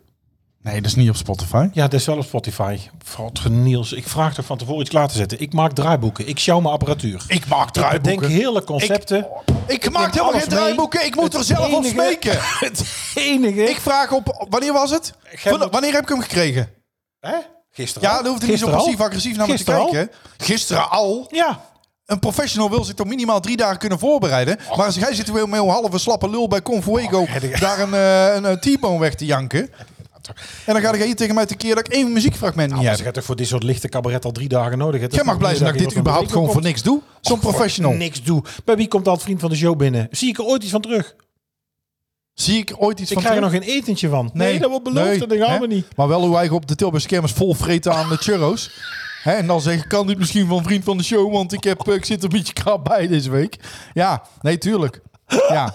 Speaker 3: Nee, dat is niet op Spotify.
Speaker 2: Ja, dat is wel op Spotify. God, Niels, ik vraag toch van tevoren iets klaar te zetten. Ik maak draaiboeken. Ik sjouw mijn apparatuur.
Speaker 3: Ik maak
Speaker 2: Ik bedenk heerlijke concepten.
Speaker 3: Ik, maak
Speaker 2: neem
Speaker 3: helemaal
Speaker 2: alles
Speaker 3: geen
Speaker 2: mee.
Speaker 3: draaiboeken. Ik moet
Speaker 2: Het
Speaker 3: er zelf op
Speaker 2: enige-
Speaker 3: smeken.
Speaker 2: Het enige.
Speaker 3: Ik vraag op... Wanneer was het?
Speaker 2: Gij moet-
Speaker 3: Wanneer heb ik hem gekregen?
Speaker 2: Hè? Gisteren.
Speaker 3: Ja,
Speaker 2: al?
Speaker 3: dan hoeft hij niet zo
Speaker 2: Gisteren al?
Speaker 3: passief-agressief naar me te
Speaker 2: Gisteren al?
Speaker 3: kijken. Gisteren al.
Speaker 2: Ja.
Speaker 3: Een professional wil zich toch minimaal drie dagen kunnen voorbereiden. Maar als jij zit weer met een halve slappe lul bij Confuego daar een, eh, een eh, T-bone weg te janken. En dan ga je hier tegen mij te keer dat ik één muziekfragment
Speaker 2: Nou,
Speaker 3: niet
Speaker 2: maar
Speaker 3: heb.
Speaker 2: ze gaat toch voor dit soort lichte cabaret al drie dagen nodig. hebben?
Speaker 3: Jij mag blij zijn dat ik dit überhaupt gewoon voor niks doe. Zo'n professional.
Speaker 2: Niks doe. Bij wie komt dat vriend van de show binnen? Zie ik er ooit iets van terug?
Speaker 3: Zie ik ooit iets
Speaker 2: Ik
Speaker 3: van
Speaker 2: krijg er
Speaker 3: terug?
Speaker 2: nog geen etentje van. Nee, dat wordt beloofd
Speaker 3: nee,
Speaker 2: en dat gaan we
Speaker 3: hè?
Speaker 2: niet.
Speaker 3: Maar wel uw eigen op de Tilburgse kermis vol vreten aan de churros. Hè, en dan zeggen, kan dit misschien van vriend van de show? Want ik, heb, eh, ik zit er een beetje krap bij deze week. Ja, nee, tuurlijk. Ja.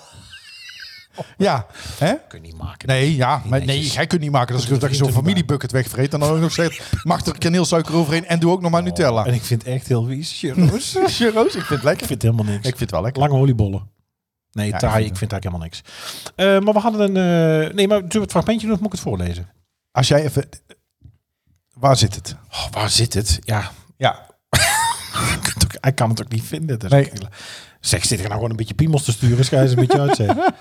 Speaker 3: Ja, hè?
Speaker 2: Kun je niet maken.
Speaker 3: Nee, ja, maar nee,
Speaker 2: netjes.
Speaker 3: jij kunt niet maken dat, je- dat je
Speaker 2: vriend
Speaker 3: zo'n
Speaker 2: er niet
Speaker 3: familiebucket wegvreet. En dan ook nog zegt, mag er kaneelsuiker overheen en doe ook nog maar Nutella.
Speaker 2: En ik vind het echt heel vies. Jeroen.
Speaker 3: Churros, ik vind het lekker.
Speaker 2: Ik vind helemaal niks.
Speaker 3: Ik vind het wel lekker.
Speaker 2: Lange oliebollen. Nee,
Speaker 3: ik
Speaker 2: taai.
Speaker 3: vind
Speaker 2: Ik vind eigenlijk helemaal niks. Eh, maar we hadden een... eh, nee, maar zullen we het fragmentje doen of moet ik het voorlezen?
Speaker 3: Als jij even... Waar zit het?
Speaker 2: Oh, waar zit het? Ja,
Speaker 3: Ja.
Speaker 2: Ik kan het ook- Hij kan het ook niet vinden. Dus
Speaker 3: Nee.
Speaker 2: Zeg, zit er nou gewoon een beetje piemels te sturen? Schijs een beetje uitzetten.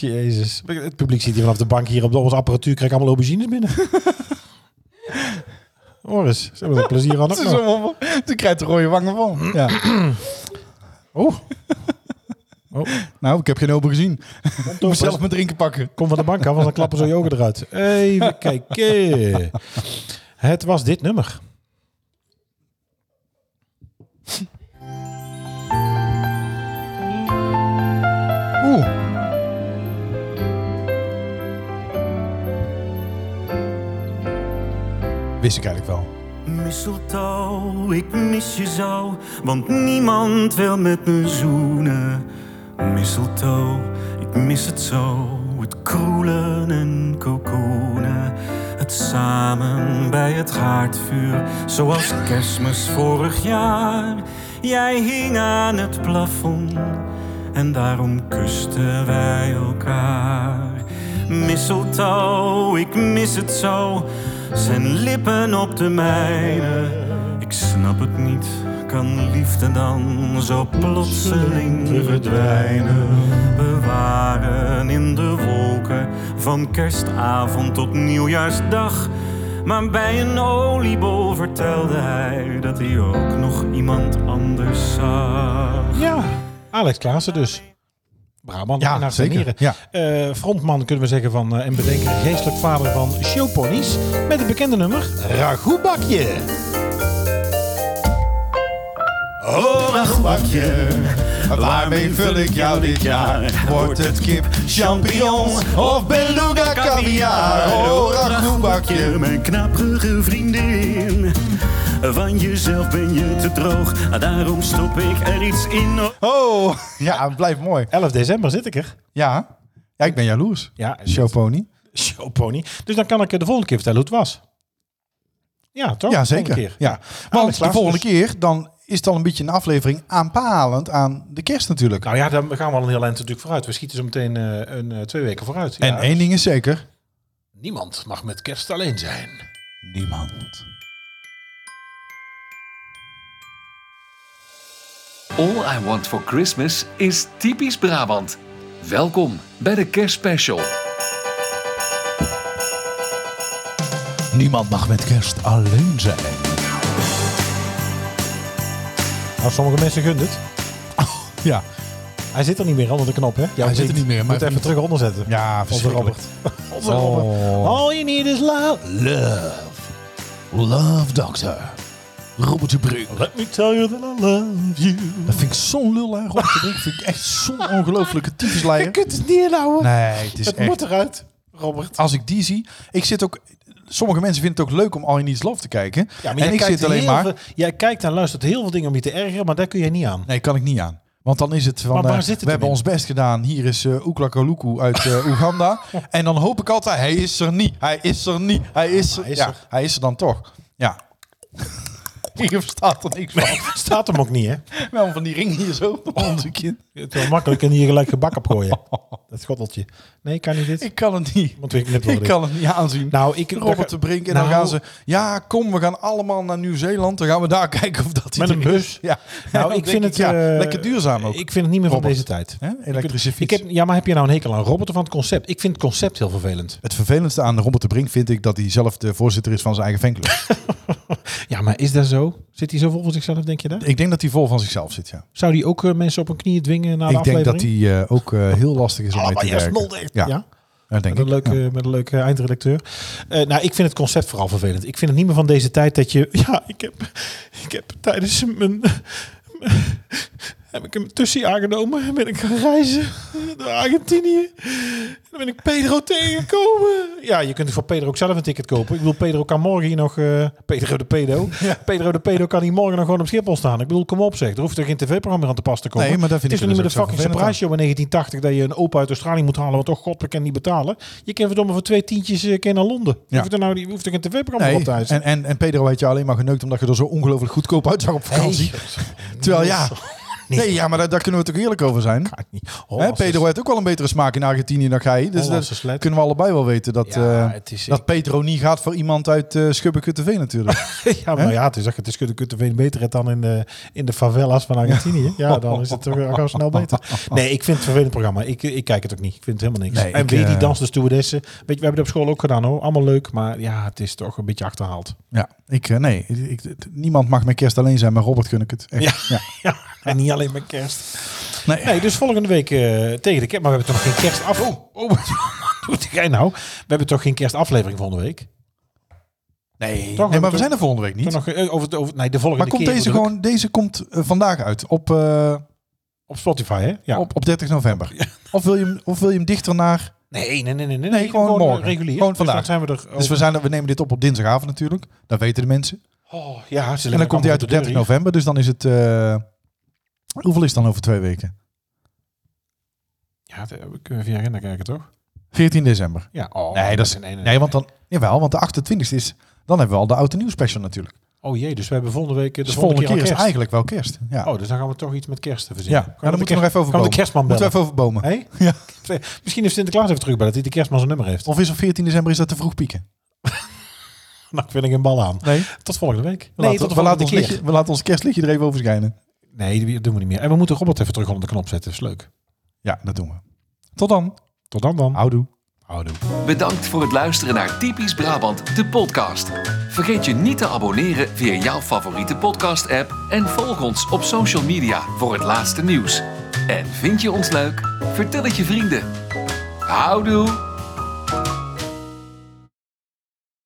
Speaker 2: Jezus. Het publiek zit hier vanaf de bank hier op de- onze apparatuur. Krijg allemaal aubergines binnen. Oris, ze hebben er plezier aan ook nog.
Speaker 3: Toen krijgt de rode wangen van. Ja.
Speaker 2: Oh,
Speaker 3: Nou, ik heb geen open gezien.
Speaker 2: komt
Speaker 3: Ik
Speaker 2: door,
Speaker 3: moet zelf mijn drinken pakken.
Speaker 2: Kom van de bank af, want dan klappen zo je ogen eruit. Even kijken. Het was dit nummer.
Speaker 3: Oeh. Wist ik eigenlijk wel.
Speaker 5: Mistletoe, ik mis je zo, want niemand wil met me zoenen. Mistletoe, ik mis het zo, het kroelen en kokoenen. Het samen bij het haardvuur, zoals kerstmis vorig jaar. Jij hing aan het plafond en daarom kusten wij elkaar. Mistletoe, ik mis het zo, zijn lippen op de mijne. Ik snap het niet, kan liefde dan zo plotseling verdwijnen? We waren in de wolken van kerstavond tot nieuwjaarsdag. Maar bij een oliebol vertelde hij dat hij ook nog iemand anders zag.
Speaker 2: Ja, Alex Klaassen dus. Brabant
Speaker 3: Ja,
Speaker 2: en haar
Speaker 3: zeker.
Speaker 2: Almere.
Speaker 3: Ja.
Speaker 2: Eh, frontman kunnen we zeggen van eh, en bedenker geestelijk vader van Showponies met het bekende nummer.
Speaker 3: Ragoebakje. Oh, ragoebakje. Waarmee vul ik jou dit jaar? Wordt het kip, champignon of beluga caviar? Oh, ragoebakje.
Speaker 5: Mijn knapperige vriendin. Van jezelf ben je te droog, Ah, daarom stop ik er iets in.
Speaker 3: Oh, ja, het blijft mooi.
Speaker 2: 11 december zit ik er.
Speaker 3: Ja, ja ik ben jaloers.
Speaker 2: Ja,
Speaker 3: Showpony.
Speaker 2: Showpony. Dus dan kan ik eh, de volgende keer vertellen hoe het was. Ja, toch?
Speaker 3: Ja,
Speaker 2: Oh, De volgende
Speaker 3: zeker.
Speaker 2: keer.
Speaker 3: Ja.
Speaker 2: Alex
Speaker 3: Want de
Speaker 2: Klaas
Speaker 3: volgende
Speaker 2: dus.
Speaker 3: keer dan is het al een beetje een aflevering aanpalend aan de kerst natuurlijk.
Speaker 2: Nou ja, dan gaan we al een heel eind natuurlijk vooruit. We schieten zo meteen eh, een, eh, twee weken vooruit.
Speaker 3: En
Speaker 2: Ja. dus-
Speaker 3: één ding is zeker.
Speaker 2: Niemand mag met kerst alleen zijn.
Speaker 3: Niemand.
Speaker 1: All I Want for Christmas is typisch Brabant. Welkom bij de kerstspecial.
Speaker 3: Niemand mag met kerst alleen zijn.
Speaker 2: Nou, sommige mensen gunnen het.
Speaker 3: Ja,
Speaker 2: Hij zit er niet meer onder de knop, hè? Oh, Ja,
Speaker 3: hij zit er niet meer, maar
Speaker 2: Moet even terug onderzetten.
Speaker 3: ja
Speaker 2: Onze
Speaker 3: verschrikkelijk.
Speaker 2: Robert. Onze Robert. All you need is love.
Speaker 3: Love. Love Doctor. Robert de Brink.
Speaker 2: Let me tell you that I love you.
Speaker 3: Dat vind ik zo'n lullaar, Robert de Brink. vind ik echt zo'n ongelooflijke
Speaker 2: Je
Speaker 3: tyfusleier.
Speaker 2: kunt het niet inhouden.
Speaker 3: Nee, het is
Speaker 2: het
Speaker 3: echt...
Speaker 2: moet eruit, Robert.
Speaker 3: Als ik die zie... Ik zit ook... Sommige mensen vinden het ook leuk om All You Need Is Love te kijken.
Speaker 2: Nou,
Speaker 3: en ik zit alleen maar...
Speaker 2: jij kijkt en luistert heel veel dingen om je te ergeren, maar daar kun je niet aan.
Speaker 3: Nee, kan ik niet aan. Want dan is het van,
Speaker 2: Maar waar
Speaker 3: eh,
Speaker 2: zit het
Speaker 3: we
Speaker 2: hem
Speaker 3: hebben
Speaker 2: in?
Speaker 3: ons best gedaan. Hier is eh Oekla Kaluku uit eh, Oeganda. en dan hoop ik altijd, hij is er niet. Hij is er niet. Hij is er.
Speaker 2: Hij is
Speaker 3: ja,
Speaker 2: er.
Speaker 3: hij is er dan toch. Ja. Hier staat er niks van.
Speaker 2: Staat hem ook niet, hè?
Speaker 3: Wel van die ring hier zo op onze kin.
Speaker 2: Het is wel makkelijk en hier gelijk gebak op gooien. Dat schotteltje. Nee, kan niet dit.
Speaker 3: Ik kan het niet.
Speaker 2: Want we knippen wel
Speaker 3: Ik kan het niet aanzien.
Speaker 2: Nou, ik...
Speaker 3: Robert de Brink. En dan
Speaker 2: Nou,
Speaker 3: gaan ze... Ja, kom, we gaan allemaal naar Nieuw-Zeeland. Dan gaan we daar kijken of dat hij
Speaker 2: Met een
Speaker 3: er is.
Speaker 2: bus.
Speaker 3: Ja.
Speaker 2: Nou,
Speaker 3: Dan
Speaker 2: ik
Speaker 3: denk
Speaker 2: vind het...
Speaker 3: ja,
Speaker 2: eh,
Speaker 3: lekker duurzaam ook.
Speaker 2: Ik vind het niet meer van
Speaker 3: Robert.
Speaker 2: deze tijd.
Speaker 3: Hè? Elektrische
Speaker 2: Ik
Speaker 3: fiets.
Speaker 2: heb, ja, maar heb je nou een hekel aan Robert of aan het concept? Ik vind het concept heel vervelend.
Speaker 3: Het vervelendste aan Robert de Brink vind ik dat hij zelf de voorzitter is van zijn eigen fanclub.
Speaker 2: Ja, maar is dat zo? Zit hij zo vol voor zichzelf, denk je dat?
Speaker 3: ik denk dat hij vol van zichzelf zit, ja.
Speaker 2: Zou die ook eh, mensen op hun knieën dwingen na de
Speaker 3: ik denk
Speaker 2: aflevering?
Speaker 3: dat hij eh, ook eh, heel lastig is om mee te werken. Ja,
Speaker 2: Ja,
Speaker 3: dat
Speaker 2: met
Speaker 3: denk
Speaker 2: een,
Speaker 3: ik.
Speaker 2: leuke,
Speaker 3: Ja.
Speaker 2: met een leuke eindredacteur. Eh, nou, ik vind het concept vooral vervelend. Ik vind het niet meer van deze tijd dat je... Ja, ik heb, ik heb tijdens mijn... Heb ik hem tussie aangenomen en ben ik gaan reizen naar Argentinië. Dan ben ik Pedro tegengekomen. Ja, je kunt voor Pedro ook zelf een ticket kopen. Ik bedoel, Pedro kan morgen hier nog... eh, Pedro de Pedo. Pedro de Pedo kan hier morgen nog gewoon op Schiphol staan. Ik bedoel, kom op zeg. Er hoeft er geen tv-programma meer aan te pas te komen.
Speaker 3: Nee, maar dat vind
Speaker 2: Het is
Speaker 3: ik
Speaker 2: nog niet
Speaker 3: dus
Speaker 2: meer de
Speaker 3: ook zo
Speaker 2: fucking surprise
Speaker 3: vervelend
Speaker 2: show in 1980... dat je een opa uit Australië moet halen... wat toch godbekend niet betalen. Je kan verdomme voor twee tientjes eh, kan naar Londen. Je
Speaker 3: Ja.
Speaker 2: hoeft er nou niet- je hoeft er geen tv-programma op
Speaker 3: Nee,
Speaker 2: te eisen.
Speaker 3: en, en, en Pedro heeft je alleen maar geneukt omdat je er zo ongelooflijk goedkoop uitzag op vakantie. Terwijl ja,
Speaker 2: niet.
Speaker 3: Nee, ja, maar daar, daar kunnen we toch eerlijk over zijn.
Speaker 2: Ga ik niet. Oh,
Speaker 3: Hè,
Speaker 2: Hollandse-
Speaker 3: Pedro heeft ook wel een betere smaak in Argentinië dan jij. Dus dat
Speaker 2: Hollandse Oh, slet.
Speaker 3: kunnen we allebei wel weten. Dat,
Speaker 2: Ja,
Speaker 3: eh,
Speaker 2: het is-
Speaker 3: dat Pedro niet gaat voor iemand uit eh TV natuurlijk.
Speaker 2: Ja, maar ja, het is, het is kun je veel beter het dan in de, in de favelas van Argentinië. Ja, dan is het toch wel gauw snel beter. Nee, ik vind het een vervelend programma. Ik, eh, ik kijk het ook niet. Ik vind het helemaal niks.
Speaker 3: Nee,
Speaker 2: en
Speaker 3: ik,
Speaker 2: wie die
Speaker 3: eh,
Speaker 2: dans de stewardessen. Weet je, we hebben het op school ook gedaan hoor. Allemaal leuk, maar ja, het is toch een beetje achterhaald.
Speaker 3: ja, ik, eh, nee, ik, ik- niemand mag met kerst alleen zijn, maar Robert gun ik het. Echt. Ja.
Speaker 2: Ja, en niet alleen met kerst.
Speaker 3: Nee,
Speaker 2: Nee, dus volgende week eh, tegen de kerst. Maar we hebben toch geen kerst af... Oh, oh wat doet jij nou? We hebben toch geen kerstaflevering volgende week?
Speaker 3: nee,
Speaker 2: Toch,
Speaker 3: nee, maar we
Speaker 2: toch-
Speaker 3: zijn er volgende week niet.
Speaker 2: Toch nog, eh, over, het- over, nee, de volgende
Speaker 3: Maar komt
Speaker 2: keer
Speaker 3: deze
Speaker 2: bedoel ik.
Speaker 3: gewoon, deze komt eh, vandaag uit op, eh,
Speaker 2: Op Spotify, hè? Ja.
Speaker 3: op, op 30 november. Of wil je hem, of wil je hem dichter naar?
Speaker 2: Nee, nee, nee, nee, nee,
Speaker 3: Nee, gewoon
Speaker 2: eh,
Speaker 3: morgen.
Speaker 2: regulier.
Speaker 3: Gewoon
Speaker 2: Dus dan
Speaker 3: vandaag.
Speaker 2: zijn we er.
Speaker 3: Dus we, zijn, er- we nemen dit op op dinsdagavond natuurlijk. Dat weten de mensen.
Speaker 2: Oh, ja, ze
Speaker 3: En dan komt hij uit op 30 november, dus dan is het... eh, hoeveel is het dan over twee weken?
Speaker 2: Ja, we kunnen via agenda kijken, toch?
Speaker 3: 14 december.
Speaker 2: Ja. Oh,
Speaker 3: Nee, dat is,
Speaker 2: nee,
Speaker 3: nee,
Speaker 2: nee,
Speaker 3: want dan, jawel, want de 28 e is, dan hebben we al de oud en nieuw special natuurlijk.
Speaker 2: Oh jee, dus we hebben volgende week eh, de
Speaker 3: Dus
Speaker 2: volgende, keer,
Speaker 3: is het
Speaker 2: al kerst.
Speaker 3: eigenlijk wel kerst. Ja,
Speaker 2: Oh, dus dan gaan we toch iets met kerst te verzinnen.
Speaker 3: ja.
Speaker 2: Gaan
Speaker 3: ja dan
Speaker 2: we de
Speaker 3: moeten we nog
Speaker 2: kerst-
Speaker 3: even over
Speaker 2: Gaan we
Speaker 3: bomen.
Speaker 2: de kerstman
Speaker 3: Moeten
Speaker 2: bellen?
Speaker 3: we even over
Speaker 2: Hey?
Speaker 3: bomen. Ja.
Speaker 2: Misschien heeft Sinterklaas even terugbellen dat hij de kerstman zijn nummer heeft.
Speaker 3: Of is op 14 december is dat te vroeg pieken?
Speaker 2: Nou, ik wil er geen bal aan.
Speaker 3: Nee,
Speaker 2: Tot volgende week.
Speaker 3: we,
Speaker 2: nee,
Speaker 3: laten,
Speaker 2: tot
Speaker 3: we,
Speaker 2: de
Speaker 3: laten
Speaker 2: volgende
Speaker 3: ons
Speaker 2: keer.
Speaker 3: liedje, we laten ons kerstliedje er even over schijnen.
Speaker 2: Nee, die- dat doen we niet meer. En we moeten Robert even terug onder de knop zetten. Dat is leuk.
Speaker 3: Ja, dat doen we. Tot dan.
Speaker 2: Tot dan dan.
Speaker 3: Houdoe.
Speaker 2: Houdoe.
Speaker 1: Bedankt voor het luisteren naar Typisch Brabant, de podcast. Vergeet je niet te abonneren via jouw favoriete podcast-app en volg ons op social media voor het laatste nieuws. En vind je ons leuk? Vertel het je vrienden. Houdoe!